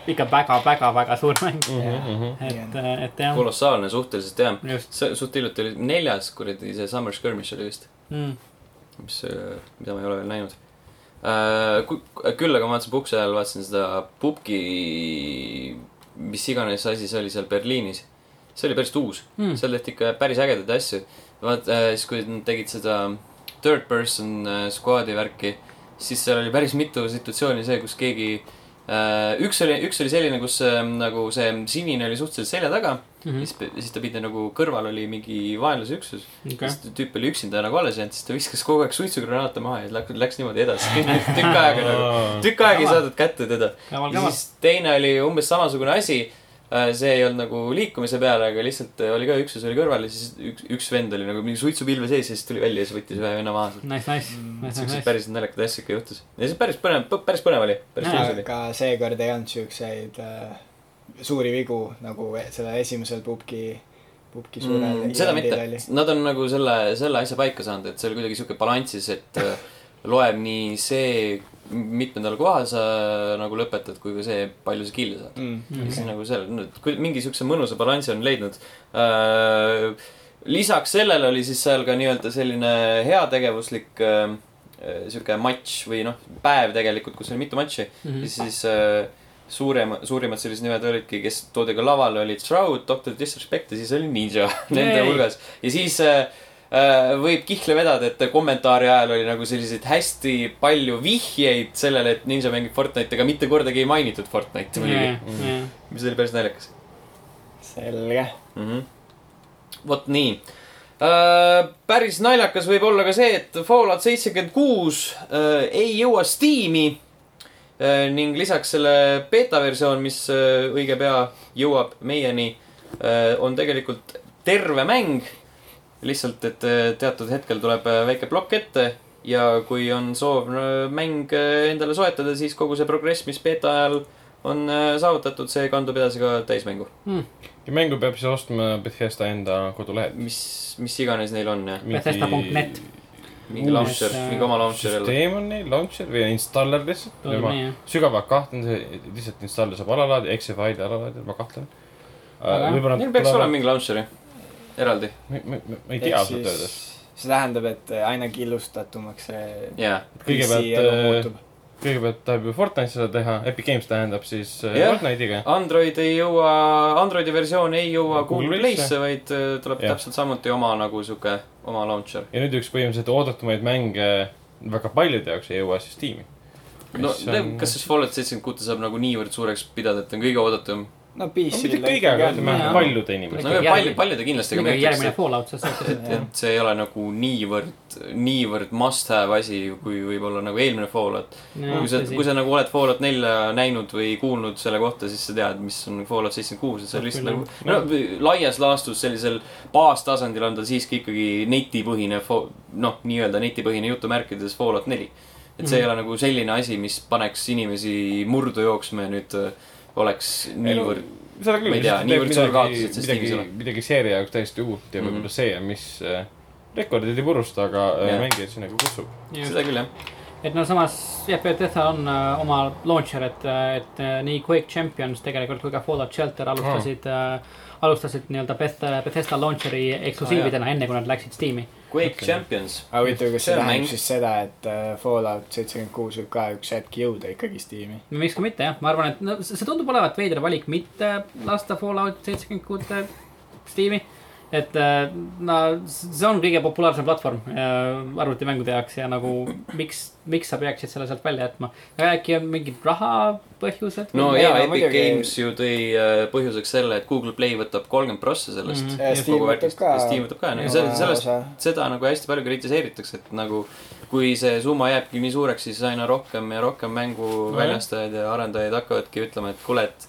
S2: ikka väga-väga-väga suur mäng mm .
S3: Mhm.
S1: Mhm.
S2: et , et jah ,
S1: kolossaalne suhteliselt jah .
S2: just
S1: see suht hiljuti oli neljas kuradi see Summer Skirmish oli vist ,
S2: mm. .
S1: mis , mida ma ei ole veel näinud . küll aga ma vaatasin pukse ajal , vaatasin seda Pupki , mis iganes asi see oli seal Berliinis . see oli päris uus
S2: Mm.
S1: mm. , seal tehti ikka päris ägedaid asju . vaat äh, siis , kui nad tegid seda third person äh, squad'i värki , siis seal oli päris mitu situatsiooni see , kus keegi äh, üks oli , üks oli selline , kus äh, nagu see sinine oli suhteliselt selja taga mm. ,
S2: Mm
S1: siis , siis ta pidi nagu kõrval oli mingi vaenlase üksus .
S2: -hmm. okay.
S1: siis tüüp oli üksinda nagu alles jäänud , siis ta viskas kogu aeg suitsugranaate maha ja läks , läks niimoodi edasi . *laughs* tükk aega nagu , tükk aega ei saadud kätte teda .
S2: kaval ,
S1: ja
S2: kaval .
S1: siis teine oli umbes samasugune asi . see ei olnud nagu liikumise peale , aga lihtsalt oli ka üksus oli kõrval ja siis üks , üks vend oli nagu mingi suitsupilve sees ja siis tuli välja ja siis võttis ühe venna maha sealt .
S2: Nice , nice , nice , nice ,
S1: siukseid
S2: nice .
S1: päris naljakaid asju ikka juhtus . ja see päris põnev , päris põnev oli , päris
S2: Jaa.
S1: tõus oli .
S4: aga seekord ei olnud siukseid äh, suuri vigu nagu sellel esimesel pubgi , pubgi suurel
S1: Mm,
S4: mm,
S1: seda mitte , nad on nagu selle , selle asja paika saanud , et see oli kuidagi sihuke balansis , et äh, loeb nii see , mitmendal kohal sa nagu lõpetad , kui ka see , palju sa kill'e saad .
S4: Mm.
S1: ja siis nagu seal , kui mingi siukse mõnusa balansi on leidnud äh, . lisaks sellele oli siis seal ka nii-öelda selline heategevuslik äh, äh, sihuke matš või noh , päev tegelikult , kus oli mitu matši ja siis äh, suurema , suurimad sellised nimed olidki , kes toodi ka lavale , olid Shroud , Doctor Disrespect ja siis oli Ninja *laughs* nende
S2: Yay!
S1: hulgas . ja siis äh, äh, võib kihla vedada , et kommentaari ajal oli nagu selliseid hästi palju vihjeid sellele , et Ninja mängib Fortnite'i , aga mitte kordagi ei mainitud Fortnite'i
S2: Mm.
S1: muidugi , mis oli päris naljakas
S4: selge .
S1: mm . -hmm. vot nii Äh, päris naljakas võib olla ka see , et Fallout seitsekümmend kuus äh, ei jõua Steam'i Äh, ning lisaks selle beeta versioon , mis äh, õige pea jõuab meieni , on tegelikult terve mäng . lihtsalt , et äh, teatud hetkel tuleb äh, väike plokk ette ja kui on soov äh, mäng äh, endale soetada , siis kogu see progress , mis beeta ajal on äh, saavutatud , see kandub edasi ka täismängu .
S2: Mm.
S3: ja mängu peab siis ostma Bethesda enda kodulehelt .
S1: mis , mis iganes neil on jah ,
S2: Bethesda.net.
S1: mingi
S3: Uus,
S1: launcher ,
S2: äh,
S1: mingi oma launcher jälle .
S3: süsteem on neil , launcher või installer lihtsalt . ma sügavalt kahtlen , see lihtsalt installer saab alalaadida , exe faili alalaadida , ma kahtlen .
S2: Aga
S3: võib-olla .
S1: Neil peaks olema . mingi launcher jah , eraldi ,
S3: ma ma ei tea ausalt öeldes .
S4: see tähendab , et aina killustatumaks see
S1: jaa .
S4: PC elu
S3: kõigepealt , äh,
S4: muutub .
S3: kõigepealt tahab ju Fortnite seda teha , Epic Games tähendab siis äh,
S1: Jah.
S3: Fortnite'iga .
S1: Android ei jõua , Androidi versioon ei jõua Google
S3: Google
S1: Play'sse , vaid äh, tuleb
S3: Jah.
S1: täpselt samuti oma nagu sihuke , oma launcher .
S3: ja nüüd üks põhimõtteliselt oodatumaid mänge väga paljude jaoks ei jõua siis tiimi .
S1: no
S3: Mis on-
S1: kas siis Fallout seitsekümmend kuute saab nagu niivõrd suureks pidada , et ta on kõige oodatum ?
S4: no
S3: no
S4: PC-l
S3: mitte kõige , aga ütleme
S2: Jaa.
S3: paljude
S1: no
S3: inimestega .
S2: Ikka
S1: ja palju
S2: järgmine- ,
S1: palju ta kindlasti ka
S2: muidugi
S1: mõjutab
S2: järgmine , Fallout , sest sa
S1: et , et see ei ole nagu niivõrd , niivõrd must have asi , kui võib-olla nagu eelmine Fallout . kui sa , kui
S2: ütlesid .
S1: sa nagu oled Fallout nelja näinud või kuulnud selle kohta , siis sa tead , mis on Fallout seitsekümmend kuus , et see on lihtsalt nagu , no laias laastus sellisel baastasandil on ta siiski ikkagi netipõhine , noh , nii-öelda netipõhine jutumärkides Fallout neli . et see ei ole nagu selline asi , mis paneks inimesi murdu jooksma ja nüüd äh, oleks niivõrd .
S3: seda küll .
S1: Ma ei tea, niivõrd suur kaotus, et see
S3: midagi
S1: Steamis ei ole. ,
S3: midagi seeria jaoks täiesti uut ja
S1: Mhm.
S3: võib-olla see , mis äh, rekordeid ei purusta , aga äh,
S1: Jah.
S3: mängijaid sinna kutsub .
S1: seda küll jah ,
S2: et no samas jah , Bethesda on äh, oma launcher , et , et äh, nii Quake Champions tegelikult kui ka Fallout Shelter alustasid äh, , alustasid nii-öelda Beth- , Bethesda launcheri eksklusiividena , enne kui nad läksid Steam'i .
S1: Quake
S3: Okei.
S1: okay. Champions .
S4: aga huvitav ,
S1: See
S4: kas see
S1: on
S4: tähendab
S1: mäng.
S4: siis seda , et äh, Fallout seitsekümmend kuus võib ka üks hetk jõuda ikkagi Steam'i ?
S2: miks ka mitte jah , ma arvan , et no see see tundub olevat veider valik mitte lasta Fallout seitsekümmend kuute Steam'i . et äh, no see on kõige populaarsem platvorm äh, arvutimängude jaoks ja nagu miks , miks sa peaksid selle sealt välja jätma . äkki on mingid rahapõhjused ?
S1: no
S4: Ei,
S1: ja
S4: no
S1: Epic
S4: muidugi-
S1: muidugi... Games ju tõi äh, põhjuseks selle , et Google Play võtab kolmkümmend prossa sellest
S2: Mhm.
S1: mm .
S2: Ja
S4: Steam võtab ka
S1: ja Steam võtab ka , no
S4: oma
S1: ja sellest , sellest ,
S4: osa.
S1: seda nagu hästi palju kritiseeritakse , et nagu kui see summa jääbki nii suureks , siis aina rohkem ja rohkem mängu
S3: Nojah.
S1: väljastajaid ja arendajaid hakkavadki ütlema , et kuule , et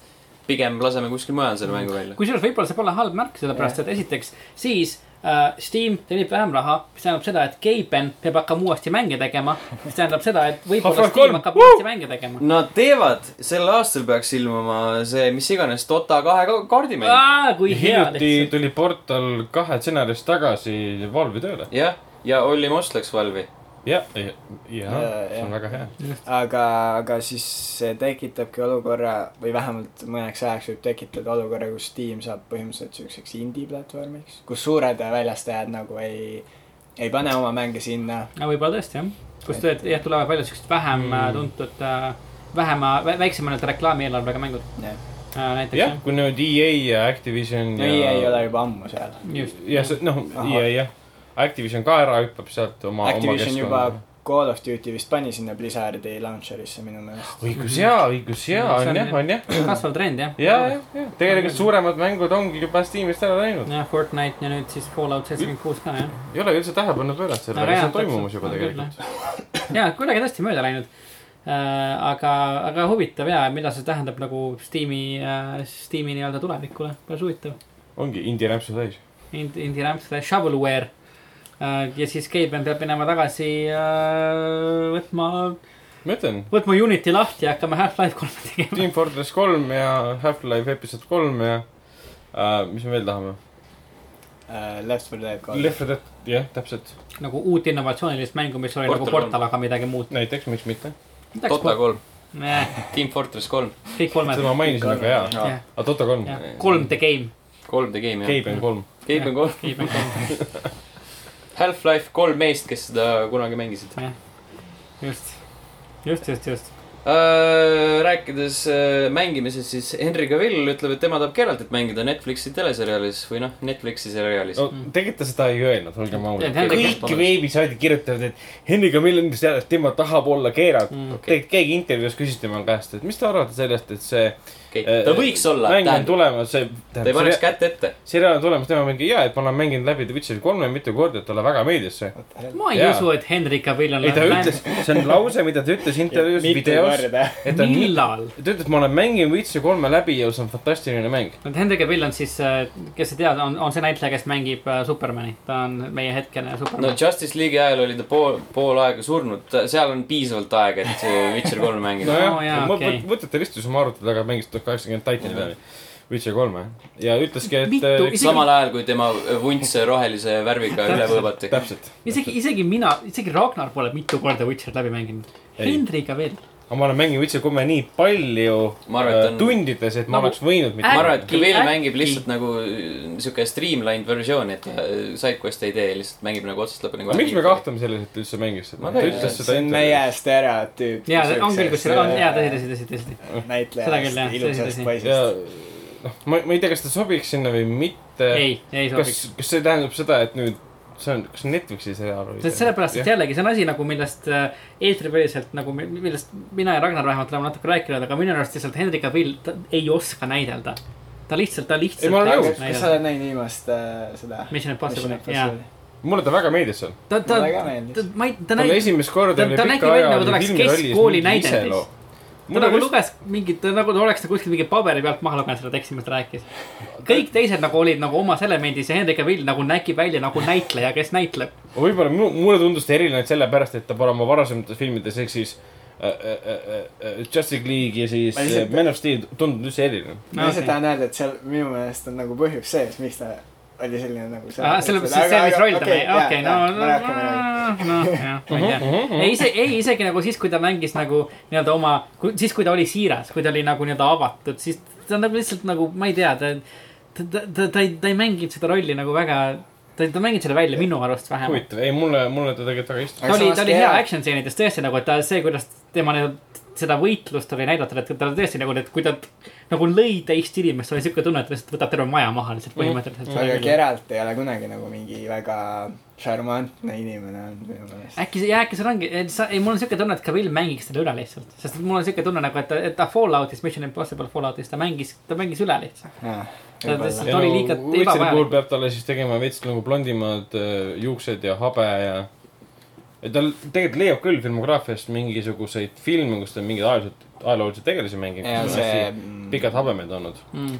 S1: pigem laseme kuskil mujal selle mängu välja .
S2: kusjuures võib-olla see pole halb märk , sellepärast et esiteks siis äh, Steam teenib vähem raha , mis tähendab seda , et Gaben peab hakkama uuesti mänge tegema , mis tähendab seda , et võib-olla
S3: Half-Life
S2: Steam
S3: kolm,
S2: hakkab uuesti mänge tegema .
S1: Nad teevad , sel aastal peaks ilmuma see , mis iganes , Dota kahe ka- kaardimäng .
S2: kui hea
S3: hiljuti
S2: lihtsalt .
S3: tuli Portal kahe stsenarist tagasi Valve'i tööle .
S1: jah , ja Olli Most läks valvi .
S3: ja , ja , ja
S4: Jaa,
S3: see
S4: jah.
S3: on väga hea .
S4: aga , aga siis see tekitabki olukorra või vähemalt mõneks ajaks võib tekitada olukorra , kus Steam saab põhimõtteliselt siukseks indie platvormiks , kus suured väljastajad nagu ei , ei pane oma mänge sinna .
S2: no võib-olla tõesti jah , kus tõed- jah , tulevad välja siuksed vähem mm. tuntud äh, , vähema , väiksema nii-öelda reklaamieelarvega mängud äh, näiteks
S3: jah , kui nüüd EA ja Activision
S4: no EA ei ole juba ammu seal .
S2: just ,
S3: ja see , noh ,
S4: Ahah.
S3: EA jah . Activision ka ära hüppab sealt oma , oma
S4: Activision juba
S3: keskkonda .
S4: Call of Duty vist pani sinna Blizzardi launcher'isse minu meelest .
S3: õigus jaa , õigus jaa ,
S2: See on
S3: on jah ,
S2: jah.
S3: on jah .
S2: kasvav trend jah .
S3: ja , ja , ja tegelikult suuremad mängud ongi juba Steamist ära läinud .
S2: jah , Fortnite ja nüüd siis Fallout seitsekümmend kuus ka jah .
S3: ei ole üldse tähelepanu
S2: Aga
S3: pööranud sellele , see
S2: jaa,
S3: on toimumas juba
S2: täpselt.
S3: tegelikult .
S2: ja kuidagi tõesti mööda läinud . aga , aga huvitav ja mida see tähendab nagu Steam'i , Steam'i nii-öelda tulevikule , päris huvitav .
S3: ongi indie rämpsu täis .
S2: Indie , Indie Ramps , Shovelware . ja siis Gaben peab minema tagasi äh, võtma ,
S3: ma ütlen ,
S2: võtma Unity lahti ja hakkama Half-Life kolme tegema . *laughs*
S3: Team Fortress kolm ja Half-Life episood kolm ja äh, mis me veel tahame ?
S4: Äh, Left 4 Dead kolm .
S3: Left 4 Dead , jah , täpselt .
S2: nagu uut innovatsioonilist mängu , mis oli nagu
S1: Portal
S2: Portal , aga midagi muud .
S3: näiteks , miks mitte .
S1: Dota kolm ,
S2: Eh,
S1: Team Fortress kolm ,
S2: kõik kolmed
S3: *laughs* seda . ma mainisin , aga jaa .
S1: jaa.
S2: jah ,
S3: aga Dota kolm ,
S2: jah , kolm the game .
S1: kolm The Game jah .
S3: Gaben kolm .
S1: Gabe on kolm ,
S2: Gaben kolm .
S1: Half-Life kolm meest , kes seda kunagi mängisid .
S2: jah , just , just , just , just .
S1: Äh, rääkides äh, mängimisest , siis Henry Cavill ütleb , et tema tahab Geraltit mängida Netflixi teleseriaalis või noh , Netflixi seriaalis
S3: no
S1: no. .
S2: Mm.
S3: tegelikult ta seda ei öelnud , olgem ausad .
S2: Henrik
S3: kõik
S1: Esposas.
S3: veebisaidid kirjutavad , et Henriga Millenist teada , et tema tahab olla keeranud
S2: Mm.
S3: okay. . tegelikult keegi intervjuus küsis tema käest , et mis te arvate sellest , et see
S1: Okay.
S3: Äh,
S1: ta võiks olla ,
S3: mäng on
S1: tähendab ,
S3: tulemas , see
S1: ta ei paneks
S3: tähendab ,
S1: kätt ette .
S3: seriaal on tulemas , tema mingi jaa , et ma olen mänginud läbi The Witcher kolme mitu korda , et talle väga meeldis see .
S2: ma ei
S3: Jaa.
S2: usu , et Henrik Cavill on .
S3: ei , ta ütles , see on lause , mida ta ütles intervjuus , videos , et ta nii
S2: millal ?
S3: ta ütles , et ma olen mänginud Witcher kolme läbi ja see on fantastiline mäng .
S2: no Henrik Cavill on siis , kes ei tea , on , on see näitleja , kes mängib äh, Supermani , ta on meie hetkene
S1: no
S2: Superman
S3: Mm-hmm.
S2: no, .
S1: Justice League'i ajal oli ta pool , pool aega surnud , seal on piisavalt aega , et see Witcher kolm mängida no. .
S2: oo, jaa, okei.
S3: mõtete ristus oma arvuti taga mängis tuhat kaheksakümmend Titani peal . Witcher kolme ja ütleski , et
S2: Mitu-
S3: äh,
S2: isegi-
S1: samal ajal , kui tema vuntse rohelise värviga üle võõbati .
S3: täpselt .
S2: isegi , isegi mina , isegi Ragnar pole mitu korda Witcher läbi mänginud .
S3: Ei.
S2: Henrik Cavill ,
S3: aga ma olen mänginud Witcher kolme nii palju
S1: Ma arvan, et
S3: äh,
S1: on-
S3: tundides , et ma
S2: Nagu-
S3: oleks võinud
S1: ma
S3: mitte
S1: arvan , et
S2: Äkki-
S1: Cavill
S2: äkki-
S1: mängib lihtsalt nagu äh, sihuke streamlined versioon , et ta sidequest'e ei tee , lihtsalt mängib nagu otsast lõpuni .
S3: miks me ? kahtleme selles , et ta üldse mängis seda
S1: Ma ?
S3: ta
S1: tean,
S3: ütles
S4: see
S3: seda
S4: on meie
S3: intervjuus .
S4: stereotüüp .
S2: jaa , on küll , kus seal on , jaa , tõsi , tõsi , tõsi , tõsi . Seda küll, jah,
S4: näitlejast ,
S2: tõsi,
S4: ilusast
S2: tõsi.
S3: ja
S4: poisist .
S3: noh , ma , ma ei tea , kas ta sobiks sinna või mitte .
S2: ei , ei sobiks
S3: kas ., kas see tähendab seda , et nüüd see on , kas Netflixi seriaal oli
S2: see on ? sellepärast , et
S3: jah .
S2: jällegi see on asi nagu , millest äh, eetripäriselt nagu , millest mina ja Ragnar vähemalt oleme natuke rääkinud , aga minu arust lihtsalt Hendrik Cavill , ta ei oska näidelda . ta lihtsalt , ta lihtsalt .
S3: Ei, ma olen nõus.
S4: kas sa oled näinud viimast äh, seda ?
S2: Mission Impossible , jaa .
S3: mulle ta väga meeldis seal .
S2: ta , ta
S4: Mulle ka , meeldis.
S2: ta , ma ei , ta
S3: talle
S2: näitab ,
S3: esimest korda
S2: ta-
S3: oli
S2: ta
S3: pika
S2: nägi välja,
S3: aja
S2: nagu ta
S3: oli
S2: oleks
S3: filmirollis
S2: keskkooli
S3: mingi
S2: näidenäitlus.
S3: iseloo .
S2: ta nagu luges mingit , nagu ta oleks ta kuskil mingi paberi pealt maha lugenud seda teksti , mis ta rääkis . kõik teised nagu olid nagu omas elemendis ja Hendrik Cavill nagu nägi välja nagu näitleja , kes näitleb .
S3: võib-olla mu- mulle tundus ta eriline ainult sellepärast , et ta pole oma varasemates filmides ehk siis äh, äh, äh, äh, Justice League ja siis
S4: Ma lihtsalt-
S3: äh, Man of Steel tundunud üldse eriline .
S4: ma lihtsalt tahan öelda , et seal minu meelest on nagu põhjus sees , miks ta oli selline nagu
S2: Ah, sellepärast , et *laughs* see , mis roll ta mängib , okei , no , no , noh , jah , ma ei tea . ei , see , ei isegi nagu siis , kui ta mängis nagu nii-öelda oma , siis kui ta oli siiras , kui ta oli nagu nii-öelda avatud , siis ta on nagu lihtsalt nagu , ma ei tea , ta , ta , ta , ta , ta ei , ta ei mänginud seda rolli nagu väga , ta , ta mängib selle välja minu arust vähemalt .
S3: huvitav , ei mulle , mulle ta tegelikult väga istus .
S2: ta oli , ta oli hea action stseenides tõesti nagu , et ta , see , kuidas tema nii-öelda seda võitlust oli näidatud , et tal tõesti nagu , et kui ta nagu lõi teist inimest , oli siuke tunne , et ta lihtsalt võtab terve maja maha lihtsalt
S4: aga
S2: põhimõtteliselt .
S4: Geralt ei ole kunagi nagu mingi väga šarmantne inimene olnud minu meelest .
S2: äkki see , äkki seal ongi , sa , ei , mul on siuke tunne , et Cavill mängiks selle üle lihtsalt , sest et mul on siuke tunne nagu , et ta , et ta Falloutis , Mission Impossible Falloutis , ta mängis , ta mängis üle lihtsalt . Ta lihtsalt- oli liiga ebavajalik.
S3: puhul peab talle siis tegema veits nagu blondimad äh, juuksed ja habe ja . ja tal tegelikult leiab küll filmograafiast mingisuguseid filme , kus ta mingeid ajalooliselt , ajaloolisi tegelasi mängib .
S4: ja see ,
S3: pikad habemed olnud .
S2: Mm.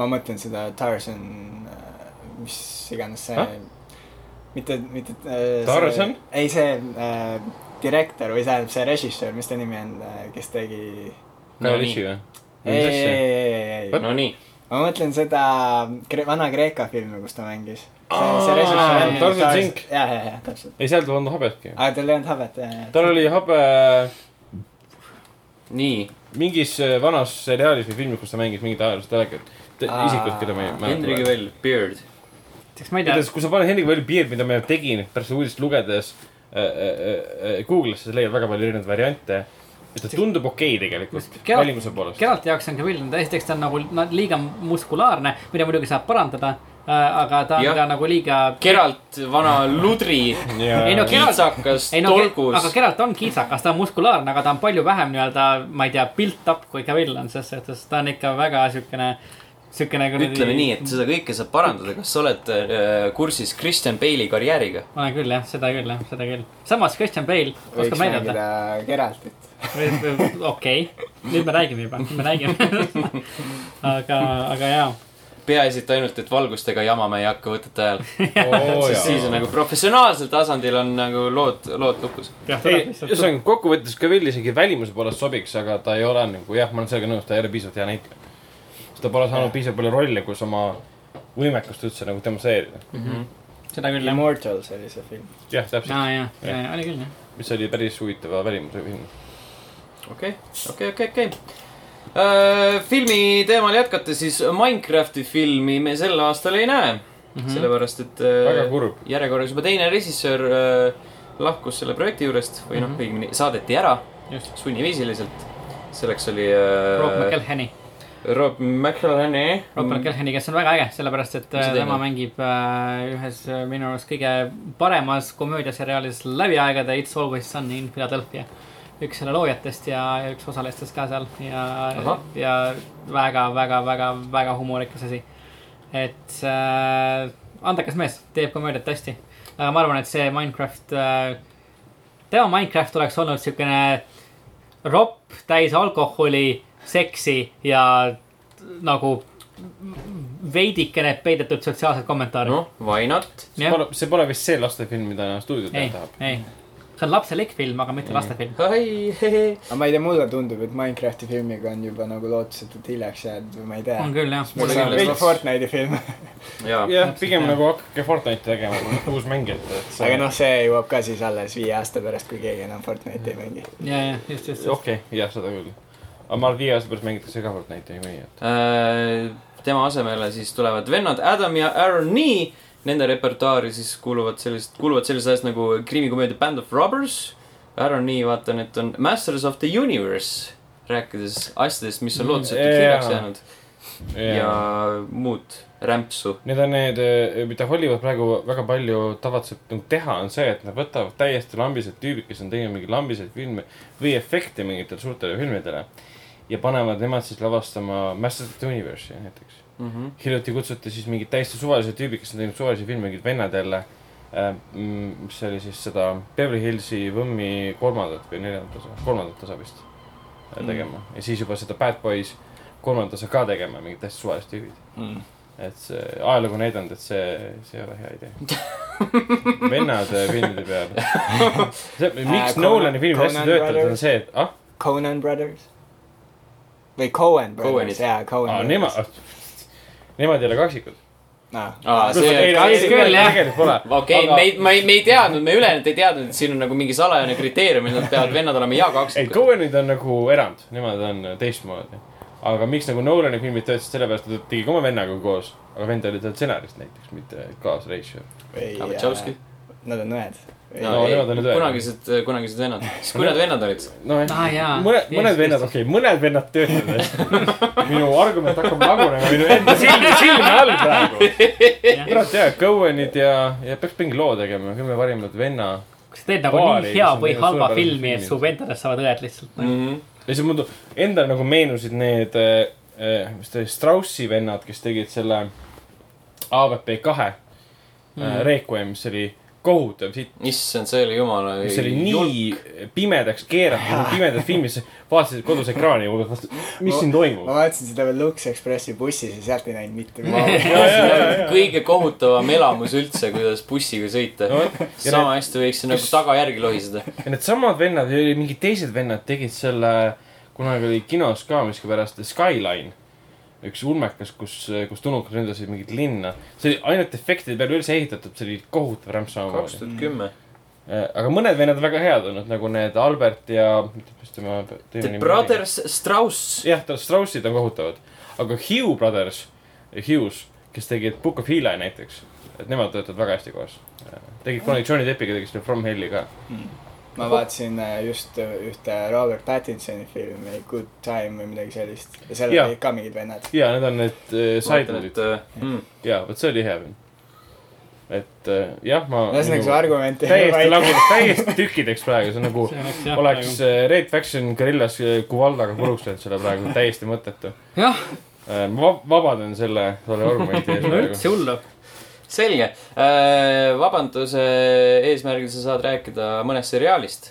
S4: ma mõtlen seda Tarzan , mis iganes see
S3: Häh? ,
S4: mitte , mitte äh,
S3: Tarzan? ?
S4: ei , see äh, direktor või tähendab see režissöör , mis ta nimi on , kes tegi ei ,
S3: Kaja
S1: No
S3: Litsi
S1: nii ,
S3: või ?
S4: ei , ei , ei , ei , ei ,
S1: no nii .
S4: ma mõtlen seda Kre- , Vana-Kreeka filmi , kus ta mängis .
S3: Tarzan Zink.
S4: ja , ja , ja , täpselt .
S3: ei , seal tal ei olnud habetki .
S4: aga tal ei olnud habet , ja , ja .
S3: tal oli habe
S1: nii ,
S3: mingis äh, vanas seriaalis või filmis , kus ta mängis mingit ajaloolist aeg-,
S4: Aa,
S3: isikut , keda ma ei
S1: Hendrik
S3: mäleta .
S1: Vell , Beard .
S2: eks ma ei tea ,
S3: kuidas , kui sa paned Hendrik Valli piir , mida ma tegin pärast seda uudist lugedes äh, äh, äh, Google'isse , sa leiad väga palju erinevaid variante . ja ta tundub okei okay tegelikult ,
S2: Kera-
S3: valimuse poolest .
S2: Geralti jaoks on Cavill , esiteks ta on nagu no, liiga muskulaarne , mida muidugi saab parandada , aga ta on
S1: Jah.
S2: ka nagu liiga .
S1: Geralt , vana ludri ,
S2: ei no Geralt ,
S1: kitsakas ,
S2: ei no , aga
S1: tolgus .
S2: Geralt on kitsakas , ta on muskulaarne , aga ta on palju vähem nii-öelda , ma ei tea , built up kui Cavill on , selles suhtes ta on ikka väga siukene , siukene .
S1: ütleme nii , et seda kõike saab parandada , kas sa oled äh, kursis Christian Bale'i karjääriga ?
S2: olen küll jah , seda küll jah , seda küll . samas Christian Bale oskab
S4: võiks
S2: näidata .
S4: mängida Geraltit .
S2: Või- või- okei okay. , nüüd me räägime *laughs* juba , nüüd me räägime . aga , aga jaa ,
S1: peaasi , et ainult , et valgustega jama me ei hakka võtete
S2: *laughs*
S1: ajal . *laughs*
S2: Oh
S1: sest siis on
S3: ei ,
S1: nagu professionaalsel tasandil on nagu lood , lood lukus .
S2: peab tulema lihtsalt .
S3: ühesõnaga kokkuvõttes Cavill isegi välimuse poolest sobiks , aga ta ei ole nagu jah , ma olen sellega nõus , ta ei ole piisavalt hea näitleja . sest ta pole saanud piisavalt palju rolle , kus oma võimekust üldse nagu demonstreerida .
S1: Mhm.
S2: seda küll jah .
S4: Immortals oli see film .
S3: jah , täpselt ,
S2: aa jaa , jaa , oli küll jah .
S3: mis oli päris huvitava välimuse film .
S1: okei , okei , okei , okei . filmi teemal jätkata , siis Minecrafti filmi me sel aastal ei näe
S2: Mhm.
S1: mm . -hmm. sellepärast , et äh,
S3: Väga kurb.
S1: järjekorras juba teine režissöör äh, lahkus selle projekti juurest või noh ,
S2: Mhm.
S1: õigemini saadeti ära
S2: just .
S1: sunniviisiliselt . selleks oli
S2: Rob
S1: äh,
S2: McElhenney ,
S1: Rob McElhenney .
S2: Rob McElhenney , kes on väga äge , sellepärast et
S1: Mm. Mis ta
S2: äh,
S1: teinud
S2: tema
S1: on?
S2: mängib äh, ühes äh, minu arust kõige paremas komöödiaseriaalis läbi aegade It's always sunny in Philadelphia . üks selle loojatest ja ja üks osalistest ka seal ja
S1: Ahah. ,
S2: ja väga , väga , väga , väga humoorikas asi . et äh, andekas mees , teeb komöödiat hästi . aga ma arvan , et see Minecraft äh, , tema Minecraft oleks olnud siukene ropp , täis alkoholi , seksi ja nagu veidikene peidetud sotsiaalsed kommentaarid no, .
S1: noh , why not ?
S3: see pole , see pole vist see lastefilm , mida stuudio teha
S2: ei
S3: tahab .,
S2: ei , see on lapselik film , aga mitte lastefilm .
S1: ai ,
S4: aga ma ei tea , mulle tundub , et Minecrafti filmiga on juba nagu lootusetult hiljaks jäänud või ma ei tea
S2: on . küll jah .
S4: mul
S1: Mulle
S4: saab
S1: kindlasti.
S4: juba Fortnite'i film ,
S1: jaa .
S3: jah ,
S2: Täpselt,
S3: pigem
S2: jah.
S3: nagu hakake Fortnite'i tegema , kui olete *laughs* uus mängija , et , et
S4: *laughs* aga . noh , see jõuab ka siis alles viie aasta pärast , kui keegi enam Fortnite'i ei mängi .
S2: ja , ja just , just , just .
S3: okei , jah , seda küll . aga ma arvan , viie aasta pärast mängitakse ka Fortnite'i , ei meie .
S1: Äh, tema asemele siis tulevad vennad Adam ja Aaron Nee . Nende repertuaari siis kuuluvad sellised , kuuluvad sellised asjad nagu kriimikomöödia Band of Robbers . Aaron Nee , vaatan , et on Masters of the Universe , rääkides asjadest , mis on
S2: Mm,
S1: lootusetult
S3: jaa.
S1: hiljaks jäänud ja muud rämpsu .
S3: Need on need , mida Hollywood praegu väga palju tavatseb nagu teha , on see , et nad võtavad täiesti lambised tüübid , kes on teinud mingeid lambiseid filme või efekte mingitele suurtele filmidele . ja panevad nemad siis lavastama Master of the Universe'i näiteks .
S1: Mm -hmm.
S3: hiljuti kutsuti siis mingid täiesti suvalised tüübid , kes on teinud suvalisi filme , mingid vennad jälle . mis see oli siis seda Beverly Hillsi võmmi kolmandat või neljandat osa , kolmandat osa vist . tegema mm. ja siis juba seda Bad Boys kolmanda osa ka tegema , mingid täiesti suvalised tüübid .
S4: mm. .
S3: et see ajalugu on näidanud , et see , see ei ole hea idee . vennad eh, filmide peal . miks
S4: Conan-
S3: Nolani filmid hästi
S4: Conan
S3: töötavad , on
S4: Brothers.
S3: see , et ah ,
S4: Conan Brothers või
S1: Coenid.
S4: Cohen Brothers , jaa , Cohen
S3: aa, ah, nemad , *laughs* nemad ei ole kaksikud .
S4: Ah,
S1: Aa, see-
S2: küll, jah.
S3: tegelikult pole .
S1: okei , me ei , me ei , me ei teadnud , me ülejäänud ei teadnud , et siin on nagu mingi salajane kriteerium , et nad peavad vennad olema ja
S3: ei ,
S1: kaksikud .
S3: Coenid on nagu erand , nemad on teistmoodi . aga miks nagu Nolani filmid töötasid , sellepärast et ta tegi ka oma vennaga koos , aga vend oli tal stsenarist näiteks , mitte kaasreisijal .
S1: aga Tšauski
S4: või ??
S5: Nad on õed .
S1: no,
S3: no
S1: ei,
S3: nemad olid õed.
S1: kunagised , kunagised vennad . siis kui nad vennad olid ?
S3: nojah
S2: Aa, Ah, jaa.
S3: mõned , mõned
S2: Jeesus
S3: vennad , okei okay, , mõned vennad töötavad *laughs* hästi . minu argument hakkab lagunema minu
S2: *laughs*
S3: enda silmi , silme all praegu . kurat jaa , Coenid ja , ja peaks mingi loo tegema , kümme parimat venna .
S2: kas sa teed nagu
S3: Paari,
S2: nii hea
S3: mis on
S2: või
S3: tegelikult
S2: halba
S3: suurepärased
S2: filmi , et
S3: filmid.
S2: su vendadest saavad õed lihtsalt ? noh.
S3: ja siis mul tu- endal nagu meenusid need , mis ta oli , Straussi vennad , kes tegid selle AVP kahe mm. , Requiem , mis oli kohutav sitt .
S1: issand , see oli jumala .
S3: mis oli nii pimedaks keeratud , pimedad filmid , sa vaatasid kodus ekraani , mis siin toimub
S4: ma . vaatasin seda veel Lux Expressi bussis ja sealt ei näinud mitte midagi .
S1: kõige kohutavam elamus üldse , kuidas bussiga sõita
S3: No
S1: no, .
S3: vot. Ja
S1: sama hästi võiks nagu tagajärgi lohiseda .
S3: ja needsamad vennad ja oli- mingid teised vennad tegid selle , kunagi oli kinos ka miskipärast Skyline . üks ulmekas , kus , kus tulnukad ründasid mingit linna . see oli ainult efektide peale üldse ehitatud , see oli kohutav
S1: kaks
S3: rämps samamoodi .
S1: tuhat kümme .
S3: Äh, aga mõned vennad on väga head olnud , nagu need Albert ja , mis tema .
S1: The Brothers Strauss .
S3: jah , Straussid on kohutavad . aga Hugh Brothers , Hughes , kes tegid Book of Eli näiteks , et nemad töötavad väga hästi koos . tegid kunagi Johnny Deppiga tegid selle From Hell'i ka .
S4: Mm. ma vaatasin äh, just äh, ühte Robert Pattinsoni filmi Good Time või midagi sellist ja seal
S3: Jaa.
S4: olid ka mingid vennad .
S3: ja need on need äh, side-moodid .
S1: see
S3: jaa , vot see oli hea film . et äh, jah , ma .
S4: ühesõnaga , su argument ei
S3: täiesti
S4: ole
S3: langenud , täiesti tükkideks praegu , see on nagu *laughs* oleks
S2: oleks .
S3: äh, Red Faction Guerrillas äh, Kuvaldaga puruks löönud selle
S2: *laughs*
S3: praegu , täiesti mõttetu .
S2: jah ,
S3: ma vab- vabandan selle , selle
S2: *laughs*
S3: argumendi ees praegu .
S2: üldse hullu .
S1: selge , vabanduse eesmärgil sa saad rääkida mõnest seriaalist .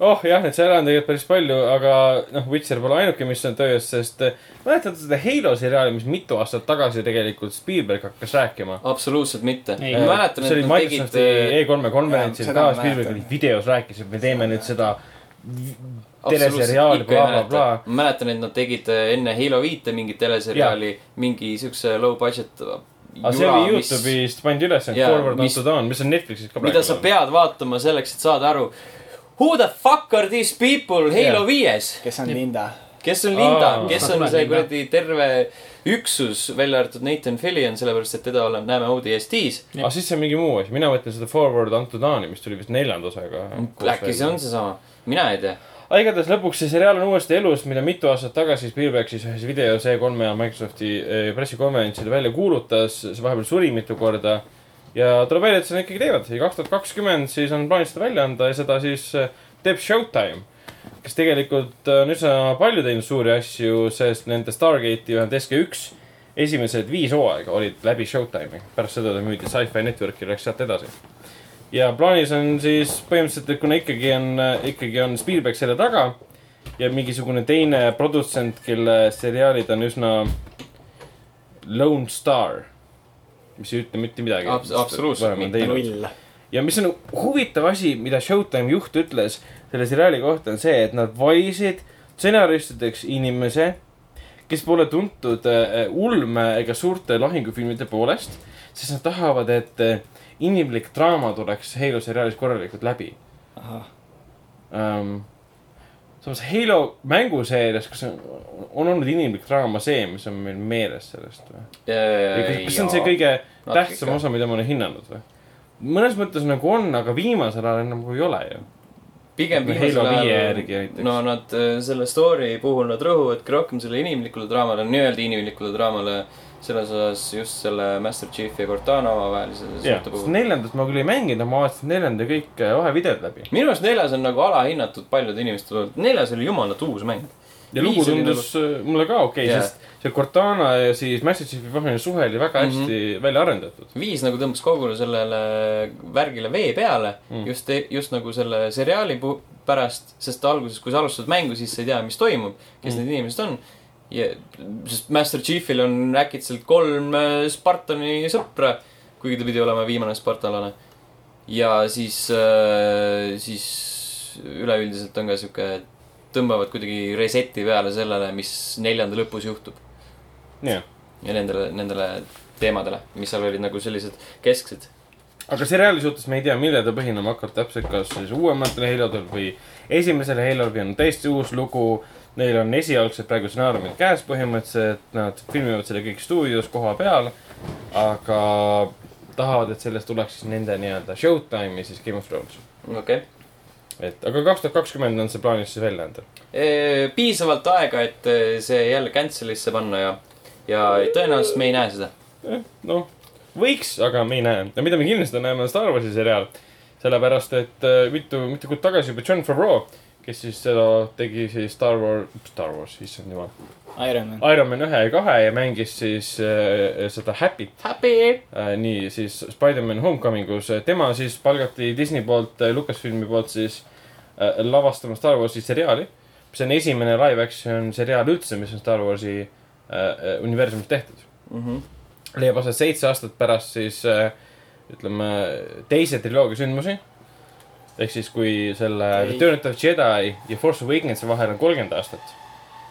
S3: oh jah , neid seriaale on tegelikult päris palju , aga noh , Witcher pole ainuke , mis on töös , sest äh, mäletate seda Halo seriaali , mis mitu aastat tagasi tegelikult Spielberg hakkas rääkima ?
S1: absoluutselt mitte .
S2: Ei.
S1: ma mäletan , et
S3: see oli
S1: nad tegid
S3: Microsofti
S1: äh,
S3: E3-e konverentsil
S4: Jaa, seda
S3: ka
S4: ma ,
S3: Spielberg oli
S4: mäletan.
S3: videos rääkis , et me teeme nüüd seda
S1: absoluutselt
S3: teleseriaali ,
S1: ikka ei
S3: blablabla
S1: mäleta ., ma mäletan , et nad tegid äh, enne Halo viite mingit teleseriaali , mingi siukse low budget .
S3: aga see oli Youtube'ist pandi üles , et
S1: Jaa,
S3: Forward
S1: mis-
S3: Not Down , mis on Netflixis ka
S1: mida sa
S3: praegu .
S1: pead vaatama selleks , et saada aru . Who the fuck are these people Halo
S3: Jah.
S1: viies ?
S4: kes on Linda .
S1: kes on Linda
S3: Aa. ,
S1: kes
S2: Ma
S1: on
S2: tulen
S1: see
S2: Linda.
S1: kuradi terve üksus , välja arvatud Nathan Fillion , sellepärast et teda oleme , näeme ODST-s .
S3: aga siis see on mingi muu asi , mina mõtlen seda Forward Not Down'i , mis tuli vist neljanda osaga .
S1: Mm, äkki see on seesama , mina ei tea .
S3: aga igatahes lõpuks see seriaal on uuesti elus , mida mitu aastat tagasi Spielberg siis ühes videos E3-e ja Microsofti eh, pressikonverentsil välja kuulutas , see vahepeal suri mitu korda . ja tuleb välja , et seda ikkagi teevad ja kaks tuhat kakskümmend siis on plaanis seda välja anda ja seda siis eh, teeb Showtime , kes tegelikult äh, on üsna palju teinud suuri asju , sest nende Stargate'i vähemalt SK1 esimesed viis hooaega olid läbi Showtime'i , pärast seda ta müüdi Sci-Fi Networki , läks sealt edasi . ja plaanis on siis põhimõtteliselt , et kuna ikkagi on , ikkagi on Spielberg selle taga ja mingisugune teine produtsent , kelle seriaalid on üsna Lone Star , mis ei ütle mitte midagi .
S1: Abs- absoluutselt mitte.
S4: null .
S3: ja mis on huvitav asi , mida Showtime juht ütles selle seriaali kohta , on see , et nad valisid stsenaristideks inimese , kes pole tuntud äh, ulme ega suurte lahingufilmide poolest , sest nad tahavad , et äh, inimlik draama tuleks Halo seriaalis korralikult läbi
S4: Ahah.
S3: um, . samas Halo mänguseerias , kas on, on olnud inimlik draama see , mis on meil meeles sellest või ? kas see on see kõige
S1: Natuke
S3: tähtsam
S1: ikka.
S3: osa , mida ma olen hinnanud või ? mõnes mõttes nagu on , aga viimasel ajal enam kui ei ole ju .
S1: pigem
S3: Halo
S1: viimasel
S3: viie
S1: ajal
S3: järgi näiteks.
S1: no nad äh, selle story puhul nad rõhuvadki rohkem selle inimlikule draamale , nii-öelda inimlikule draamale selles osas just selle Master Chief ja Cortana omavahelise
S3: jah ,
S1: suhte
S3: sest
S1: puhul .
S3: neljandat ma küll ei mänginud , aga ma vaatasin neljanda kõik eh, vahevideod läbi .
S1: minu arust neljas on nagu alahinnatud paljude inimeste poolt , neljas oli jumalat uus mäng .
S3: ja lugu
S1: Viis oli
S3: tundus äh, mulle ka okei okay,
S1: Jaa.
S3: yeah. , sest see Cortana ja siis Masterchiefi vaheline suhe oli väga hästi mm -hmm. välja arendatud .
S1: viis nagu tõmbas kogu sellele värgile vee peale mm.
S3: Mm.
S1: just , just nagu selle seriaali pu- pärast , sest alguses , kui sa alustad mängu , siis sa ei tea , mis toimub , kes mm.
S3: Mm.
S1: need inimesed on . ja , sest Master Chiefil on äkitselt kolm äh, Spartani sõpra , kuigi ta pidi olema viimane spartalane . ja siis , siis üleüldiselt on ka sihuke , tõmbavad kuidagi reset'i peale sellele , mis neljanda lõpus juhtub
S3: jah ,
S1: ja nendele , nendele teemadele , mis seal olid nagu sellised kesksed .
S3: aga seriaali suhtes me ei tea , millele ta põhinema hakkab täpselt , kas siis uuematel Halodel või esimesel Halodel , on täiesti uus lugu . Neil on esialgsed praegu stsenaariumid käes põhimõtteliselt , nad filmivad selle kõik stuudios koha peal , aga tahavad , et sellest tuleks siis nende nii-öelda showtime ja siis Game of Thrones .
S1: okei okay. .
S3: et aga kaks tuhat kakskümmend on see plaanis siis välja anda .
S1: piisavalt aega , et eh, see jälle cancel'isse panna ja , ja tõenäoliselt me ei näe seda .
S3: noh , võiks , aga me ei näe . no mida me kindlasti näeme , on Star Warsi seriaal . sellepärast , et äh, mitu , mitu kuud tagasi juba John Favreau , kes siis seda tegi siis Star Wars , Star Wars , issand jumal .
S4: Iron Man .
S3: Iron Man ühe ja kahe ja mängis siis äh, seda Happy't
S1: Happy .
S3: äh, nii siis Spider-man Homecomingus . tema siis palgati Disney poolt , Lucasfilmi poolt siis äh, lavastama Star Warsi seriaali . see on esimene live action seriaal üldse , mis on Star Warsi äh, universumis tehtud .
S1: Mm -hmm.
S3: leiab aset seitse aastat pärast siis äh, ütleme teise triloogia sündmusi . ehk siis , kui selle
S4: Ei.
S3: Return of the Jedi ja Force Awakens'i vahel on kolmkümmend aastat ,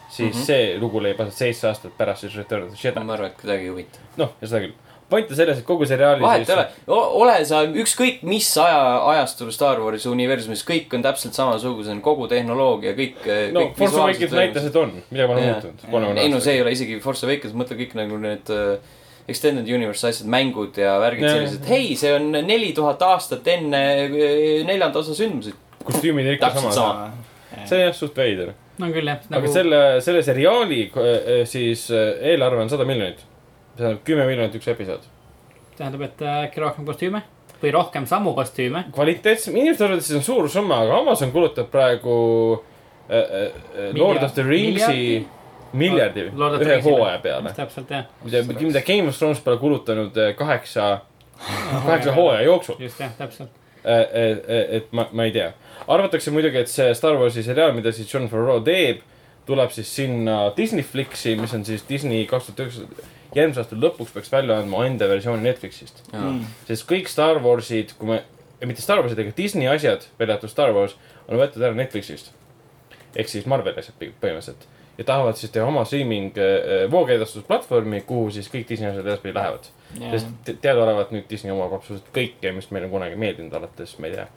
S3: siis mm
S1: Mhm.
S3: -hmm. see lugu leiab aset seitse aastat pärast siis Return of the Jedi .
S1: ma arvan , et kedagi ei huvita .
S3: noh , ja seda küll . point on selles , et kogu seriaali .
S1: vahet ei ole , ole sa ükskõik mis aja , ajastul Star Warsi universumis , kõik on täpselt samasuguse , on kogu tehnoloogia , kõik .
S3: no Force Awakens näitas , et on , midagi pole
S1: Jaa.
S3: muutunud . kolmekümne
S1: ei no see
S3: aastaga .
S1: ei ole isegi Force Awakens , mõtle kõik nagu need uh, Extended Universe asjad , mängud ja värgid
S3: Jaa,
S1: sellised . hei , see on neli tuhat aastat enne eh, neljanda osa sündmusi .
S3: kostüümid on ikka
S1: Täpselt sama.
S3: samad . see on jah , suht veider .
S2: on küll jah ,
S3: aga
S2: nagu
S3: selle , selle seriaali äh, siis äh, eelarve on sada miljonit . see tähendab kümme miljonit üks episood .
S2: tähendab , et äh, äkki rohkem kostüüme või rohkem samu kostüüme .
S3: kvaliteetsem , inimeste arvates see on suur summa , aga Amazon kulutab praegu äh, äh, äh, Lord of the Ringsi miljardi
S2: Lord of the
S3: ühe
S2: Ringsi
S3: hooaja peale .
S2: täpselt jah ,
S3: mida , mida Game of Thrones pole kulutanud äh, kaheksa , kaheksa hooaja jooksul .
S2: just jah , täpselt .
S3: et ma , ma ei tea . arvatakse muidugi , et see Star Warsi seriaal , mida siis John Favreau teeb , tuleb siis sinna Disney Flixi , mis on siis Disney kaks tuhat üheksa , järgmise aasta lõpuks peaks välja andma enda versiooni Netflixist .
S1: Mm.
S3: sest kõik Star Warsid , kui me , mitte Star Warsid , aga Disney asjad , välja arvatud Star Wars , on võetud ära Netflixist . ehk siis Marveli asjad pigi- põhimõtteliselt . ja tahavad siis teha oma streaming äh, äh, voogedastusplatvormi , kuhu siis kõik Disney asjad edaspidi lähevad . sest te- teadaolevalt nüüd Disney omab absoluutselt kõike , mis meile on kunagi meeldinud , alates , ma ei tea ,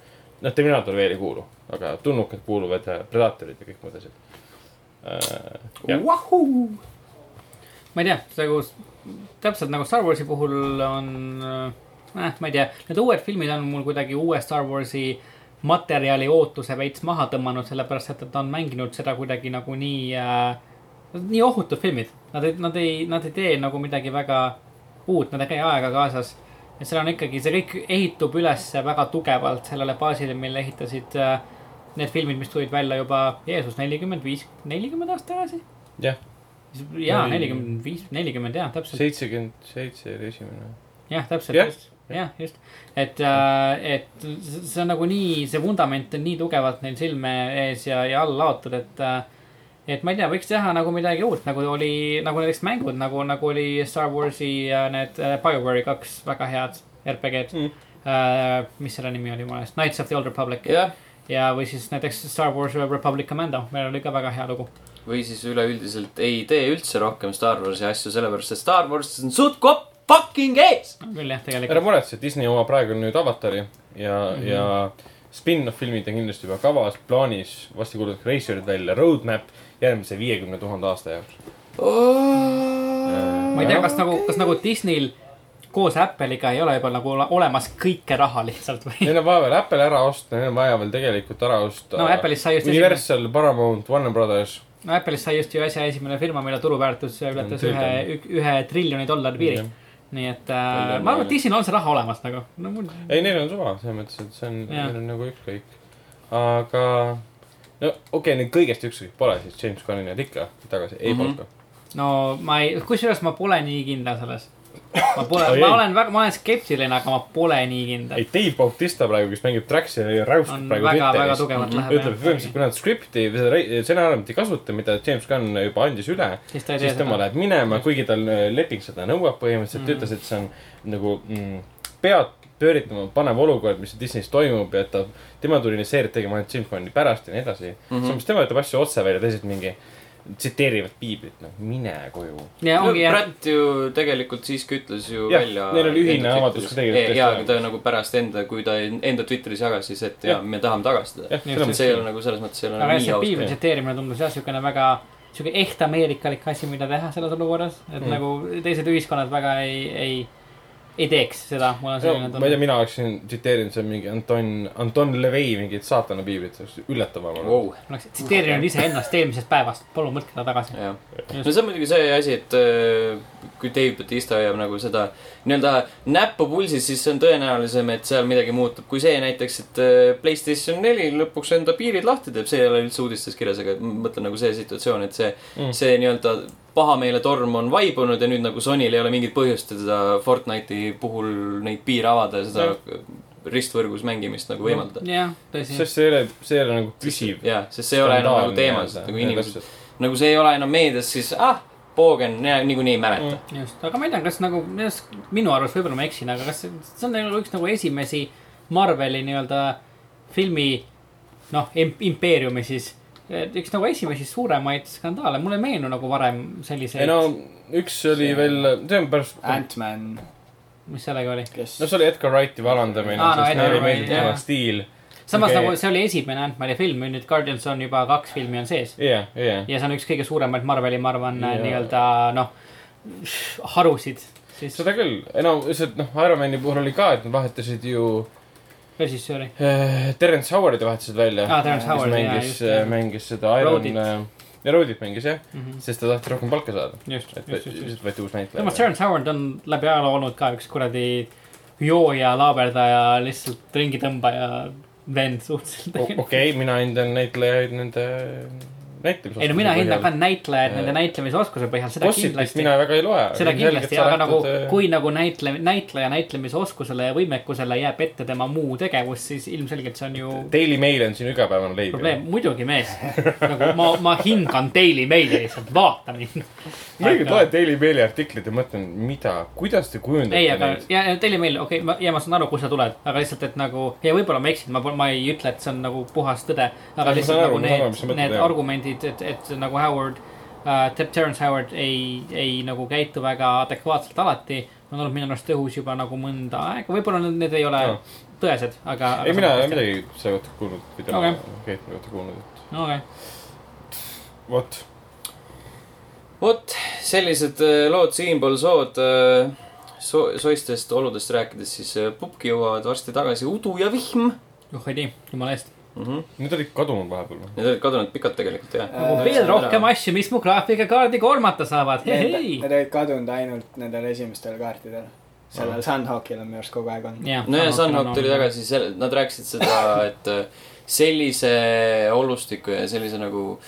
S3: noh , Terminaator veel ei kuulu , aga tulnukad kuuluvad ja Predatorid ja kõik muud asjad äh, . jah ,
S1: Wahoo!
S2: ma ei tea , nagu s- täpselt nagu Star Warsi puhul on , eh , ma ei tea , need uued filmid on mul kuidagi uue Star Warsi materjali ootuse veits maha tõmmanud , sellepärast et nad on mänginud seda kuidagi nagu nii äh, , nii ohutud filmid . Nad ei , nad ei , nad ei tee nagu midagi väga uut , nad ei käi aega kaasas . et seal on ikkagi , see kõik ehitub üles väga tugevalt sellele baasile , mille ehitasid äh, need filmid , mis tulid välja juba , Jeesus , nelikümmend viis , nelikümmend aastat tagasi
S3: jah ,
S2: jaa ,
S3: Neli-
S2: nelikümmend viis , nelikümmend jaa , täpselt ,
S3: seitsekümmend seitse oli esimene .
S2: jah ,
S3: jah,
S2: täpselt , jah , just . et , et s- see on nagu nii , see vundament on nii tugevalt neil silme ees ja , ja all laotud , et , et ma ei tea , võiks teha nagu midagi uut , nagu oli , nagu näiteks mängud , nagu , nagu oli Star Warsi ja need äh, BioWare'i kaks väga head RPG-d
S3: Mm.
S2: mm. . mis selle nimi oli , ma ei mäleta , Knights of the Old Republic ja,
S1: jah ,
S2: ja , või siis näiteks Star Wars Republic Commando , meil oli ka väga hea lugu .
S1: või siis üleüldiselt ei tee üldse rohkem Star Warsi asju , sellepärast et Star Wars on suht-kopp fucking ees .
S2: küll jah ,
S3: ära
S2: tegelikult .
S3: muretse , Disney omab praegu nüüd Avatari ja
S2: Mhm.
S3: mm , -hmm. ja spin-off filmid on kindlasti juba kavas , plaanis , varsti kuulutatakse Racerid välja , Roadmap järgmise viiekümne tuhande aasta jaoks .
S2: ma ei tea , kas nagu , kas nagu Disneyl koos Apple'iga ei ole juba nagu ole- olemas kõike raha lihtsalt või ?
S3: Neil on vaja veel Apple ära osta , neil on vaja veel tegelikult ära osta .
S2: No Apple'ist sai just
S3: Universal , Paramount , Warner Brothers .
S2: no Apple'is sai just ju äsja esimene firma , mille turuväärtus ületas
S3: Triljon.
S2: ühe , ühe triljoni dollari piiri . nii et äh,
S1: Palju
S2: ma
S1: on-
S2: arvan , et Disneyl on see raha olemas nagu . no mul ,
S3: ei , neil on suva , selles mõttes , et see on ,
S2: Jaa.
S3: neil on nagu ükskõik . aga no okei okay, , neid kõigest ükskõik pole , siis James Gunni nad ikka tagasi ei
S1: Mhm.
S3: palka .
S2: no ma ei , kusjuures ma pole nii kindel selles . ma pole
S3: Oi, , ei.
S2: ma olen väga , ma olen skeptiline , aga ma pole nii kindel
S3: ei ,. Dave Bautista praegu , kes mängib Traxi ja räuskab
S2: on
S3: praegu
S2: väga , väga
S3: Twitteris ,
S2: tugevalt läheb .
S3: ütleb , et põhimõtteliselt kui nad skripti või seda rei- stsenaariumit ei kasuta , mida James Gunn juba andis üle ,
S2: siis ta ei tee
S3: siis tema
S2: seda .
S3: läheb minema , kuigi tal äh, leping seda nõuab põhimõtteliselt mm , -hmm. ütles , et see on nagu mm, pead pööritama panev olukord , mis Disney's toimub ja et ta , tema tuli neid seeriaid tegema ainult James Bondi pärast ja nii edasi mm
S1: Mhm.
S3: -hmm. . samas tema ütleb asju otse välja , teised mingi tsiteerivad piiblit , noh mine koju .
S2: ja ongi jah ,
S1: Pratt ju tegelikult siiski ütles ju
S3: Jah,
S1: välja .
S3: neil oli ühine avaldus ka tegelikult
S1: jaa ,
S3: tõesti
S1: aga ta nagu pärast enda , kui ta enda Twitteris jagas , siis et jaa
S3: Jah. ,
S1: me tahame tagastada .
S3: jah , seda
S2: Just,
S3: ma
S1: see ei
S3: mõtlesin
S1: ole . nagu selles mõttes , see ei ole
S2: aga
S1: nagu
S2: jah ,
S1: nii
S2: see
S1: aus .
S2: piibli tsiteerimine tundus jah , siukene väga , siuke eht ameerikalik asi , mida teha selles olukorras . et
S3: Mm.
S2: nagu teised ühiskonnad väga ei , ei , ei teeks seda . mul on selline
S3: ma ei tea ,
S2: tunne .
S3: mina oleksin tsiteerinud seal mingi Anton , Anton Levei mingit saatana piiblit , see oleks üllatav ma arvan .
S1: Wow.
S2: ma oleks tsiteerinud iseennast eelmisest päevast , palun mõtle seda tagasi .
S1: jah ,
S2: Just.
S1: no see on muidugi see asi , et äh, kui Dave Batista hoiab nagu seda nii-öelda näppu pulsis , siis see on tõenäolisem , et seal midagi muutub . kui see näiteks , et äh, Playstation neli lõpuks enda piirid lahti teeb , see ei ole üldse uudistes kirjas , aga ma mõtlen nagu see situatsioon , et see mm. , see nii-öelda pahameeletorm on vaibunud ja nüüd nagu Sonyl ei ole mingit põhjust seda Fortnite'i puhul neid piire avada ja seda ristvõrgus mängimist nagu võimaldada .
S2: jah , tõsi .
S3: sest see ei ole , see ei ole nagu püsiv .
S1: jaa , sest see ei ole enam nagu teemas , et nagu inimesed ,. nagu see ei ole enam meedias , siis ah , poogen , niikuinii ei mäleta .
S2: just , aga ma ei tea , kas nagu , minu arust võib-olla ma eksin , aga kas see see on nagu üks nagu esimesi Marveli nii-öelda filmi noh , impeeriumi siis . üks nagu esimesi suuremaid skandaale , mulle ei meenu nagu varem
S3: ei
S2: selliseid
S3: no , üks oli
S4: See-
S3: veel , see on pärast
S4: Ant-Man ,
S2: mis sellega oli .
S4: kes
S3: no see oli Edgar Wrighti vallandamine
S2: Aa,
S3: ah, ,
S2: no
S3: no, sest
S2: Edgar
S3: neile
S2: Wright,
S3: meeldib
S2: jah.
S3: tema stiil .
S2: samas
S3: Okei.
S2: okay. nagu see oli esimene Ant-Mani film ja nüüd Guardians on juba kaks filmi on sees .
S3: jah , jah .
S2: ja see on üks kõige suuremaid Marveli , ma arvan
S3: Jaa.
S2: yeah. , nii-öelda noh , harusid siis
S3: seda küll , ei no lihtsalt noh , Iron Mani puhul oli ka , et nad vahetasid ju
S2: režissööri .
S3: äh, , Terence Howardi vahetasid välja
S2: aa , Terence
S3: kes
S2: Ah, Howard , jaa ,
S3: mängis eh, äh,
S2: just ,, jah .
S3: mängis seda Iron
S2: Roadit.
S3: äh, ja Roadit mängis jah ,
S2: just ,
S3: sest ta tahtis rohkem palka saada .
S2: just ,
S3: et
S2: just , just .
S3: lihtsalt võeti uus
S2: samas
S3: näitleja .
S2: Terence Howard on läbi ajaloo olnud ka üks kuradi jooja , laaberdaja , lihtsalt ringitõmbaja vend suhteliselt .
S3: okei , mina hindan näitlejaid nende näitlemise .
S2: ei no mina hindan ka näitlejaid nende näitlemisoskuse põhjal , seda
S3: Gossipist
S2: kindlasti
S3: mina . väga ei loe .
S2: seda kindlasti , aga nagu ,
S3: äh, eh,
S2: kui nagu näitle- , näitleja näitlemisoskusele ja võimekusele jääb ette tema muu tegevus , siis ilmselgelt see on ju
S3: Daily Mail on siin igapäevane leib .
S2: probleem , muidugi mees . nagu ma , ma hingan Daily Maili lihtsalt , vaata mind .
S3: muidugi loen Daily Maili artiklit ja mõtlen , mida , kuidas te kujundate
S2: ei , aga
S3: neid .
S2: ja , ja Daily Mail , okei okay, , ma , ja ma saan aru , kust sa tuled , aga lihtsalt , et nagu ja võib-olla ma eksin , ma , ma ei ütle , et see on nagu puhas tõde ,
S3: ma
S2: aga lihtsalt
S3: saan aru,
S2: nagu
S3: ma saan aru, mis sa
S2: need ,
S3: mõtled,
S2: need
S3: jah.
S2: argumendid , et , et nagu Howard äh, , Terence Howard ei , ei nagu käitu väga adekvaatselt alati . on olnud minu arust õhus juba nagu mõnda aega , võib-olla need, need ei ole
S3: Jaa.
S2: tõesed , aga .
S3: ei , mina ei ole . midagi selle kohta kuulnud , või tema
S2: Okei.
S3: Keitri kohta kuulnud ,
S2: okei ,
S3: et vot .
S1: vot sellised äh, lood siinpool sood äh, so, . soistest oludest rääkides , siis äh, pupki jõuavad varsti tagasi udu ja vihm mm .
S2: oh ei tea , jumala eest .
S1: -hmm.
S3: Need olid kadunud vahepeal või ?
S1: Need olid kadunud pikalt tegelikult jah .
S4: Äh,
S2: veel rohkem asju , mis mu graafikakaardi koormata saavad , hei
S4: Need , need olid kadunud ainult nendel esimestel kaartidel . sellel Sunhawkil on minu arust kogu aeg olnud .
S2: hei .
S1: no ja Sunhawk tuli .
S2: nagu
S1: tagasi , nad rääkisid seda , et äh, sellise olustiku ja sellise nagu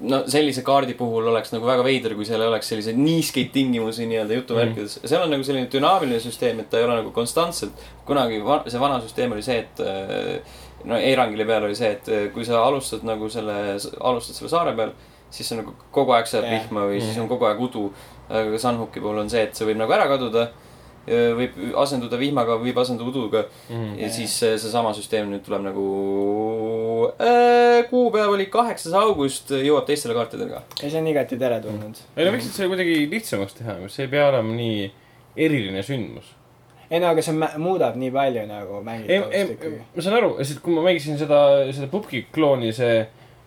S1: no sellise kaardi puhul oleks nagu väga veider , kui seal ei oleks selliseid niiskeid tingimusi nii-öelda jutuvärkides mm. . seal on nagu selline dünaamiline süsteem , et ta ei ole nagu konstantselt . kunagi va see vana süsteem oli see , et äh, no E-rangile peal oli see , et äh, kui sa alustad nagu selle , alustad selle saare peal , siis sa nagu kogu aeg saad
S4: Jah.
S1: yeah. vihma või siis
S3: Mhm.
S1: on kogu aeg udu . aga Sunhooki puhul on see , et see võib nagu ära kaduda , võib asenduda vihmaga , võib asenduda uduga ja siis see- seesama süsteem nüüd tuleb nagu äh, , kuupäev oli kaheksas august , jõuab teistele kaartidele ka .
S4: ja see on igati teretulnud .
S3: ei no
S2: Mm.
S3: võiksid selle kuidagi lihtsamaks teha , see ei pea olema nii eriline sündmus .
S4: ei no aga see mä- muudab nii palju nagu
S3: ei ,
S4: mängitavust
S3: ei
S4: ikkagi .,
S3: ma saan aru , sest kui ma mängisin seda , seda Pupki klooni , see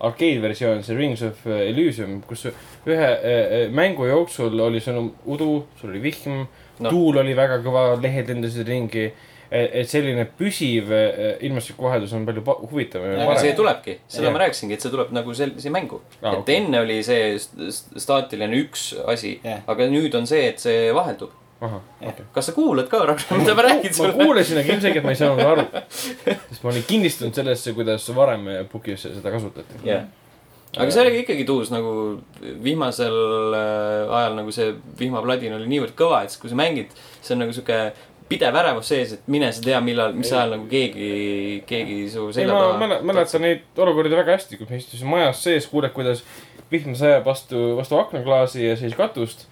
S3: arkeedversioon , see Rings of Illusion , kus ühe äh, mängu jooksul oli sul udu , sul oli vihm
S1: No.
S3: no. , tuul oli väga kõva , lehed lendasid ringi . et selline püsiv äh, ilmastikukohaldus on palju pa- huvitavam ja
S1: aga see
S3: parem .
S1: tulebki , seda
S3: Jah.
S1: yeah. ma rääkisingi , et see tuleb nagu sellise mängu
S3: Aa,
S1: ah, . et
S3: okei.
S1: enne oli see st- st- staatiline üks asi
S4: Jah.
S1: aga nüüd on see , et see vaheldub *laughs*
S3: ahah ,
S4: Jah.
S3: okei .
S1: kas sa kuulad ka , Ragnar , mida ma räägin
S3: ma
S1: sulle ?
S3: kuulasin , aga ilmselgelt ma ei saanud
S1: *laughs*
S3: aru . sest ma olin kinnistunud sellesse , kuidas varem Pukis seda kasutati .
S1: jah . aga see oli ikkagi tuus nagu vihmasel äh, ajal nagu see vihmapladin oli niivõrd kõva , et siis, kui sa mängid , see on nagu sihuke pidev ärevus sees , et mine sa tea , millal , mis ajal nagu keegi , keegi su
S3: ei ,
S1: selja
S3: ma
S1: taha
S3: mäle- , mäletan neid olukordi väga hästi , kui me istusime majas sees , kuuled , kuidas vihm sajab vastu , vastu aknaklaasi ja siis katust .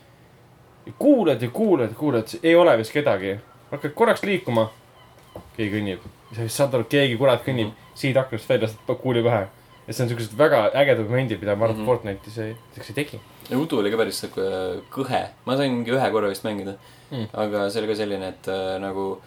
S3: kuuled ja kuuled , kuuled , ei ole vist kedagi . hakkad korraks liikuma . keegi kõnnib . sa siis saad aru , keegi kurat kõnnib siit aknast välja , saad kuuli pähe . et see on siuksed väga ägedad momendid , mida ma arvan mm
S1: Mhm.
S3: -hmm. Fortnite'is ei , eks ei teki .
S1: ja udu oli ka päris sihuke äh, kõhe , ma sain mingi ühe korra vist mängida
S3: Mm.
S1: aga see oli ka selline , et äh, nagu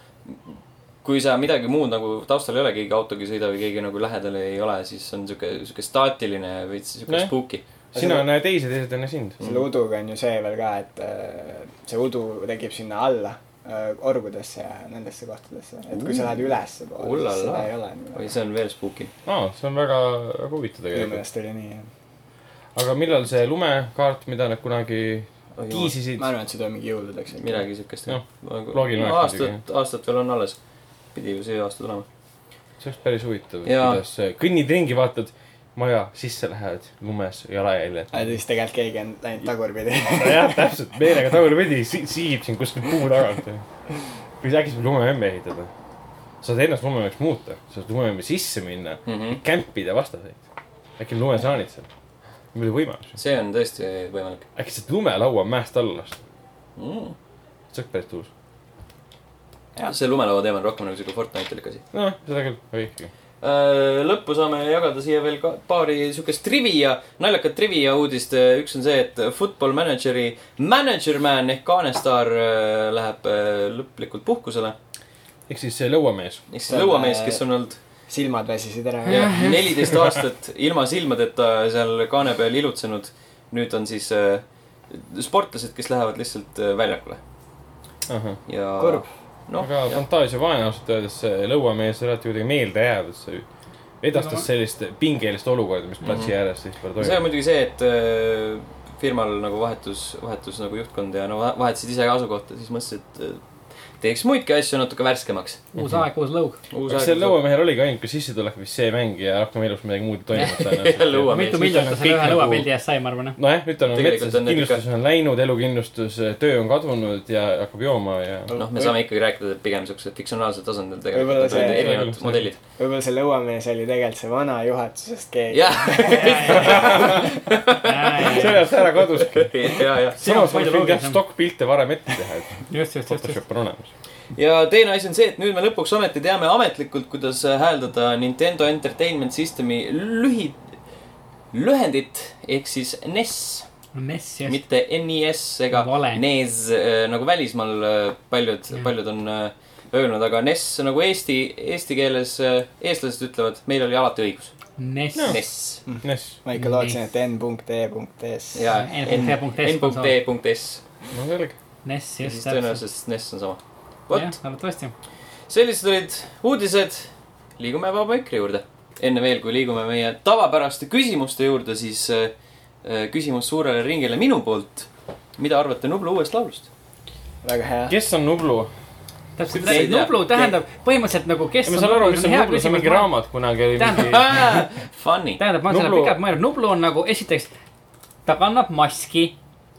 S1: kui sa midagi muud nagu taustal ei ole , keegi autoga ei sõida või keegi nagu lähedal ei ole , siis on sihuke , sihuke staatiline ja veits sihuke
S3: Nojah.
S1: spooky .
S3: sina näe teisi , teised ei näe sind .
S4: selle uduga on ju see veel ka , et äh, see udu tekib sinna alla äh, orgudesse ja nendesse kohtadesse , et kui sa lähed ülespoole , siis seda
S1: Ullala.
S4: ei ole
S1: oi ,
S4: nii .
S1: see on veel spooky .
S3: aa , see on väga , väga huvitav
S4: minu
S3: tegelikult .
S4: meelest oli nii jah .
S3: aga millal see lumekaart , mida nad kunagi tiisisid
S4: ma ? arvan , et see toimub jõuludeks .
S1: midagi siukest Nagu
S3: Jah, . loogiline oleks
S1: aastat , aastat veel on alles . pidi ju see aasta tulema .
S3: see oleks päris huvitav ,
S1: Jaa.
S3: kuidas äh, kõnnid ringi , vaatad maja , sisse lähed , lumes jalajäljed .
S4: aga siis tegelikult keegi on läinud tagurpidi . *laughs*
S3: jah , täpselt , meelega tagurpidi si- siib sind kuskil puu tagant . või äkki saab lumememme ehitada . saad ennast lumememmeks muuta , saad lumememme sisse minna , kämpida vastaseid . äkki on lumesaanid seal , muidu võimalus .
S1: see on tõesti võimalik
S3: äkki saad lumelaua mäest alla lasta ,
S1: mm. .
S3: see oleks päris tuus .
S1: see lumelaua teema on rohkem nagu siuke Fortnite'ilik asi .
S3: nojah , Noh, seda küll , aga ikkagi .
S1: lõppu saame jagada siia veel ka paari siukest trivia , naljakat trivia uudist . üks on see , et Football Manageri manager man ehk kaanestaar äh, läheb äh, lõplikult puhkusele .
S3: ehk siis see lõuamees .
S1: ehk siis lõuamees , kes on olnud
S4: silmad väsisid ära .
S1: neliteist aastat ilma silmadeta seal kaane peal ilutsenud . nüüd on siis äh, sportlased , kes lähevad lihtsalt äh, väljakule
S3: ahah .
S1: ja .
S4: Kurb.
S1: noh ,
S3: aga fantaasia vaene ausalt öeldes see lõuamees ei ole alati kuidagi meelde jääv , et see edastas
S2: No.
S3: sellist pingelist olukorda , mis platsi
S1: Mhm.
S3: ääres siis praegu
S1: see on
S3: toimub .
S1: muidugi see , et äh, firmal nagu vahetus , vahetus nagu juhtkond ja no va- vahetasid ise ka asukohta , siis mõtlesid , et äh, teeks muidki asju natuke värskemaks .
S2: uus aeg , uus lõug .
S1: uus
S3: kas
S1: aeg
S3: sel . lõuamehel oligi ainuke sissetulek vist see mäng ja rohkem elus midagi muud ei
S1: *laughs*
S3: toimunud
S1: Jah, lõuamees.
S3: tõenäoliselt ?
S2: mitu miljonit ta selle ühe lõuapildi eest sai , ma arvan , jah .
S3: nagu- nojah , nüüd tal on nagu
S1: Tegelikult
S3: metsas
S1: on , need
S3: kindlustus on läinud , elukindlustus , töö on kadunud ja hakkab jooma ja
S1: noh , me saame ikkagi rääkida pigem siukse fiktsionaalsel tasandil
S4: Võib-olla
S1: tegelikult ,
S4: see-
S1: erinevad
S3: see-
S1: modellid .
S4: võib-olla see lõuamees oli tegelikult see vana juhatusest keegi .
S1: jah , *laughs*
S3: sellest ära kaduski .
S1: ja , ja .
S2: palju
S3: samas oleks võinud jah
S2: loogilisem.
S3: stokkpilte varem ette teha ,
S2: *laughs*
S3: et
S2: just , just , just , just .
S3: Photoshop on olemas .
S1: ja teine asi on see , et nüüd me lõpuks ometi teame ametlikult , kuidas hääldada Nintendo Entertainment Systemi lühi , lühendit ehk siis NES ,
S2: mess , just .
S1: mitte NES ega
S2: E Vale.
S1: NES äh, nagu välismaal äh, paljud
S2: Jah. ,
S1: paljud on äh, öelnud , aga NES nagu eesti , eesti keeles äh, eestlased ütlevad , meil oli alati õigus . E
S2: Ness
S3: No. .
S1: NES
S2: Mm.
S3: Nes ,
S4: ma ikka lootsin , et E n.e.s .
S1: ja
S2: N.E.S.
S1: n.e.s
S3: no selge .
S2: Ness ,
S1: ja
S2: just
S1: siis . tõenäoliselt NES on sama .
S2: jah
S1: vot ,,
S2: arvatavasti .
S1: sellised olid uudised . liigume vaba mikri juurde . enne veel , kui liigume meie tavapäraste küsimuste juurde , siis äh, äh, küsimus suurele ringile minu poolt . mida arvate Nublu uuest laulust ?
S4: väga hea .
S3: kes on Nublu ?
S2: täpselt
S1: Üldse ei , tea.
S2: Nublu tähendab põhimõtteliselt nagu , kes
S3: ma saan aru , mis on Nublu , see on mingi . raamat kunagi oli
S2: Tähendab- *laughs*
S3: mingi
S1: Ah, Funny .
S2: noh, tähendab , ma olen selle
S3: Nublu-
S2: pikalt mõelnud , Nublu on nagu esiteks , ta kannab maski ,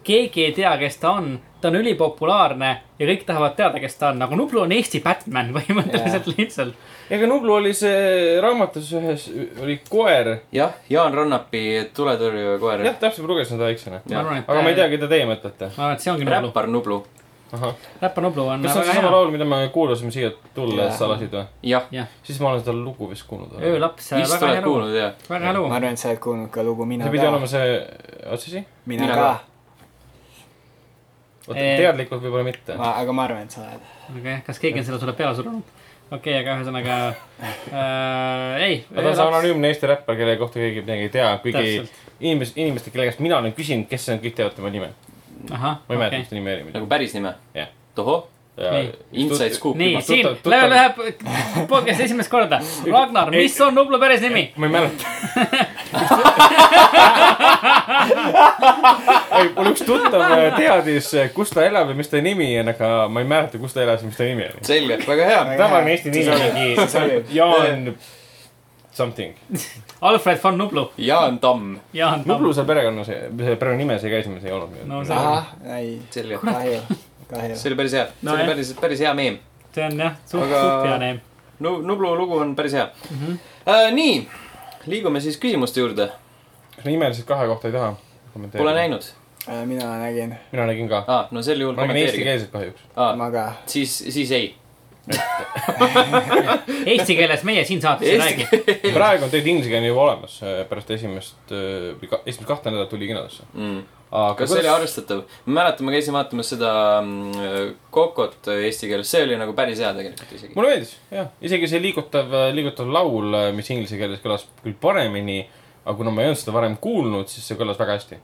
S2: keegi ei tea , kes ta on , ta on ülipopulaarne ja kõik tahavad teada , kes ta on , nagu Nublu on Eesti Batman *laughs* põhimõtteliselt yeah. lihtsalt .
S3: ega Nublu oli see raamatus ühes , oli koer .
S1: jah , Jaan Rannapi Tuletõrjuja koer
S3: jah ,. täpselt , ma lugesin seda väiksena .
S2: ma arvan , et .
S3: aga ma ei tea , keda teie mõtlete .
S2: ma arvan , et see ongi Nublu ,
S1: räppar Nublu .
S3: kas
S2: Räpa Nublu on
S3: see on
S2: väga
S3: seesama
S2: hea .
S3: laul , mida me kuulasime siia tulles
S4: Jaa.
S3: salasid või ?
S1: jah ,
S2: jah ,
S3: siis ma olen seda lugu vist kuulnud . see
S2: Öölaps ,
S1: vist
S2: äh, väga hea
S1: oled
S2: lugu ,
S1: kuulnud jah ?
S2: väga hea
S4: ma
S2: lugu .
S4: arvan , et sa oled kuulnud ka lugu Mina
S3: pidi
S4: ka
S3: olema . see , oota siis nii ?
S4: mina
S1: Mina
S4: ka .
S3: oota ,
S2: Eh.
S3: teadlikult võib-olla mitte .
S4: aga ma arvan , et sa oled .
S2: okei , kas keegi on selle sulle peale surunud ? okei okay, , aga ühesõnaga äh, , ei .
S3: aga ta on see anonüümne Eesti räppar , kelle kohta keegi midagi ei tea , kuigi
S2: Täpselt.
S3: inimesed , inimesed , kelle käest mina olen küsinud , kes see on , kõik teavad tema nime .
S2: ahah ,
S3: ma ei mäleta ,
S2: okei
S3: mis ta nimi oli .
S1: nagu päris nime
S3: Jah. ?
S1: tohoh ,
S2: Nii.
S1: Inside scoop
S2: nii ,
S3: tuttav-
S2: siin
S3: tuttav-
S2: läheb , läheb podcast'i esimest korda . Ragnar , mis on Nublu päris nimi ?
S3: ma ei mäleta . *laughs* ei , mul üks tuttav äh, teadis , kus ta elab ja mis ta nimi on , aga ma ei mäleta , kus ta elas ja mis ta nimi oli .
S1: selge , väga hea .
S3: tavaline Eesti nimi on *laughs* mingi Jaan something .
S2: Alfred von Nublu ,
S1: Jaan Tamm .
S2: Jaan Tamm
S3: Nublu . seal perekonnas , perekonnanimes ei käisime , see ei olnud
S2: no
S3: minu .
S2: see ,
S4: ahah , ei ,
S1: selge ,
S4: kahju , kahju .
S1: see oli päris hea , see
S2: No
S1: oli
S2: jah.
S1: päris , päris hea meem .
S2: see on jah , suht ,
S1: Aga-
S2: suht hea neem .
S1: Nu- , Nublu lugu on päris hea mm . -hmm. Uh, nii , liigume siis küsimuste juurde .
S3: nimeliselt kahe kohta ei taha .
S1: Pole . näinud
S4: Äh, mina nägin ,
S3: mina nägin ka .
S1: ah, . no sel juhul
S3: ma nägin
S1: kommenteerige .
S3: eestikeelset kahjuks .
S1: Ah,
S4: ma ka .
S1: siis , siis ei .
S2: Eesti keeles meie siin saates ei räägi .
S3: praegu on tegelikult inglisekeelne juba olemas , pärast esimest äh, või ka, esimest kahte nädalat tuli kinodesse .
S1: Mm.
S3: aga
S1: kas see oli arvestatav ? ma mäletan , ma käisin vaatamas seda mm, Kokot eesti keeles , see oli nagu päris hea tegelikult isegi .
S3: mulle meeldis , jah , isegi see liigutav , liigutav laul , mis inglise keeles kõlas küll paremini , aga kuna ma ei olnud seda varem kuulnud , siis see kõlas väga hästi .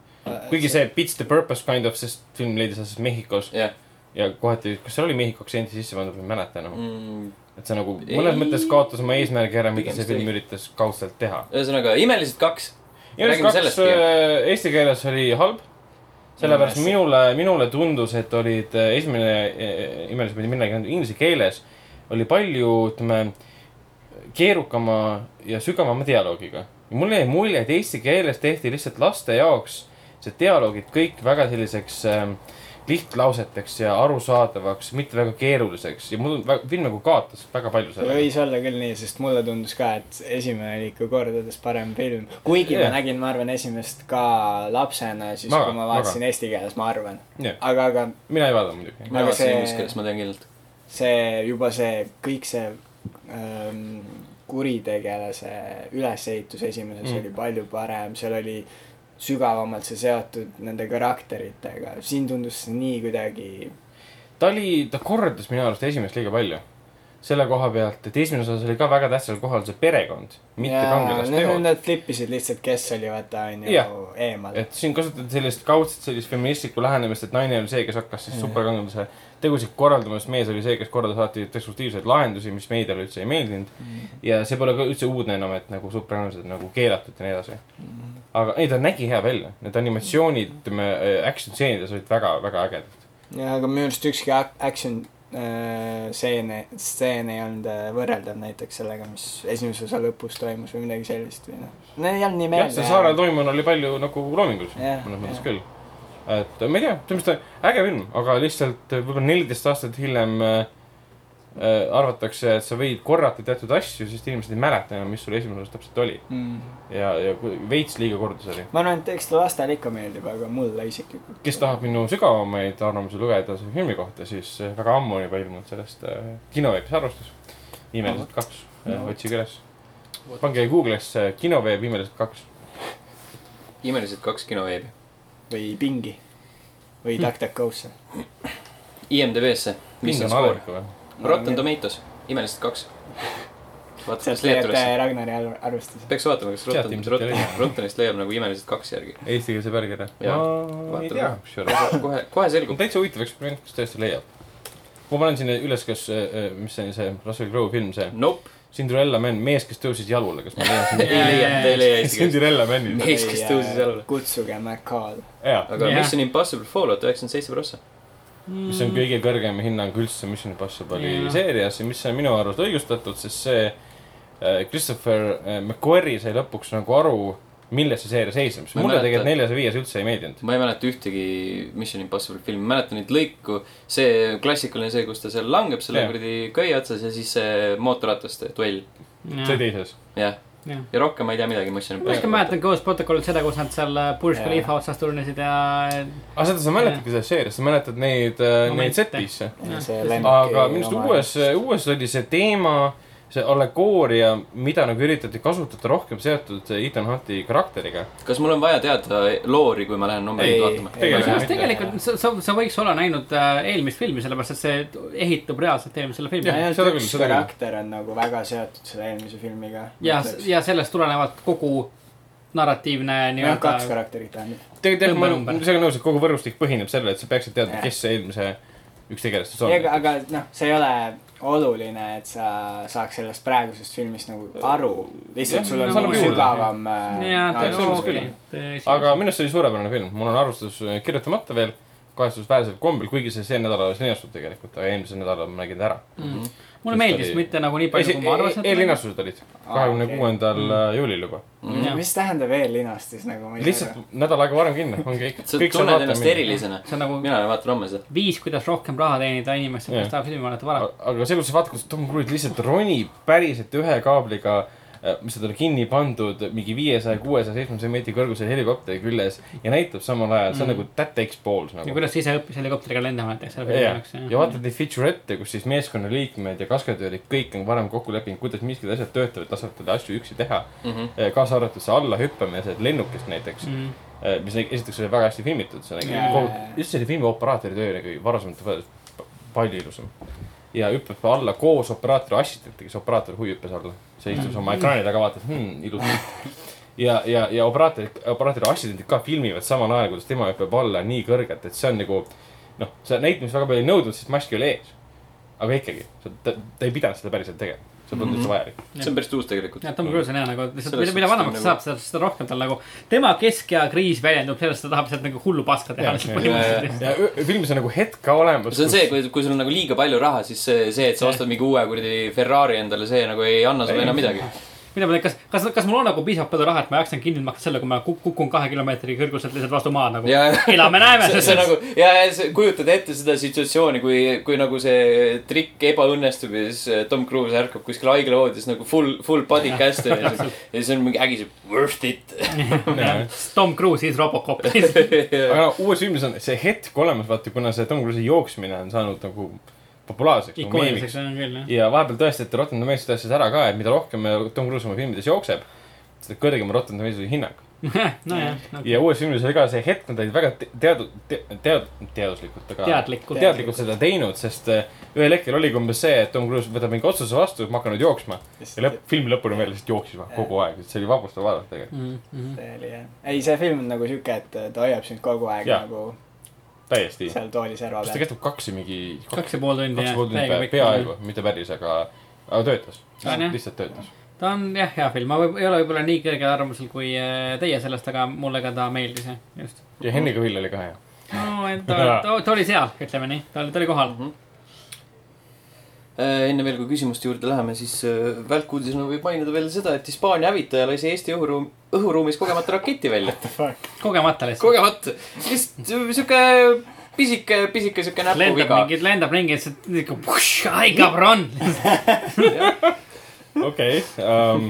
S3: kuigi see Beats the purpose kind of , sest film leidis aset Mehhikos
S1: jah
S3: ja kohati , kas seal oli Mehhiko aktsenti sisse pandud , ma ei mäleta enam .
S1: mm, .
S3: et see nagu
S1: Ei.
S3: mõnes mõttes kaotas oma eesmärgi ära , mida
S1: Pigem
S3: see
S1: see
S3: film
S1: ei.
S3: üritas kaudselt teha .
S1: ühesõnaga , imelised kaks .
S3: Jänes
S1: Räägime
S3: kaks
S1: sellest pigem.
S3: äh, eesti keeles oli halb . sellepärast
S4: Inimesi.
S3: minule , minule tundus , et olid äh, esimene äh, imelis pidi midagi olnud inglise keeles , oli palju , ütleme , keerukama ja sügavama dialoogiga . mulle jäi mulje , et eesti keeles tehti lihtsalt laste jaoks see dialoogid kõik väga selliseks ähm, lihtlauseteks ja arusaadavaks , mitte väga keeruliseks ja mul vä- film nagu kaotas väga palju selle .
S4: võis olla küll nii , sest mulle tundus ka , et esimene oli ikka kordades parem film . kuigi
S3: Jah.
S4: ma nägin , ma arvan , esimest ka lapsena , siis
S3: Maga,
S4: kui ma vaatasin eesti keeles , ma arvan .
S3: mina
S4: aga , aga
S3: ei vaadanud muidugi .
S1: mina
S4: Aga
S1: vaatasin
S4: see-
S1: inglise keeles , ma tean kindlalt .
S4: see juba see kõik see ähm, kuritegelase ülesehitus esimeses
S3: Mm.
S4: mm. oli palju parem , seal oli sügavamalt see seotud nende karakteritega , siin tundus see nii kuidagi
S3: ta oli , ta kordas minu arust esimest liiga palju . selle koha pealt , et esimeses osas oli ka väga tähtsal kohal see perekond , mitte
S4: teod .
S3: kangelasteod .
S4: Nad flippisid lihtsalt , kes oli vaata onju
S3: Jah.
S4: eemal .
S3: et siin kasutati sellist kaudset sellist feministlikku lähenemist , et naine oli see , kes hakkas siis superkangelase tegusid korraldama , sest mees oli see , kes korraldas alati destruktiivseid lahendusi , mis meediale üldse ei meeldinud . ja see pole ka üldse uudne enam , et nagu superkangelased on nagu keelatud ja nii edasi . aga ei , ta nägi hea välja , need animatsioonid , ütleme , action stseenides olid väga-väga ägedad .
S4: ja , aga minu arust ükski ac- action äh, stseene , stseen ei olnud äh, võrreldav näiteks sellega , mis esimese osa lõpus toimus või midagi sellist või noh . Need ei olnud nii
S3: jah ,
S4: meelde
S3: see saare . toimunu oli palju nagu loomingulisem
S4: Jah,
S3: mõnes mõttes
S4: jah.
S3: küll . et ma ei tea , selles mõttes äge film , aga lihtsalt eh, võib-olla neliteist aastat hiljem äh, äh, arvatakse , et sa võid korrata teatud asju , sest inimesed ei mäleta enam , mis sul esimeses täpselt oli .
S4: Mm.
S3: ja , ja kui- veits liiga kordus oli .
S4: ma arvan , et eks ta lastele ikka meeldib , aga mulle isiklikult .
S3: kes tahab minu sügavamaid arvamusi lugeda selle filmi kohta , siis äh, väga ammu on juba ilmunud sellest äh, kinoveebis arvustus . imelised kaks , otsige üles . pange Google'isse äh, kinoveeb imelised kaks .
S1: imelised kaks kinoveebi .
S4: või Pingi või
S3: Hm.
S4: DuckDuckGo'sse .
S1: IMDB-sse , mis on skoor ? Rotten Tomatoes , imelised kaks . vaata , kas
S4: sealt
S1: leiab
S4: leiate
S1: üles .
S4: Ragnari arv- arvestuse .
S1: peaks vaatama , kas
S3: Sealt
S1: Rotten ,
S3: ilmselt ei
S1: Rotten
S3: leia. ,
S1: Rottenist leiab nagu imelised kaks järgi .
S3: eestikeelse pärgina .
S1: Jaa.
S3: ma ei
S1: Vaatame.
S3: tea , kusjuures .
S1: kohe , kohe
S3: on
S1: selgub .
S3: täitsa huvitav eksperiment , kas tõesti leiab . ma panen sinna üles , kas , mis see oli , see Russell Crowe film , see
S1: Nope ,
S3: Cinderella man , mees , kes tõusis jalule , kas ma leian
S1: *laughs* ei
S3: sinna ?
S1: leia , ei leia eesti keeles .
S3: Cinderella man'i .
S1: mees , kes tõusis jalule .
S4: kutsuge McCall .
S3: jaa ,
S1: aga
S2: Jah.
S1: Mission Impossible Fallout üheksakümmend seitse prossa .
S3: mis on kõige kõrgem hinnang üldse Mission Impossible'i
S2: Jaa.
S3: seerias ja mis on minu arust õigustatud , sest see äh, Christopher äh, McQuarrie sai lõpuks nagu aru , milles see seeria seisneb , sest
S1: Ma ei
S3: mulle
S1: mäleta.
S3: tegelikult neljas ja viies üldse ei meeldinud .
S1: ma ei mäleta ühtegi Mission Impossible filmi , ma mäletan neid lõiku , see klassikaline , see , kus ta seal langeb selle
S3: Jah.
S1: kuradi köie otsas ja siis see mootorrataste duell ,
S3: see teises .
S1: jah .
S2: Jah.
S1: ja rohkem ma ei tea midagi Mission
S2: ma just ka
S1: Impossible .
S2: mäletan Ghost Protocol'it seda , kus nad seal Burj
S4: Jaa.
S2: Khalifa otsas turnisid ja .
S3: aga Ah, seda sa mäletadki sellest seeriast , sa mäletad neid , neid
S2: Momente.
S3: set'isse .
S4: see
S2: Jah.
S4: lennuk
S3: aga
S4: ei
S3: minu arust
S4: oma-
S3: uues , uues oli see teema , see allegooria , mida nagu üritati kasutada rohkem seotud Ethan Hunti karakteriga .
S1: kas mul on vaja teada loori , kui ma lähen numbreid
S4: Ei,
S1: vaatama ?
S4: ei,
S3: Tegelikult
S2: kusjuures
S3: mitte.
S2: tegelikult sa , sa , sa võiks olla näinud äh, eelmist filmi , sellepärast et see ehitub reaalselt eelmisele
S3: Jah,
S2: filmile .
S4: ainult
S3: seda küll,
S4: üks
S3: seda küll.
S4: karakter on nagu väga seotud selle eelmise filmiga .
S2: ja , ja sellest tulenevalt kogu narratiivne
S4: jah ,
S2: nii-öelda
S4: kaks . karakterit on .
S3: tegelikult jah , ma
S2: Tõmba
S3: olen
S2: ümber.
S3: sellega nõus , et kogu võrgustik põhineb sellele , et sa peaksid teadma ,
S4: Jah.
S3: kes see eelmise üks tegelastest on .
S4: aga , aga noh , see ei ole oluline , et sa saaks sellest praegusest filmist nagu aru .
S3: Jah,
S4: lihtsalt sul on
S2: no
S4: nagu
S2: võib-olla,
S4: sügavam . äh,
S2: jah ,
S3: oleks
S2: tõepoolest
S3: küll.
S2: küll .
S3: aga minu arust see oli suurepärane film , mul on arvustus äh, kirjutamata veel , kahetsusväärsel kombel , kuigi see see nädal alles linastub tegelikult , aga eelmisel nädalal ma nägin ta ära .
S2: mulle meeldis
S3: oli-
S2: mitte nagu nii palju , kui ma arvasin .
S3: eellinastused olid kahekümne
S4: okei.
S3: kuuendal äh, juulil juba .
S2: Jah.
S4: mis tähendab eellinastus nagu ?
S3: lihtsalt nädal aega varem kinno , on kõik .
S1: sa tunned ennast . erilisena .
S2: see on nagu
S1: mina vaatan homme seda .
S2: viis , kuidas rohkem raha teenida inimestelt ,
S3: Jah.
S2: kes tahavad filmi vaadata varem .
S3: aga see , kus sa vaatad , kus Tom Cruise lihtsalt ronib päriselt ühe kaabliga , mis on talle kinni pandud , mingi viiesaja , kuuesaja , seitsmesaja meetri kõrgusel helikopteri küljes ja näitab samal ajal , see on
S2: Mm.
S3: nagu that takes balls
S2: ja
S3: nagu .
S2: kuidas sa ise õppis helikopteriga lendama näiteks selle filmi
S3: jah
S2: jaoks .,
S3: ja vaatad neid featurette , kus siis meeskonnaliikmed ja kaskadöörid , kõik on varem kokku leppinud , kuidas miskid asjad töötavad , lasevad talle asju üksi teha .
S1: Mhm.
S3: kaasa arvatud see allahüppamine sealt lennukist näiteks ,
S2: Mm.
S3: Äh, mis nägi- esiteks oli väga hästi filmitud , see nägi
S4: Jaa.
S3: kogu , just selle filmi operaatori töö nägi varasemalt võrreldes pa- palju ilusam . ja hüppab alla koos operaatori assistentidega , siis operaator huvi hüppas alla , see istus
S4: Mm.
S3: oma ekraani taga , vaatas hmm, , ilus ja , ja , ja operaator , operaatori assistendid ka filmivad samal ajal , kuidas tema hüppab alla nii kõrgelt , et see on nagu noh , see näitamist väga palju ei nõudnud , sest mask oli ees . aga ikkagi , ta, ta ei pidanud seda päriselt tegema , see polnud
S4: Mhm.
S3: üldse vajalik .
S1: see on päris tuus tegelikult .
S2: jah , Tom Cruise on hea nagu lihtsalt ,
S1: Selles
S2: mida , mida
S1: suhtes ta on
S2: vanemaks ta saab
S1: nagu- ,
S2: seda , seda rohkem tal nagu , tema keskea kriis väljendub sellest , ta tahab sealt nagu hullu paska teha
S3: Jah,
S2: lihtsalt
S3: jah.
S2: põhimõtteliselt .
S3: ja ü- filmis on nagu hetk ka olemas .
S1: see on see , kui , kui sul on nagu liiga palju raha , siis see , see , et sa ostad mingi uue kuradi Ferrari endale , see nagu ei anna sulle enam midagi .
S2: mina mõtlen , kas , kas , kas mul on nagu piisavalt palju raha , et ma jaksan kinni maksta selle , kui ma kuk- kukun kahe kilomeetri kõrguselt lihtsalt vastu maad nagu .
S1: ja ,
S2: elame-näeme
S1: see , see nagu ja , ja sa kujutad ette seda situatsiooni , kui , kui nagu see trikk ebaõnnestub ja siis äh, Tom Cruise ärkab kuskil haigla voodis nagu full , full body cast on ja siis , ja siis on mingi ägi see worth it .
S2: Tom Cruise is Robocop .
S3: aga no, uues filmis on see hetk olemas , vaata , kuna see Tom Cruise'i jooksmine on saanud nagu populaarseks .
S2: ikooniliseks on küll jah .
S3: ja vahepeal tõestati Rotten Tomatoes tõestas ära ka , et mida rohkem Tom Cruise oma filmides jookseb , seda kõrgem on Rotten Tomatoes'i hinnang .
S2: nojah , nagu
S3: ja uues filmis oli ka see hetk , nad olid väga te- teadu- , tead- , teaduslikult , aga
S2: teadlikult .
S3: teadlikult seda teinud , sest äh, ühel hetkel oligi umbes see , et Tom Cruise võtab mingi otsuse vastu , ma hakkan nüüd jooksma . ja lõpp , filmi lõpuni veel lihtsalt jooksis vaata kogu aeg , et see oli vapustav vaadata tegelikult .
S4: see oli jah , ei see film on nagu siuke , et ta hoiab sind kogu aeg
S3: Jaa.
S4: ja. nagu
S3: täiesti .
S4: seal tooli serva
S3: kas ta
S4: peal .
S3: kestab kaks või mingi ,
S2: kaks ja pool tundi
S3: kaks ja pool tundi
S2: täiega
S3: pea-
S2: pikk.
S3: peaaegu , mitte päris , aga , aga töötas .
S2: On jah.
S3: lihtsalt töötas .
S2: ta on jah , hea film , ma võib- ei ole võib-olla nii kõrgel arvamusel kui äh, teie sellest , aga mulle ka ta meeldis jah , just .
S3: ja Henri Cavill oli ka hea .
S2: no , et ta, ta , ta oli seal , ütleme nii , ta oli , ta oli kohal .
S1: Äh, enne veel , kui küsimuste juurde läheme , siis äh, välkuudisena võib mainida veel seda , et Hispaania hävitaja lasi Eesti õhuruum , õhuruumis kogemata raketi välja .
S2: kogemata lihtsalt .
S1: kogemata , lihtsalt sihuke pisike , pisike sihuke
S2: lendab
S1: näpuviga .
S2: mingi , lendab ringi , lihtsalt nihuke , ai kabron .
S3: okei um, ,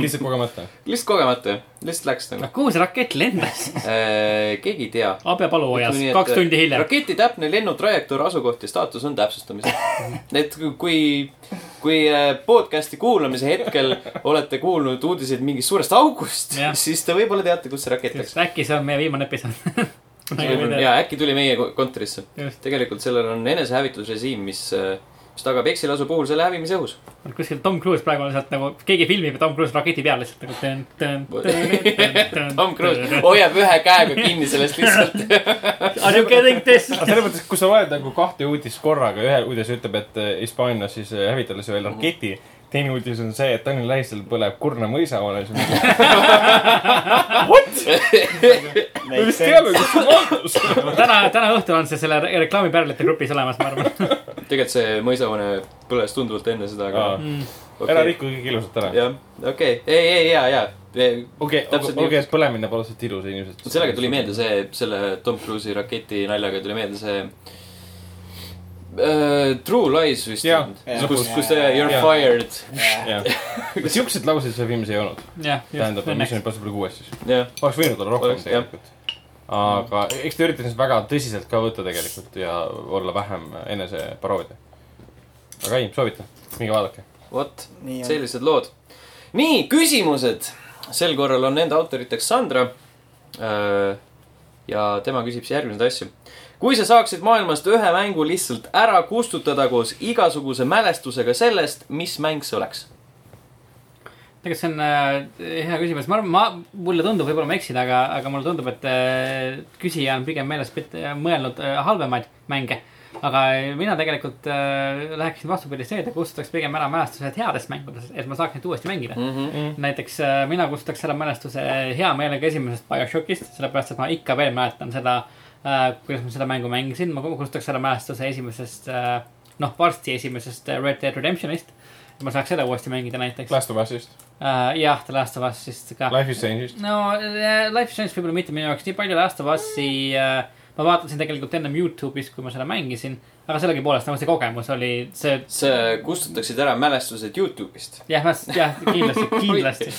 S3: lihtsalt kogemata .
S1: lihtsalt kogemata , lihtsalt läks *laughs* nagu .
S2: kuhu see rakett *laughs* lendas ?
S1: keegi ei tea .
S2: Abe Paluojas , kaks tundi hiljem .
S1: raketi täpne lennutrajektoor , asukoht ja staatus on täpsustamisel . *laughs* et kui , kui äh, podcast'i kuulamise hetkel olete kuulnud uudiseid mingist suurest august
S2: Jah. ,
S1: siis te võib-olla teate , kus see rakett läks .
S2: äkki see on meie viimane episood . *laughs*
S1: ja äkki tuli meie ko- kontorisse .
S2: Just.
S1: tegelikult sellel on enesehävitusrežiim , mis , mis tagab eksilasu puhul selle hävimise õhus .
S2: kuskil Tom Cruise praegu on lihtsalt nagu , keegi filmib ja Tom Cruise raketi peal lihtsalt nagu .
S1: Tom Cruise . hoiab ühe käega kinni sellest lihtsalt .
S2: Are you getting this ? *laughs*
S3: aga selles mõttes , kui sa loed nagu kahte uudist korraga , ühe uudis ütleb , et äh, Hispaanias siis äh, hävitades veel raketi , teine uudis on see , et Tallinna lähistel põleb Kurna mõisahoones . me vist teame , kus see
S1: *laughs*
S3: maandus .
S2: täna , täna õhtul on see selle re- reklaamipärlite grupis olemas , ma arvan . *laughs*
S1: tegelikult see mõisahoone põles tunduvalt enne seda , aga .
S3: ära . riku kõik ilusalt ära .
S1: Mm. jah , okei , ei , ei , ja , ja .
S3: okei ,
S1: Täpselt nii.
S3: olge , et põlemine pole lihtsalt ilus ja inimesed .
S1: sellega tuli meelde see , selle Tom Cruise'i raketi naljaga tuli meelde see uh, . True Lies vist
S3: Jah. .
S4: Jah.
S1: kus , kus see you are
S3: Jah.
S1: fired . *laughs*
S3: jah , siukseid lauseid seal filmis ei olnud .
S2: jah ,
S3: tähendab
S2: just ,,
S3: mis
S2: õnneks
S3: on . Impossible kuues siis .
S1: jah ,
S3: oleks võinud olla rohkem
S1: Oleks, jah. Mm.
S3: tegelikult . aga eks ta üritas väga tõsiselt ka võtta tegelikult ja olla vähem eneseparoodia . aga ei , soovitan , minge vaadake .
S1: vot ,
S4: nii on .
S1: sellised lood . nii , küsimused . sel korral on nende autoriteks Sandra uh, . ja tema küsib siis järgmiseid asju . kui sa saaksid maailmast ühe mängu lihtsalt ära kustutada koos igasuguse mälestusega sellest , mis mäng see oleks ?
S2: tegelikult see on äh, hea küsimus , ma arvan , ma , mulle tundub , võib-olla ma eksin , aga , aga mulle tundub , et äh, küsija on pigem meeles pit- , mõelnud äh, halvemaid mänge . aga mina tegelikult äh, läheksin vastupidi see , et kustutaks pigem ära mälestused headest mängudest , et ma saaks neid uuesti mängida mm . -hmm. näiteks äh, mina kustutaks ära mälestuse hea meelega esimesest BioShockist , sellepärast et ma ikka veel mäletan seda äh, , kuidas ma seda mängu mängisin . ma kustutaks ära mälestuse esimesest äh, , noh , varsti esimesest äh, Red Dead Redemptionist . ma saaks seda uuesti mängida näiteks .
S3: Last of Us'ist ,
S2: äh, jah , The Last of Us'ist
S1: Ah.
S2: ka .
S3: Life is Change'ist .
S2: no äh, Life is Strange võib-olla mitte minu jaoks nii palju Last of Us'i äh, . ma vaatasin tegelikult ennem Youtube'is , kui ma seda mängisin , aga sellegipoolest nagu see kogemus oli see ,
S1: sa kustutaksid ära mälestused Youtube'ist .
S2: jah , jah ,
S1: *laughs*
S2: kindlasti , kindlasti ,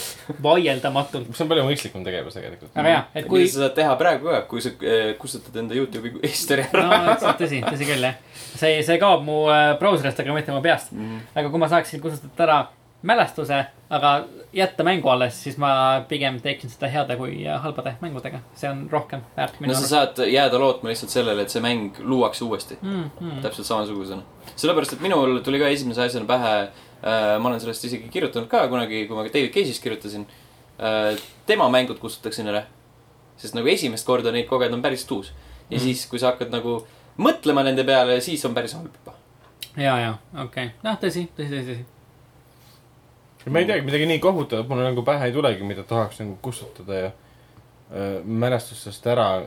S2: vaieldamatult .
S3: see on palju mõistlikum tegevus tegelikult .
S2: aga jah , et kui
S1: mida , sa saad teha praegu ka , kui sa eh, kustutad enda Youtube'i history ära .
S2: *laughs* no see on tõsi , tõsi küll jah . see , see kaob mu äh, brauserist , aga mitte mu peast mm . -hmm. aga kui ma saaksin kustutada ära mälestuse , aga jätta mängu alles , siis ma pigem teeksin seda heade kui äh, halbade mängudega . see on rohkem väärt minu
S1: no sa
S2: arust .
S1: saad jääda lootma lihtsalt sellele , et see mäng luuakse uuesti mm.
S2: Mm, mm.
S1: täpselt samasugusena . sellepärast , et minul tuli ka esimese asjana pähe äh, , ma olen sellest isegi kirjutanud ka kunagi , kui ma David Cage'is kirjutasin äh, . tema mängud kustutaksin ära . sest nagu esimest korda neid kogeda on päris tuus . ja mm. siis , kui sa hakkad nagu mõtlema nende peale , siis on päris halb juba .
S2: ja , ja okei okay. , noh , tõsi , tõsi , tõsi , tõsi .
S3: ma ei teagi , midagi nii kohutavat mul nagu pähe ei tulegi , mida tahaks nagu kustutada ja äh, mälestustest ära ,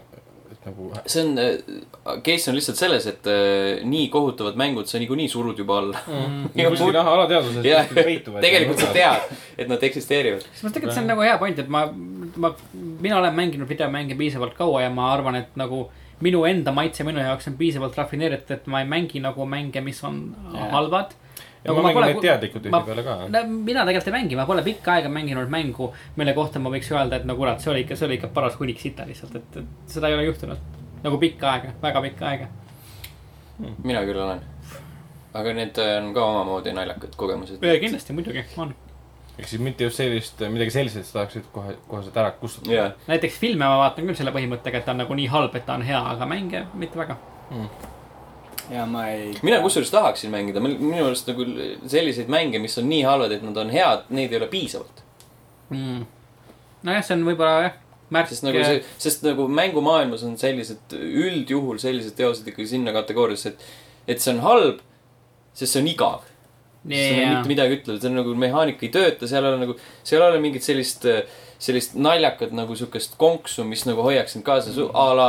S3: et nagu .
S1: see on äh, , case on lihtsalt selles , et äh, nii kohutavad mängud sa niikuinii surud juba alla mm.
S3: kuskil jah , alateadvuses
S1: jah ,
S3: kuskil
S1: *laughs*
S3: peituvad . nagu
S1: tegelikult sa . tead , et nad eksisteerivad .
S2: siis ma tegelikult see on nagu hea point , et ma , ma , mina olen mänginud videomänge piisavalt kaua ja ma arvan , et nagu minu enda maitse minu jaoks on piisavalt rafineeritud , et ma ei mängi nagu mänge , mis on
S4: Jaa.
S2: halvad .
S3: ja ma mängin neid teadlikult tihtipeale ka .
S2: no mina tegelikult ei mängi , ma pole pikka aega mänginud mängu , mille kohta ma võiks öelda , et no kurat , see oli ikka , see oli ikka paras hunnik sita lihtsalt , et , et seda ei ole juhtunud . nagu pikka aega , väga pikka aega .
S1: mina küll olen . aga need äh, on ka omamoodi naljakad kogemused .
S2: kindlasti , muidugi on .
S3: ehk siis mitte just sellist , midagi sellist , et sa tahaksid kohe , koheselt ära kustutada .
S1: jah ,
S2: näiteks filme ma vaatan küll selle põhimõttega , et ta on nagu nii halb , et ta on hea , aga mänge mitte väga .
S4: ja ma ei .
S1: mina kusjuures tahaksin mängida , minu arust nagu selliseid mänge , mis on nii halvad , et nad on head , neid ei ole piisavalt .
S2: mm. . nojah , see on võib-olla jah , märk .
S1: sest nagu see , sest nagu mängumaailmas on sellised , üldjuhul sellised teosed ikkagi sinna kategooriasse , et , et see on halb , sest see on igav . seal ei ole mitte midagi ütelda , see on nagu mehaanika ei tööta , seal ei ole nagu , seal ei ole mingit sellist , sellist naljakat nagu siukest konksu , mis nagu hoiaks sind kaasa , a la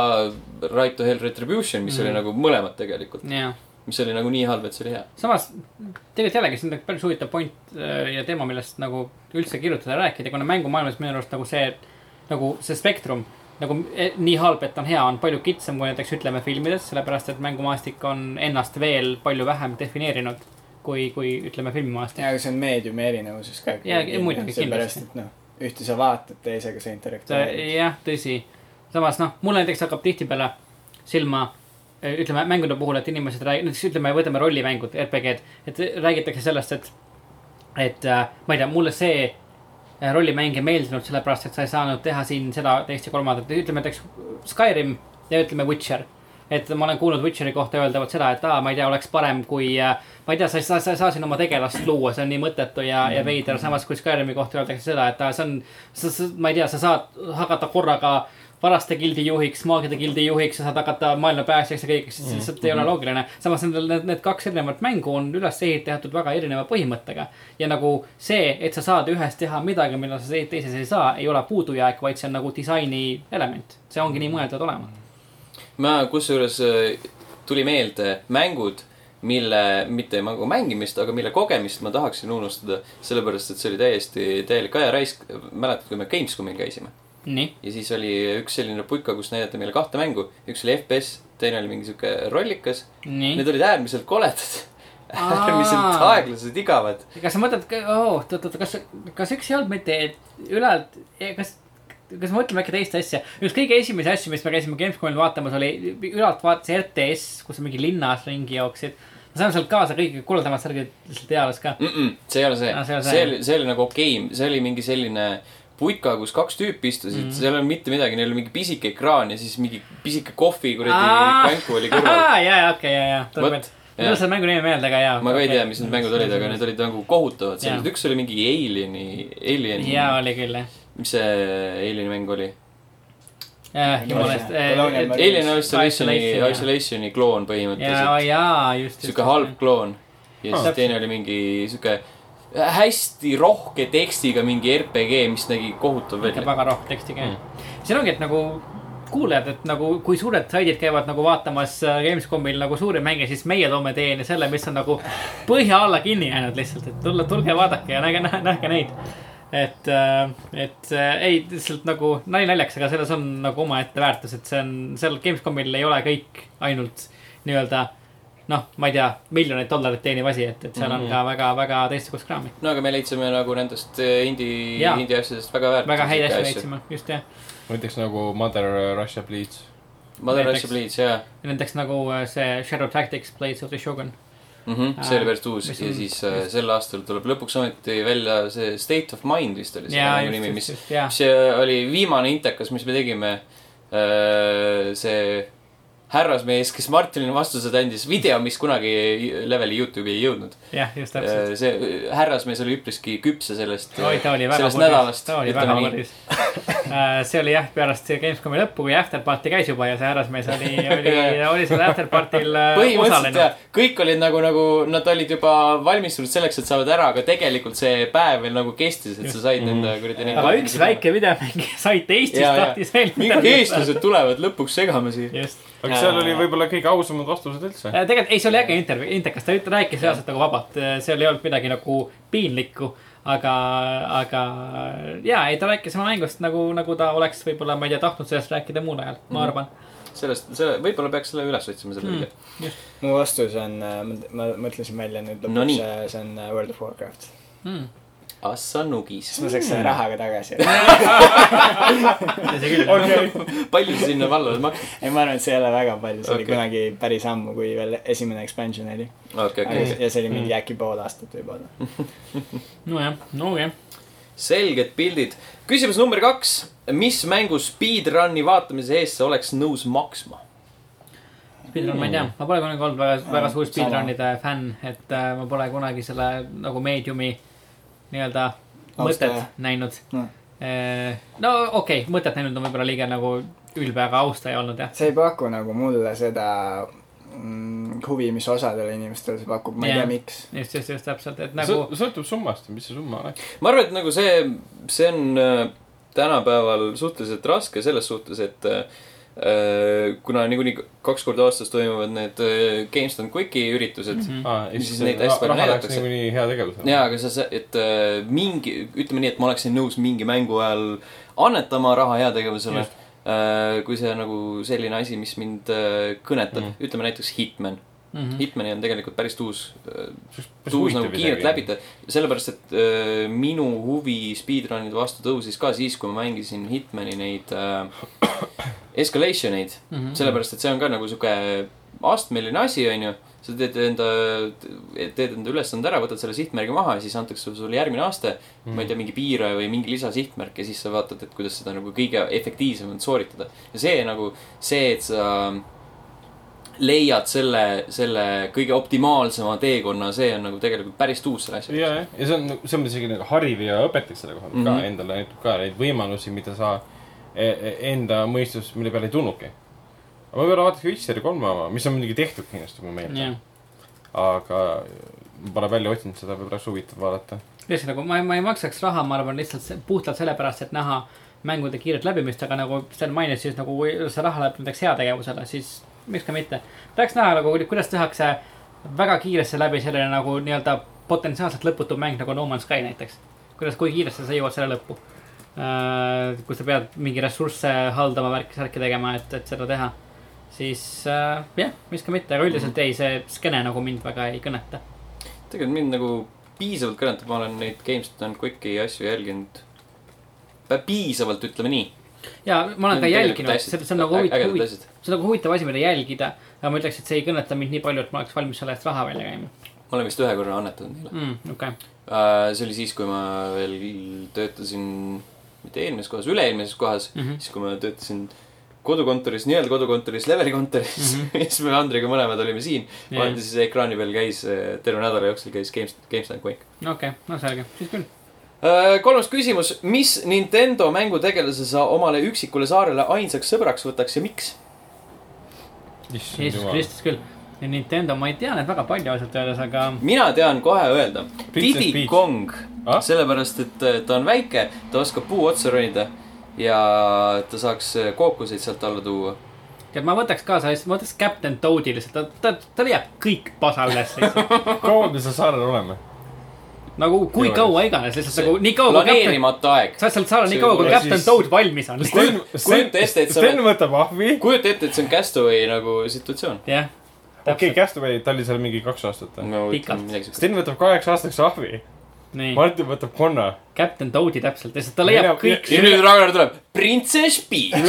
S1: Right to Hell Retribution , mis mm. oli
S2: Mhm.
S1: nagu mõlemad tegelikult .
S2: jah ,
S1: mis oli nagu nii halb , et see oli hea .
S2: samas tegelikult jällegi see on nagu päris huvitav point äh, ja teema , millest nagu üldse kirjutada ja rääkida , kuna mängumaailmas minu arust nagu see , nagu see spektrum nagu eh, nii halb , et on hea , on palju kitsam kui näiteks ütleme filmides , sellepärast et mängumaastik on ennast veel palju vähem defineerinud kui , kui ütleme filmimaastik .
S4: ja , aga see on meediumi erinevuses ka .
S2: Jaa, muidugi,
S4: seepärast , et noh , ühte sa vaatad , teisega sa interakteerid .
S2: See- Äh, jah , tõsi . samas noh , mulle näiteks hakkab tihtipeale silma , ütleme mängude puhul , et inimesed räägivad , näiteks ütleme , võtame rollimängud , RPG-d , et räägitakse sellest , et , et äh, ma ei tea , mulle see äh, rollimäng ei meeldinud , sellepärast et sa ei saanud teha siin seda , teist ja kolmandat , ütleme näiteks Skyrim ja ütleme Witcher . et ma olen kuulnud Witcheri kohta öeldavat seda , et aa , ma ei tea , oleks parem kui , ma ei tea , sa ei saa , sa ei saa siin oma tegelast luua , see on nii mõttetu ja , ja veider , samas kui Skyrimi kohta öeldakse seda , et aa, see on , sa , sa , ma ei tea , sa saad hakata korraga varaste gildi juhiks , maagide gildi juhiks , sa saad hakata maailma pääsjaks ja kõigeks , see lihtsalt ei ole loogiline . samas nendel , need , need kaks erinevat mängu on üles ehitatud väga erineva põhimõttega . ja nagu see , et sa saad ühes teha midagi , mida sa te- teises ei saa , ei ole puudujääk , vaid see on nagu disaini element . see ongi nii mõeldud olema .
S1: ma kusjuures äh, tuli meelde mängud , mille , mitte mängu mängimist , aga mille kogemist ma tahaksin unustada , sellepärast et see oli täiesti täielik ajaraisk . mäletad , kui me Gamescomil käisime
S2: nii ,
S1: ja siis oli üks selline putka , kus näidati meile kahte mängu , üks oli FPS , teine oli mingi sihuke rollikas .
S2: nii .
S1: Need olid äärmiselt koledad , *laughs*
S2: Aa.
S1: äärmiselt aeglased , igavad .
S2: kas sa mõtled , oot , oot , oot , kas , kas üks ei olnud mitte et ülalt , kas , kas me mõtleme äkki teist asja ? üks kõige esimesi asju , mis me käisime Gamescomil vaatamas , oli ülalt vaatas RTS , kus sa mingi linnas ringi jooksid . ma sain sealt kaasa kõige kuldamad särgid lihtsalt eales
S1: Mm,
S2: ka .
S1: see ei ole see
S2: Aa, , Ah, see ei ole see.
S1: see oli , see oli nagu okei okay. , see oli mingi selline putka , kus kaks tüüpi istusid mm ,
S2: Mhm.
S1: -hmm. seal ei olnud mitte midagi , neil oli mingi pisike ekraan ja siis mingi pisike kohvi kuradi kanku oli kõrval .
S2: *laughs* ja , ja , okei , ja , ja ,
S1: Vot,
S2: tuleb meelde .
S1: jah.
S2: mul ei ole selle mängu nimi meelde , aga ja .
S1: ma ka ei tea , mis need mängud olid , aga need olid nagu kohutavad sellised ,
S2: Jaa.
S1: üks oli mingi Alieni , Alieni
S2: ja , oli küll jah .
S1: mis see Alieni mäng oli ?
S2: jah , jumala eest .
S4: Colonial Marines.
S1: Alien Isolationi ,
S2: Isolation, jah.
S1: Isolationi kloon põhimõtteliselt
S2: jaa ,. jaa , just .
S1: sihuke halb . kloon . ja
S3: Ah.
S1: siis teine oli mingi sihuke hästi rohke tekstiga mingi RPG , mis nägi kohutav
S2: ikka
S1: välja .
S2: väga rohke tekstiga mm. . siin ongi , et nagu kuulajad , et nagu kui suured saidid käivad nagu vaatamas äh, Gamescomil nagu suuri mänge , siis meie toome teieni selle , mis on nagu põhja alla kinni jäänud lihtsalt , et tulla , tulge vaadake ja näge , nähke neid . et , et äh, ei , lihtsalt nagu nali naljaks , aga selles on nagu omaette väärtus , et see on seal Gamescomil ei ole kõik ainult nii-öelda noh , ma ei tea , miljoneid dollareid teeniv asi , et , et seal on ka väga-väga teistsugust kraami .
S1: no aga me leidsime nagu nendest eh, indie ,
S2: Jaa.
S1: indie asjadest väga väärt .
S2: väga häid asju leidsime , just jah .
S3: ma ütleks nagu Mother Russia Bleeds .
S1: Mother
S2: Näiteks.
S1: Russia Bleeds , jaa .
S2: näiteks nagu äh, see Shadow Tactics Blades of the Shogun .
S1: Mhm, see oli päris uus ja
S2: mis on-
S1: siis eh,
S2: just.
S1: sel aastal tuleb lõpuks ometi välja see State of Mind vist oli see mängu nimi , mis ,
S2: jaa ,
S1: see oli viimane intekas , mis me tegime . see härrasmees , kes Martinile vastused andis , video , mis kunagi leveli Youtube'i ei jõudnud .
S2: jah , just
S1: Äh,
S2: täpselt .
S1: see härrasmees oli üpriski küps ja sellest ,
S2: oi , ta oli väga
S1: sellest nädalast ,
S2: ta oli väga . kursis . see oli jah , pärast see Gamescomi lõppu , kui afterparty käis juba ja see härrasmees oli , oli , oli seal afterparty'l äh,
S1: põhimõtteliselt
S2: osaline
S1: jah , kõik olid nagu , nagu nad olid juba valmistunud selleks , et saavad ära , aga tegelikult see päev veel nagu kestis , et sa said nende kuradi .
S2: Mhm. aga üks . väike videomängija sait Eestis
S1: Jaa, jaa.
S2: tahtis veel
S1: mingid . eestlased tulevad lõpuks segama siia .
S2: just ,
S3: aga seal oli võib-olla kõige ausamad vastused üldse .
S2: Äh, tegelikult ei , see oli äge intervjuu , intekas , ta üt- rääkis reaalselt nagu vabalt , seal ei olnud midagi nagu piinlikku . aga , aga ja , ei ta rääkis oma mängust nagu , nagu ta oleks võib-olla , ma ei tea , tahtnud sellest rääkida muul ajal , ma arvan .
S1: sellest , selle , võib-olla peaks selle üles otsima , selle
S2: Hmm.
S1: video .
S4: mu vastus on , ma mõtlesin välja nüüd
S1: No nii.
S4: lõpuks , see on äh, World of Warcraft .
S2: Mm.
S1: Assa Nugis
S4: siis . ma saaks selle rahaga
S1: *laughs*
S4: tagasi . *laughs*
S2: tõsi küll ,
S1: palju sa sinna vallale maksad ?
S4: ei , ma arvan , et see ei ole väga palju , see oli
S1: Okei.
S4: kunagi päris ammu , kui veel esimene expansion oli .
S1: okei , okei , okei .
S4: ja see oli
S3: Mm.
S4: mingi äkki pool aastat võib-olla .
S2: nojah , nojah .
S1: selged pildid . küsimus number kaks . mis mängu speedrun'i vaatamise eest sa oleks nõus maksma ?
S2: Speedrun , ma ei tea , ma pole kunagi olnud väga , väga suur
S4: sama.
S2: speedrun'ide fänn , et äh, ma pole kunagi selle nagu meediumi nii-öelda mõtet
S4: Austaja.
S2: näinud Äh,
S4: Mm. .
S2: no okei okay, , mõtet näinud on võib-olla liiga nagu ülbe , aga austaja olnud jah .
S4: see ei paku nagu mulle seda mm, huvi , mis osadele inimestele see pakub , ma ei
S2: Jah.
S4: tea , miks .
S2: just , just , just täpselt , et nagu
S3: Sõ- sõltub summast , mis see summa oleks .
S1: ma arvan , et nagu see , see on äh, tänapäeval suhteliselt raske selles suhtes , et äh, äh, kuna niikuinii k- kaks korda aastas toimuvad need äh, GameStop Quicki üritused
S3: Mhm.
S1: mm . Siis neid hästi palju näidatakse.
S3: niikuinii hea tegevus .
S1: -hmm. ja , aga sa , et äh, mingi , ütleme nii , et ma oleksin nõus mingi mängu ajal annetama raha heategevusele . Äh, kui see on nagu selline asi , mis mind äh, kõnetab mm , -hmm. ütleme näiteks Hitman mm . -hmm.
S2: Mhm.
S1: Hitmani on tegelikult päris tuus äh, tuus nagu kiirelt läbida , sellepärast et öö, minu huvi speedrun'ide vastu tõusis ka siis , kui ma mängisin Hitmani neid äh, *coughs* escalation eid mm .
S2: Mhm.
S1: -hmm. sellepärast , et see on ka nagu sihuke astmeline asi , onju . sa teed enda , teed enda ülesande ära , võtad selle sihtmärgi maha ja siis antakse sulle- sulle järgmine aste mm . -hmm. ma ei tea , mingi piiraja või mingi lisasihtmärk ja siis sa vaatad , et kuidas seda nagu kõige efektiivsemalt sooritada . ja see nagu , see , et sa leiad selle , selle kõige optimaalsema teekonna , see on nagu tegelikult päris tuus selle asja
S3: ja , jah , ja see on , see on isegi nagu hariv ja õpetaks selle koha pealt mm
S1: Mhm.
S3: -hmm. ka endale , näitab ka neid võimalusi , mida sa e- e- enda mõistus , mille peale ei tulnudki . aga võib-olla vaadake Witcheri kolme oma , mis on muidugi tehtud kindlasti , ma
S2: jah
S3: meenutan . aga ma pole välja otsinud seda , võib-olla oleks huvitav vaadata .
S2: lihtsalt nagu ma , ma ei maksaks raha , ma arvan lihtsalt se- puhtalt sellepärast , et näha mängude kiiret läbimist , aga nagu Sten mainis , siis nagu kui see raha läheb näiteks heategevusele , siis miks ka mitte . tahaks näha nagu , kuidas tehakse väga kiiresti läbi selline nagu nii-öelda potentsiaalselt lõputu mäng nagu No Man's Sky näiteks . kuidas , kui kiiresti sa jõuad selle lõppu . kui sa pead mingi ressursse haldama , värki , särki tegema , et , et seda teha . siis äh, jah , miks ka mitte , aga üldiselt ei , see skeene nagu mind väga ei kõneta .
S1: tegelikult mind nagu piisavalt kõnetab , ma olen neid GameStop Quicki asju jälginud . piisavalt , ütleme nii .
S2: ja ma olen ka
S1: Need on
S2: jälginud ,
S1: tegelikult
S2: see ,
S1: hästi-
S2: see on nagu
S1: ä-
S2: huvitav
S1: ägedad , asjad.
S2: see on nagu huvitav asi , mida jälgida . aga ma ütleks , et see ei kõneta mind nii palju , et ma oleks valmis selle eest raha välja käima
S1: ma olen vist ühe korra annetanud neile .
S2: mm, . okei okay. ,
S1: Äh, see oli siis , kui ma veel töötasin , mitte eelmises kohas , üle-eelmises kohas mm , -hmm. siis kui ma töötasin kodukontoris , nii-öelda kodukontoris , leveli kontoris mm , -hmm. *laughs* siis me Andriga mõlemad olime siin .
S2: Jah.
S1: vahepeal äh, siis ekraani peal käis , terve nädala jooksul käis Games , GameStop Quake .
S2: okei okay. , no selge , siis küll .
S1: kolmas küsimus , mis Nintendo mängutegelase sa omale üksikule saarele ainsaks sõbraks võtaks ja miks ?
S3: issand
S2: Jeesus
S3: jumal .
S2: Kristus küll . Nintendo , ma ei tea neid väga palju ausalt öeldes , aga
S1: mina tean kohe öelda .
S3: Princess
S1: Diddy
S3: Peach.
S1: Kong
S3: Ah?
S1: ah? , sellepärast et äh, ta on väike , ta oskab puu otsa ronida ja ta saaks äh, kookuseid sealt alla tuua .
S2: tead , ma võtaks kaasa , ma võtaks Captain Toad'i lihtsalt , ta , ta , ta leiab kõik pasa üles
S1: *laughs*
S2: lihtsalt .
S3: kaua me seal saarel oleme ?
S2: nagu kui
S3: Teoorias.
S2: kaua iganes lihtsalt nagu nii kaua kui Captain ,
S1: planeerimata aeg .
S2: sa oled seal saanud nii
S1: See
S2: kaua kui
S3: pole
S2: Captain
S3: siis-
S2: Toad valmis on lihtsalt .
S1: kujuta ette, et sa oled-
S3: Sten võtab ahvi .
S1: kujuta ette , et see on Castaway nagu situatsioon .
S2: jah ,
S3: okei ,
S2: täpselt.
S3: Castaway , ta oli seal mingi kaks aastat või ?
S1: no
S2: Pikalt.
S1: ütleme midagi siukest .
S3: Sten võtab kaheks aastaks ahvi ,
S2: nii ,
S3: Martin võtab konna .
S2: Captain Toad'i täpselt , lihtsalt ta leiab
S3: Leiab-
S2: kõik .
S1: ja nüüd Ragnar tuleb , Princess Peach .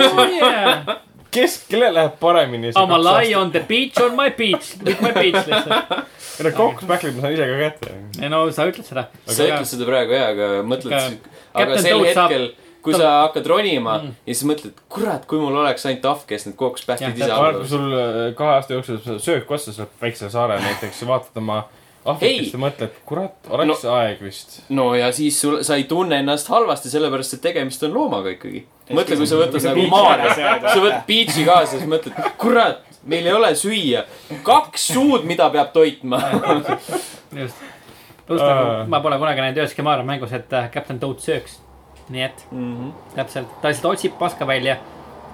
S2: Yeah.
S3: kes , kellel läheb paremini ?
S2: I'm a lie on the beach on my beach , with my
S3: *laughs*
S2: beach lihtsalt .
S3: ei no kokku pähkleid ma saan ise ka kätte .
S2: ei no sa ütled seda .
S1: sa ütled seda praegu jaa , aga mõtled
S2: Ikka- ,
S1: aga
S2: Captain
S1: sel
S2: Toad saab-
S1: hetkel , kui
S2: ta- Mm.
S1: sa hakkad ronima ja siis mõtled , kurat , kui mul oleks ainult ahv , kes need
S2: Jah,
S1: kookuspähklid ise
S2: täpselt.
S3: ma
S1: annab
S3: arvan , et kui . sul äh, kahe aasta jooksul sa söök otsa seal väiksel saarel näiteks , vaatad oma ahvikest ja mõtled , kurat , oleks aeg vist .
S1: *laughs* no ja siis sul , sa ei tunne ennast halvasti , sellepärast et tegemist on loomaga ikkagi . mõtle , kui sa võtad nagu Maarja , sa võtad Peach'i kaasa , siis mõtled , kurat , meil ei ole süüa . kaks suud , mida peab
S2: *laughs*
S1: toitma .
S2: just . pluss nagu
S3: Aa.
S2: ma pole kunagi näinud üheski Mario mängus , et äh, Captain Toad sööks . nii et
S3: Mhm.
S2: täpselt , ta lihtsalt otsib paska välja ,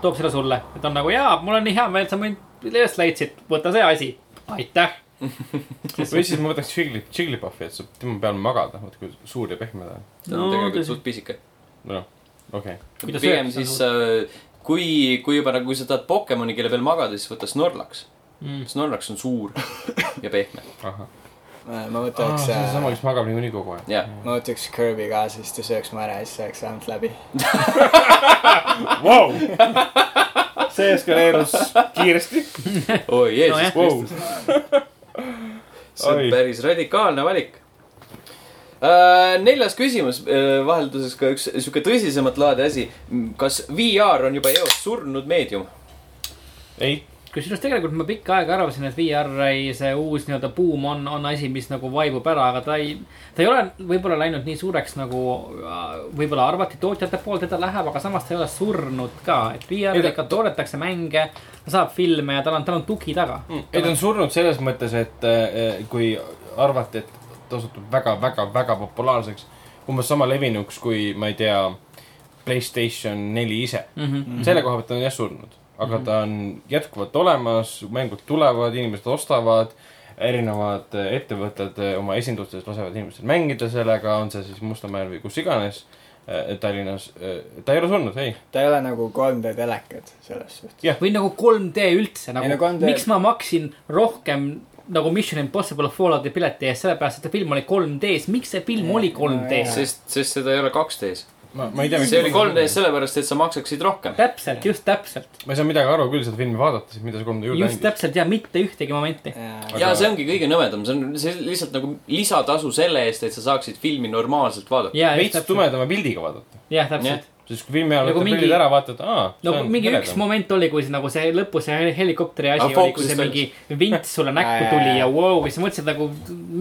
S2: toob selle sulle , et on nagu jaa , mul on nii hea meel , sa mind üles leidsid , võta see asi ,
S3: *laughs*
S2: aitäh .
S3: või siis ma võtaks Jiggly , Jigglypuffi , et saab tema peal magada , vaata kui suur ja pehme ta on .
S1: ta on
S2: No,
S1: tegelikult
S2: tõsi.
S1: suht pisike .
S3: noh , okei okay. .
S2: Kuidas
S1: pigem
S2: öeldakse,
S1: siis äh, kui , kui juba nagu , kui sa tahad Pokemoni , kelle peal magada , siis võta Snorlax .
S2: Mm.
S1: Snorlax on
S2: *laughs*
S1: suur ja pehme .
S3: ahah .
S4: ma
S3: see on
S4: võtaks
S1: äh,
S4: äh,
S3: seesama , kes magab niikuinii kogu aeg .
S2: *laughs*
S1: jah ,
S4: ma võtaks Kirby ka , siis ta sööks mu ära ja siis saaks vähemalt läbi .
S3: Vau ! *laughs* see eskaleerus kiiresti .
S1: oi Jeesus
S2: Nojah.
S1: no, ,
S3: Vau .
S1: see on
S3: Oi.
S1: päris radikaalne valik Äh, neljas küsimus , vahelduseks ka üks sihuke tõsisemat laadi asi . kas VR on juba eos surnud meedium ?
S3: ei ,
S2: kusjuures tegelikult ma pikka aega arvasin , et VR ei , see uus nii-öelda buum on , on asi , mis nagu vaibub ära , aga ta ei , ta ei ole võib-olla läinud nii suureks nagu äh, võib-olla arvati tootjate poolt , et ta läheb , aga samas ta ei ole surnud ka , et VR-il ikka toodetakse mänge , ta saab filme ja tal on , tal on tugi taga .
S1: Hmm,
S3: Mm, ei ta on surnud selles mõttes , et äh, kui arvati , et ta osutub väga , väga , väga populaarseks , umbes sama levinuks kui , ma ei tea , Playstation neli ise mm .
S1: Mhm.
S3: -hmm. selle koha pealt ta on jah surnud , aga mm -hmm. ta on jätkuvalt olemas , mängud tulevad , inimesed ostavad , erinevad äh, ettevõtted äh, oma esindustes lasevad inimestel mängida sellega , on see siis Mustamäel või kus iganes äh, Tallinnas , ta ei ole surnud , ei .
S4: ta ei ole nagu 3D telekad selles suhtes .
S2: või nagu 3D üldse
S4: Ei, no
S2: nagu ,
S4: 3D
S2: miks ma maksin rohkem nagu Mission Impossible Fallouti pileti eest , sellepärast et see film oli 3D-s , miks see film oli 3D-s ?
S1: sest , sest seda ei ole 2D-s .
S3: ma , ma ei tea .
S1: see oli 3D-s sellepärast , et sa maksaksid rohkem .
S2: täpselt , just täpselt ,
S3: ma ei saa midagi aru küll seda filmi vaadates , mida see 3D juurde
S2: just
S3: andis .
S2: täpselt ja mitte ühtegi momenti .
S4: Aga...
S1: ja see ongi kõige nõmedam , see on , see lihtsalt nagu lisatasu selle eest , et sa saaksid filmi normaalselt vaadata .
S2: jaa ,
S3: veits tumedama pildiga vaadata .
S2: jah , täpselt .
S3: siis kui filmi ajal
S2: Nagu
S3: võtad
S2: mingi-
S3: mingi... pildid ära , vaatad , aa .
S2: no mingi üks . moment oli , kui see nagu see lõpus see helikopteri asi
S1: Aga
S2: oli , kui
S1: fookusest
S2: see
S1: väljas.
S2: mingi vints sulle näkku
S4: Jaa, jaa,
S2: tuli
S4: jaa.
S2: ja vau , siis mõtlesid nagu ,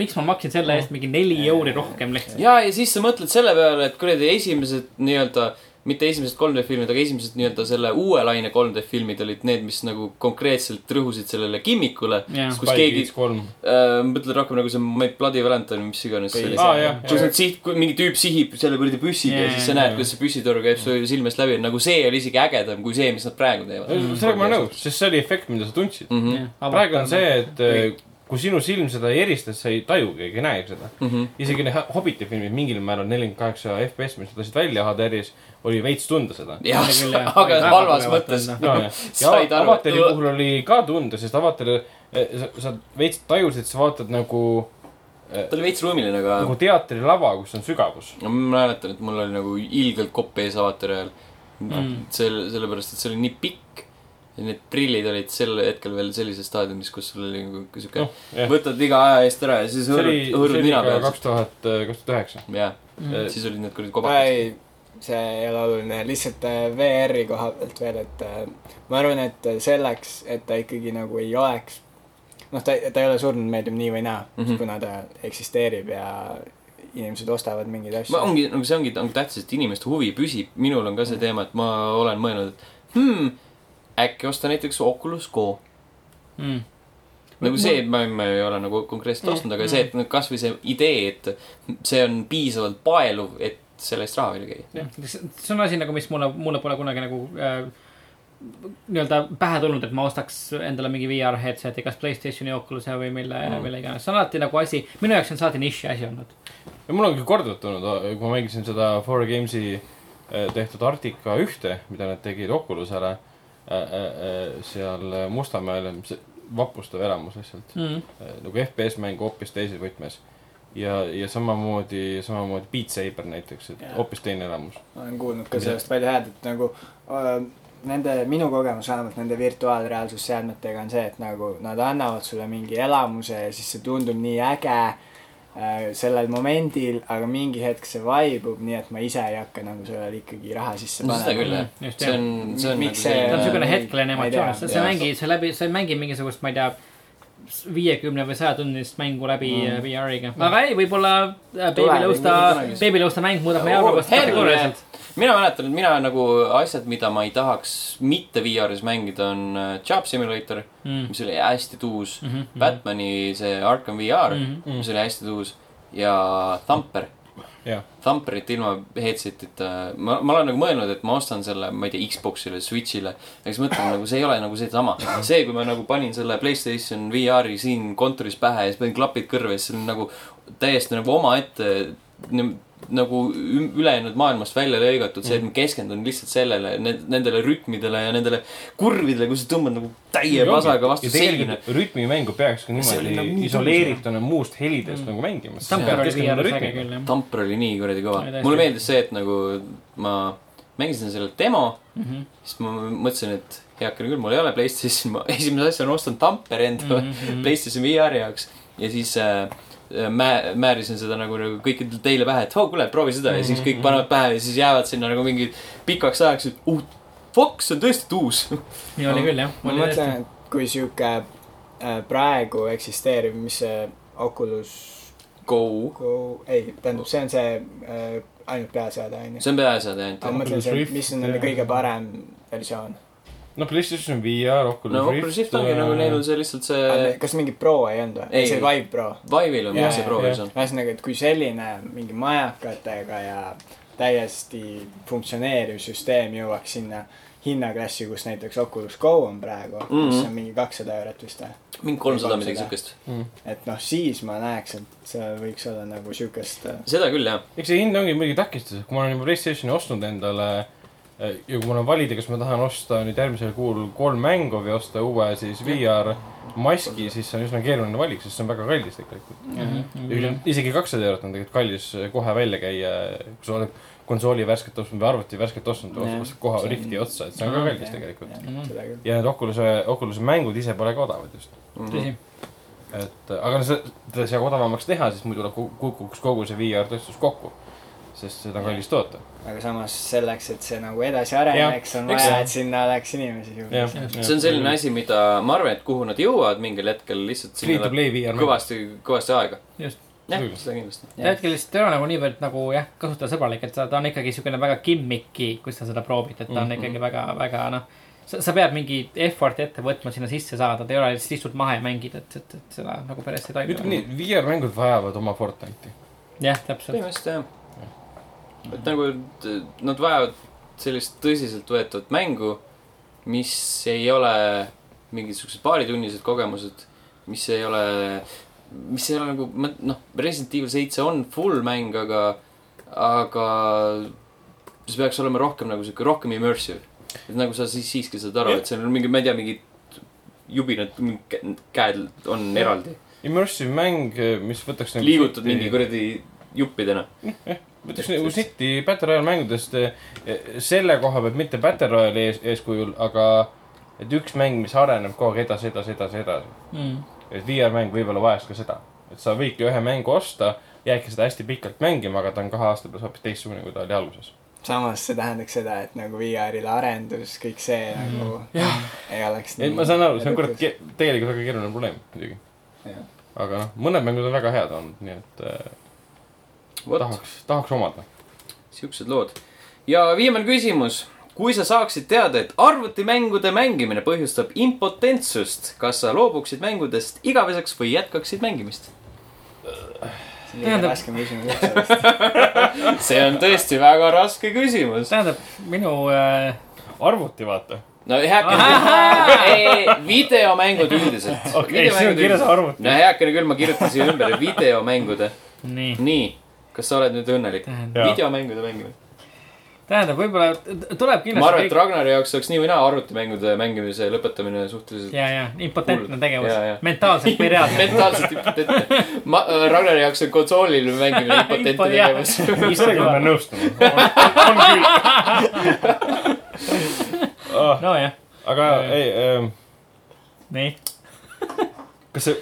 S2: miks ma maksin selle eest mingi neli euri rohkem lihtsalt .
S1: ja , ja siis sa mõtled selle peale , et kuradi esimesed nii-öelda , mitte esimesed 3D filmid , aga esimesed nii-öelda selle uue laine 3D filmid olid need , mis nagu konkreetselt rõhusid sellele kimmikule
S2: Jah. .
S1: kus keegi ,
S3: kolm .
S1: äh, ma mõtlen rohkem nagu see My Bloody Valentine või mis iganes see oli
S3: Aa, . jah.
S1: kus nad siht , kui mingi tüüp sihib selle kuradi püssiga ja
S2: Jaa,
S1: siis sa
S2: jaa,
S1: näed , kuidas see püssitoru käib su silmest läbi , nagu see oli isegi ägedam kui see , mis nad praegu teevad .
S3: sellega ma olen nõus , sest see oli efekt , mida sa tundsid .
S1: Mhm.
S3: praegu
S2: praegu
S3: on see , et äh, kui sinu silm seda ei erista , siis sa ei tajugi ega näegi seda mm .
S1: mhm.
S3: -hmm. isegi need Hobbiti filmid mingil määral nelikümmend kaheksa FPS , mis nad lasid välja HDR-is , oli veits tunda seda .
S1: jah
S2: Seda küll, jah. ,
S1: aga
S2: Väga
S1: halvas
S2: tugevat
S1: mõttes
S2: on, .
S3: ja , ja
S1: *laughs* Said aru,
S3: avatari
S1: et-
S3: puhul oli ka tunda , sest avatari , sa sa veits tajusid , sa vaatad nagu ,
S1: ta oli veits ruumiline , aga
S3: nagu teatrilava , kus on sügavus .
S1: no ma mäletan , et mul oli nagu ilgelt kopp ees avatari ajal mm. . selle , sellepärast , et see oli nii pikk . ja need prillid olid sel hetkel veel sellises staadiumis , kus sul oli nagu sihuke
S3: Noh,
S1: oh, ,
S3: jah.
S1: võtad iga aja eest ära ja siis
S3: see oli ,
S1: hõõrud ,
S3: see
S1: hõõrud
S3: oli
S1: nina Mhm.
S3: ka
S1: peale .
S3: kaks tuhat , kaks tuhat üheksa .
S1: jah ,
S3: Mm.
S1: siis olid need kuradi
S4: ma
S1: kobakad .
S4: ei , see ei ole oluline , lihtsalt äh, VR-i koha pealt veel , et äh, ma arvan , et selleks , et ta ikkagi nagu ei oleks , noh , ta , ta ei ole surnud meedium nii või naa mm ,
S1: Mhm.
S4: -hmm. kuna ta eksisteerib ja inimesed ostavad mingeid
S1: ma
S4: asju .
S1: ongi , nagu see ongi , ongi tähtis , et inimeste huvi püsib , minul on ka see teema , et ma olen mõelnud , et hmm, äkki osta näiteks Oculus Go .
S2: mm. .
S1: nagu see , ma , ma ei ole nagu konkreetselt ostnud , aga see , et kasvõi see idee , et see on piisavalt paeluv , et selle eest raha välja käia .
S2: see on asi nagu , mis mulle , mulle pole kunagi nagu äh, nii-öelda pähe tulnud , et ma ostaks endale mingi VR headset'i , kas Playstationi Oculus'e või mille mm. , mille iganes . see on alati nagu asi , minu jaoks on see alati niši asi olnud .
S3: ja mul on küll korduvalt tulnud , kui ma mängisin seda Four Games'i eh, tehtud Arctica ühte , mida nad tegid Oculusele eh, eh, eh, seal Mustamäel , see vapustav elamus lihtsalt
S2: Mm.
S3: Eh, nagu FPS mäng hoopis teises võtmes . ja , ja samamoodi , samamoodi Beat Saber näiteks , et
S4: Jaa.
S3: hoopis teine elamus .
S4: ma olen kuulnud ka
S3: Mis-
S4: sellest palju häält , et nagu äh, nende , minu kogemus vähemalt nende virtuaalreaalsusseadmetega on see , et nagu nad annavad sulle mingi elamuse ja siis see tundub nii äge äh, sellel momendil , aga mingi hetk see vaibub , nii et ma ise ei hakka nagu sellele ikkagi raha sisse
S1: seda küll ,
S4: panema .
S1: jah .
S2: Mm, just,
S1: see on , see on
S4: Miks
S2: see on
S4: Jaa,
S2: siukene
S4: ei-
S2: hetkeline
S4: ma ei
S2: emotsioon ,
S4: tea.
S2: sa , sa
S1: Jaa.
S2: ei mängi , sa läbi , sa ei mängi mingisugust , ma ei tea , viiekümne või saja tunnist mängu läbi mm. VR-iga . aga ei , võib-olla äh, beebilõusta
S4: võib-olla kunagi. ,
S2: beebilõusta mäng muudab meie
S1: Oh,
S2: arvamust
S1: hell yeah.
S2: kategooriliselt .
S1: mina mäletan , et mina nagu asjad , mida ma ei tahaks mitte VR-is mängida , on äh, Job Simulator ,
S2: Mm,
S1: mis oli hästi tuus .
S3: Mhm.
S1: Batman'i see Arkham VR ,
S2: Mhm.
S1: mis oli hästi tuus ja Thumper .
S3: jah ,
S1: Thumperit ilma headset'ita , ma , ma olen nagu mõelnud , et ma ostan selle , ma ei tea , Xbox'ile , Switch'ile . ja siis mõtlen nagu see ei ole nagu seesama , see , kui ma nagu panin selle Playstation VR-i siin kontoris pähe ja siis panin klapid kõrva ja siis see on nagu täiesti nagu omaette ne- nagu üm- ülejäänud maailmast välja lõigatud , see , et
S3: Mhm.
S1: ma keskendun lihtsalt sellele , nendele rütmidele ja nendele kurvidele , kus sa tõmbad nagu täie pasaga vastu
S3: ja
S1: seina .
S3: tegelikult rütmimängu peaks ka
S1: See oli
S3: niimoodi
S1: nagu
S3: nagu
S1: nii
S3: isoleerituna muust helidest mm. nagu mängima .
S2: Tamper oli VR-is äge küll , jah .
S1: Thumper oli nii kuradi kõva
S2: See oli .
S1: mulle
S2: täiesti-
S1: meeldis see , et nagu ma mängisin selle demo
S2: Mhm.
S1: siis ma mõtlesin , et heakene küll , mul ei ole Playstation , ma *laughs* esimese asjana ostan Tampere endale *laughs*
S2: Mhm.
S1: mm -hmm. Playstation VR-i jaoks ja siis äh, mä- , määrisin seda nagu , nagu kõikidele teile pähe , et oo , kuule , proovi seda ja
S2: Mhm.
S1: siis kõik panevad pähe ja siis jäävad sinna nagu mingi pikaks ajaks , et uh, fuck , see on tõesti uus . *laughs*
S2: nii oli küll ,
S4: ma
S2: jah .
S4: mõtlen , et kui sihuke äh, praegu eksisteerib , mis see Oculus
S1: Go ,
S4: Go , ei , tähendab , see on see äh, ainult peaseade , on ju .
S1: see on peaasjad ainult
S4: aga ma
S1: jah .
S4: mõtlen
S3: Oculus
S4: see ,
S3: Rift,
S4: mis on nende
S3: jah.
S4: kõige parem versioon .
S3: no PlayStation VR , Oculus äh,
S1: no Oculus Rift ongi nagu neil on see lihtsalt see ,
S4: kas mingi Pro ei olnud või ?
S1: Ei.
S4: või see Vive Pro ?
S1: Vive'il on
S4: Jaa,
S1: jah see
S4: jaa,
S1: Pro
S3: jaa.
S1: versioon .
S4: ühesõnaga , et kui selline mingi majakatega ja täiesti funktsioneeriv süsteem jõuaks sinna hinnaklassi , kus näiteks Oculus Go on praegu mm , -hmm.
S1: Mhm.
S4: mis on mingi kakssada eurot vist või ?
S1: mingi kolmsada midagi
S4: 300.
S1: siukest .
S3: mm. .
S4: et noh , siis ma näeks , et see võiks olla nagu siukest äh,
S1: seda küll jah ,
S3: eks see hind ongi muidugi takistus , et kui ma olen juba Playstationi ostnud endale eh, ja kui mul on valida , kas ma tahan osta nüüd järgmisel kuul kolm mängu või osta uue siis VR maski , siis see on üsna keeruline valik , sest see on väga kallis tegelikult .
S1: Mhm.
S2: Mhm,
S4: Mm.
S3: isegi kakssada eurot on tegelikult kallis kohe välja käia , kui sa oled konsooli värsket ostnud või arvuti värsket ostnud ,
S4: Jah.
S3: ostad kohe
S4: See on-
S3: rifti otsa , et see on ka kallis tegelikult .
S4: jah,
S1: Mhm.
S4: seda küll .
S3: ja need Oculus , Oculus mängud ise pole ka odavad just .
S1: Mhm.
S2: tõsi ,
S3: et äh, aga no see , teda ei saa odavamaks teha , sest muidu ku- kukuks kogu see VR tööstus kokku . sest seda on kallis toota .
S4: aga samas selleks , et see nagu edasi areneks , on
S1: eks-
S4: vaja , et sinna oleks inimesi juurde .
S1: see on selline . asi , mida ma arvan , et kuhu nad jõuavad mingil hetkel lihtsalt
S3: Free to
S1: sinna
S3: play VR .
S1: kõvasti , kõvasti aega .
S2: just .
S1: jah
S3: Muidugi. ,
S1: seda kindlasti .
S4: Jah.
S2: hetkel lihtsalt ei ole nagu niivõrd nagu jah , kasutajasõbralik , et ta ta on ikkagi siukene väga kimmiki , kui sa seda proovid , et ta on
S3: Mhm.
S2: ikkagi väga , väga noh . sa , sa pead mingi effort'i ette võtma sinna sisse saada , ta ei ole lihtsalt istud maha ja mängid , et , et , et seda nagu päris ei
S3: ütleme
S2: toimi .
S3: nii , VR mängud vajavad oma Fortnite'i .
S2: jah , täpselt .
S1: põhimõtteliselt jah . et nagu et nad vajavad sellist tõsiseltvõetavat mängu , mis ei ole mingisugused paaritunnised kogemused , mis ei ole , mis ei ole nagu , noh , Resident Evil seitse on full mäng , aga , aga see peaks olema rohkem nagu sihuke , rohkem immersive . et nagu sa siis siiski saad aru , et seal on mingi , ma ei tea , mingid jubinad , käed on eraldi ,
S3: Immersive mäng , mis võtaks . nagu
S1: liigutad mingi . kuradi juppidena .
S3: võtaks nagu City Battle Royale mängudest eh, eh, selle koha pealt mitte Battle Royale'i ees , eeskujul , aga et üks mäng , mis areneb kogu aeg edasi , edasi , edasi , edasi .
S2: Mm.
S3: et VR-mäng võib-olla vajas ka seda , et sa võidki ühe mängu osta , jäädki seda hästi pikalt mängima , aga ta on kahe aasta pärast hoopis teistsugune , kui ta oli alguses .
S4: samas see tähendaks seda , et nagu VR-ile arendus , kõik see
S2: Mhm.
S4: nagu ei oleks .
S3: ei , ma saan aru , see on kurat , tegelikult väga keeruline probleem muidugi ,
S4: kurat .
S3: aga noh , mõned mängud on väga head olnud , nii et äh,
S1: vot ,
S3: tahaks , tahaks omada .
S1: siuksed lood . ja viimane küsimus . kui sa saaksid teada , et arvutimängude mängimine põhjustab impotentsust , kas sa loobuksid mängudest igaveseks või jätkaksid mängimist ?
S4: see on liiga
S2: Tähendab-
S4: raske küsimus üldse .
S1: see on tõesti väga raske küsimus .
S2: tähendab , minu äh,
S3: arvuti , vaata .
S1: no heakene , videomängud üldiselt
S3: okei , siin on kirjas . arvuti .
S1: no heakene küll , ma kirjutan siia ümber , videomängude .
S2: nii ,
S1: nii , kas sa oled nüüd õnnelik ?
S2: tähendab ,
S3: Jaa.
S1: videomängude mängimine .
S2: tähendab , võib-olla t-
S1: ma
S2: tuleb
S1: arvan , et
S2: kindlasti .
S1: Ragnari jaoks oleks nii või naa arvutimängude mängimise lõpetamine suhteliselt
S2: ja , ja impotentne
S1: Hull. Ja, ja.
S2: tegevus , mentaalselt või reaalselt .
S1: mentaalselt impotentne . ma , Ragnari jaoks on konsoolil
S2: *laughs*
S1: mängimine *laughs* impotentne
S2: Impo- jah.
S1: tegevus .
S2: *laughs*
S3: sellega ma pean nõustuma . on küll .
S2: nojah ,
S3: Ah, aga ei ähm,
S2: nii ,
S3: kas see ,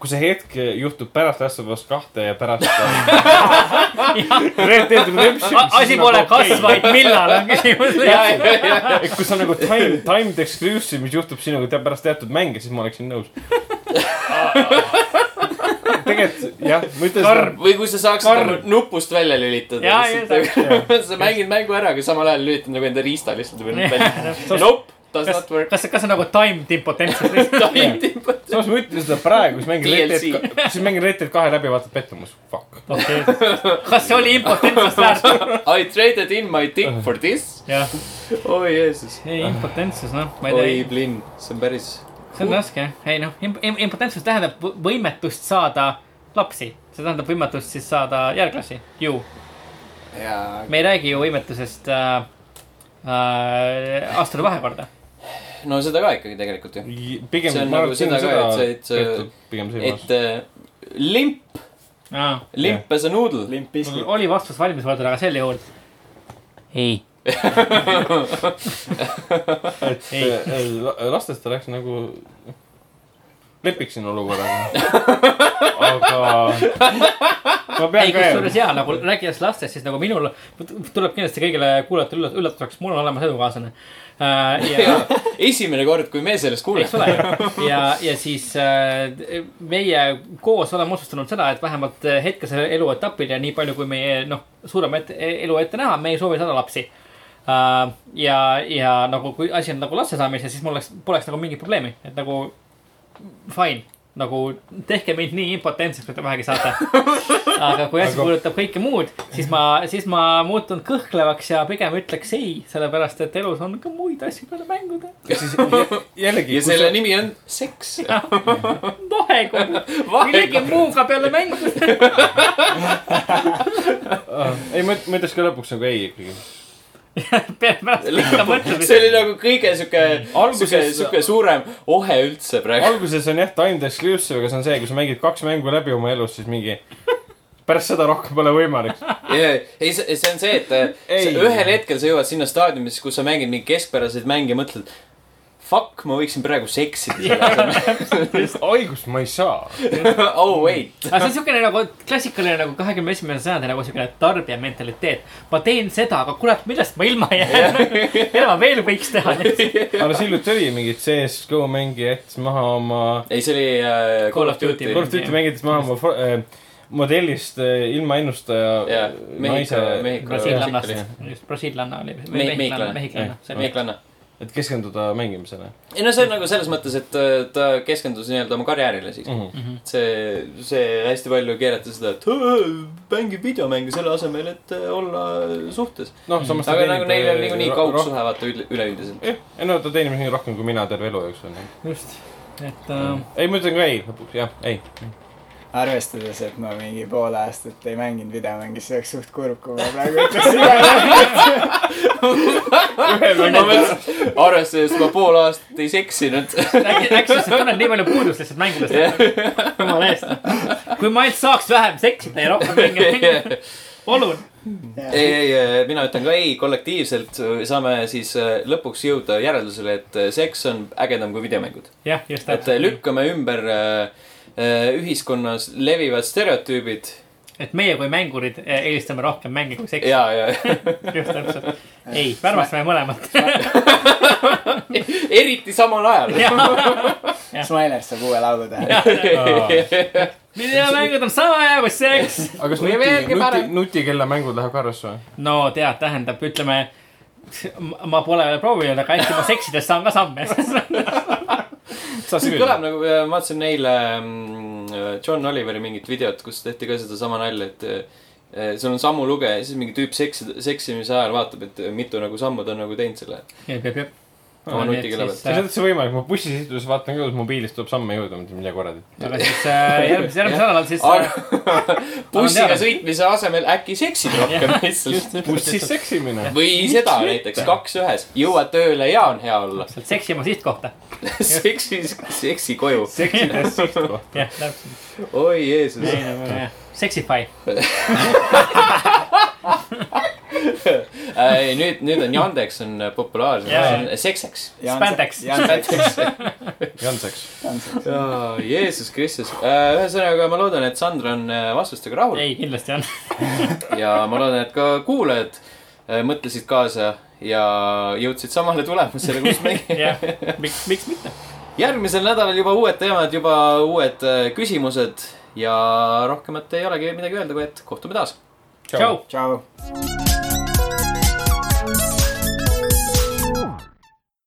S3: kui see hetk juhtub pärast Last of Us kahte ja pärast äh,
S2: *laughs*
S3: Red Dead Redemption . nagu
S2: asi pole kas , vaid millal *laughs* on küsimus .
S3: et kui see on nagu time , timed exclusive , mis juhtub sinuga te pärast teatud mänge , siis ma oleksin
S2: *laughs*
S3: nõus . tegelikult jah , ma ütlen .
S1: või kui sa saaksid
S3: Karm.
S1: nagu nupust välja lülitada .
S2: Jaa,
S1: *laughs* sa mängid mängu ära , aga samal ajal lülitad nagu enda riista lihtsalt või välja . Nope , does
S2: kas
S1: not ,
S2: *laughs*
S1: work .
S2: kas , kas see on nagu timed impotentsus lihtsalt ?
S3: samas ma ütlen seda praegu , siis mängin Red
S1: DLC.
S3: Dead , siis mängin Red Dead kahe läbi , vaatad pettumus , fuck .
S2: *laughs* okei , kas see oli impotentsust väärt ?
S1: I traded in my dick for this .
S2: *laughs* jah ,
S1: oi Jeesus .
S2: ei impotentsus , noh , Oh, ma ei tea
S1: oi . Blinn , see on päris
S2: see on raske , ei noh , impotentsus tähendab võ- võimetust saada lapsi , see tähendab võimetust siis saada järglasi , ju .
S4: jaa ,
S2: me ei räägi ju võimetusest äh, äh, astuda vahekorda .
S1: no seda ka ikkagi tegelikult ju .
S3: pigem
S1: See on
S3: ma
S1: nagu
S3: arvan , et siin on
S1: seda ka, et
S3: seda
S1: sa- et sa-
S3: peetud pigem silmas
S1: et . äh, limp , limp as a noodle .
S4: limp
S3: *laughs*
S4: piskit .
S2: oli vastus valmis võetud , aga sel juhul . ei .
S3: et
S2: Ei.
S3: äh, la- lastest oleks nagu , lepiksin olukorraga . aga ma
S2: ei ,
S3: pean ka
S2: kusjuures jaa , nagu rääkides lastest , siis nagu minul tuleb kindlasti kõigile kuulajatele ülla- üllatuseks , mul on olemas elukaaslane äh, . ja
S1: *laughs* esimene kord , kui me sellest
S2: eks
S1: kuuleme .
S2: ole ja , ja siis äh, meie koos oleme otsustanud seda , et vähemalt hetkesel eluetapil ja nii palju , kui meie noh , suurem et, elu ette näha , me ei soovi saada lapsi äh, . ja , ja nagu kui asi on nagu laste saamises , siis mul oleks , poleks nagu mingit probleemi , et nagu fine , nagu tehke mind nii impotentseks , kui te vähegi saate . aga kui asi
S3: Aga-
S2: puudutab kõike muud , siis ma , siis ma muutun kõhklevaks ja pigem ütleks ei , sellepärast et elus on ka muid asju peale mängude .
S3: jääma . jällegi
S1: ja , selle nimi on seks .
S2: Ah, vahekorda . millegi muuga peale mängu . *laughs*
S3: Ah, ei ma , ma ütleks ka lõpuks nagu ei ikkagi .
S2: pärast pikka
S1: see oli
S2: mõtlemist .
S1: nagu kõige sihuke , sihuke ,
S3: Alguses-
S1: sihuke suurem ohe üldse praegu .
S3: alguses on jah , timed exclusive , aga see on see , kui sa mängid kaks mängu läbi oma elus , siis mingi , pärast seda rohkem pole võimalik .
S1: ei , see see on see , et äh,
S3: Ei.
S1: sa- ühel hetkel sa jõuad sinna staadiumisse , kus sa mängid mingeid keskpäraseid mänge ja mõtled . Fuck , ma võiksin praegu seksida selle asemel .
S3: haigust ma ei saa .
S1: *laughs* Oh wait .
S2: aga see on siukene nagu klassikaline nagu kahekümne esimese sajandi nagu siukene tarbija mentaliteet . ma teen seda , aga kurat , millest ma ilma jään ? *laughs* mida ma veel võiks *laughs* teha ?
S3: aga no hiljuti oli mingi CS-GO mängija jättis maha oma
S1: ei , see oli äh,
S2: Call of Duty.
S3: Call of Duty
S2: Jah.
S3: mängides maha oma fo- äh, modellist äh, ilma ennustaja
S1: Jah, Mehhiko- Mehhiko-
S2: brasiillannast
S1: Jah. ,
S2: just brasiillanna oli .
S1: Me-
S2: mehhiklane ,
S1: mehiklane.
S2: mehhiklane , see oli .
S1: Meeklanna .
S3: et keskenduda mängimisele
S1: ei no see on nagu selles mõttes , et äh, ta keskendus nii-öelda oma karjäärile siis .
S3: mm . -hmm.
S1: see , see hästi palju keerati seda , et "Õõ, mängi videomänge selle asemel , et äh, olla suhtes .
S3: noh , samas
S1: aga nagu neil on
S3: äh,
S1: niikuinii
S3: ro- roh-
S1: kaugsuhe , vaata üle- üleüldiselt .
S3: jah , ei no ta teenib nii rohkem kui mina terve elu jooksul .
S2: just , et äh,
S3: ei , ma ütlen ka ei lõpuks , jah ,
S1: *laughs*
S3: ei .
S4: arvestades , et ma mingi pool aastat ei mänginud videomänge , siis oleks suht kurb , kui ma praegu ütleks
S3: *laughs*
S4: seda .
S1: *laughs* arvestades , et ma pool aastat ei *laughs* seksinud .
S2: äkki , äkki sa tunned nii palju puudust lihtsalt mängudest . *laughs* jumala eest . kui ma ainult saaks vähem seksida ja rohkem mänge *laughs* mängida . palun .
S1: ei , ei , mina ütlen ka ei , kollektiivselt saame siis äh, lõpuks jõuda järeldusele , et äh, seks on ägedam kui videomängud .
S2: jah , just
S1: et
S2: täpselt
S1: äh, . lükkame ümber äh, äh, ühiskonnas levivad stereotüübid
S2: et meie kui mängurid eh, eelistame rohkem mänge kui seksi .
S1: ja , *laughs* ja
S2: just *laughs* täpselt . ei , me armastame mõlemat .
S1: eriti samal ajal .
S2: *laughs* jah ,
S1: *laughs*
S4: Smiler saab uue laulu teha .
S2: videomängud on sama hea kui seks .
S3: aga kas
S1: Või
S3: nuti ,
S1: veelgi
S3: nuti
S1: parem. ,
S3: nutikellamängud läheb ka arvesse või ?
S2: no tead , tähendab , ütleme , ma pole veel proovinud , aga äkki ma seksides saan ka samme . *laughs*
S3: saad
S1: see
S3: küll .
S1: kõlab nagu , ma vaatasin eile mm, John Oliveri mingit videot , kus tehti ka sedasama nalja , et eh, seal on sammu lugeja ja siis mingi tüüp seks , seksimise ajal vaatab , et mitu nagu sammu ta on nagu teinud selle oma nutikella pealt .
S3: see on üldse võimalik , ma bussis istudes vaatan ka , kuidas mobiilist tuleb samme jõuda , mõtlen , mida kuradi .
S2: aga siis *laughs* äh, järgmisel , järgmisel nädalal siis äh,
S1: bussiga
S2: teada.
S1: sõitmise asemel äkki seksid rohkem lihtsalt .
S3: bussis seksimine .
S1: või seda näiteks , kaks ühes , jõuad tööle ja on hea olla .
S2: sealt seksima sihtkohta .
S1: seksi , seksi koju .
S2: seksides sihtkohta . *laughs* jah , täpselt .
S1: oi Jeesus .
S2: ei nagu jah , Sexify .
S1: Äh, nüüd , nüüd on Yandex on populaarsem
S2: Jaa, jaa. ,
S1: sekseks .
S2: Spandex.
S3: Janseks .
S1: jaa , Jeesus Kristus . ühesõnaga , ma loodan , et Sandra on äh, vastustega rahul
S2: ei , kindlasti on .
S1: ja ma loodan , et ka kuulajad äh, mõtlesid kaasa ja jõudsid samale tulemusele , kus
S2: *laughs*
S1: meie .
S2: jah , miks , miks mitte .
S1: järgmisel nädalal juba uued teemad , juba uued äh, küsimused ja rohkemat ei olegi midagi öelda , kui et kohtume taas
S2: tšau .
S4: tšau .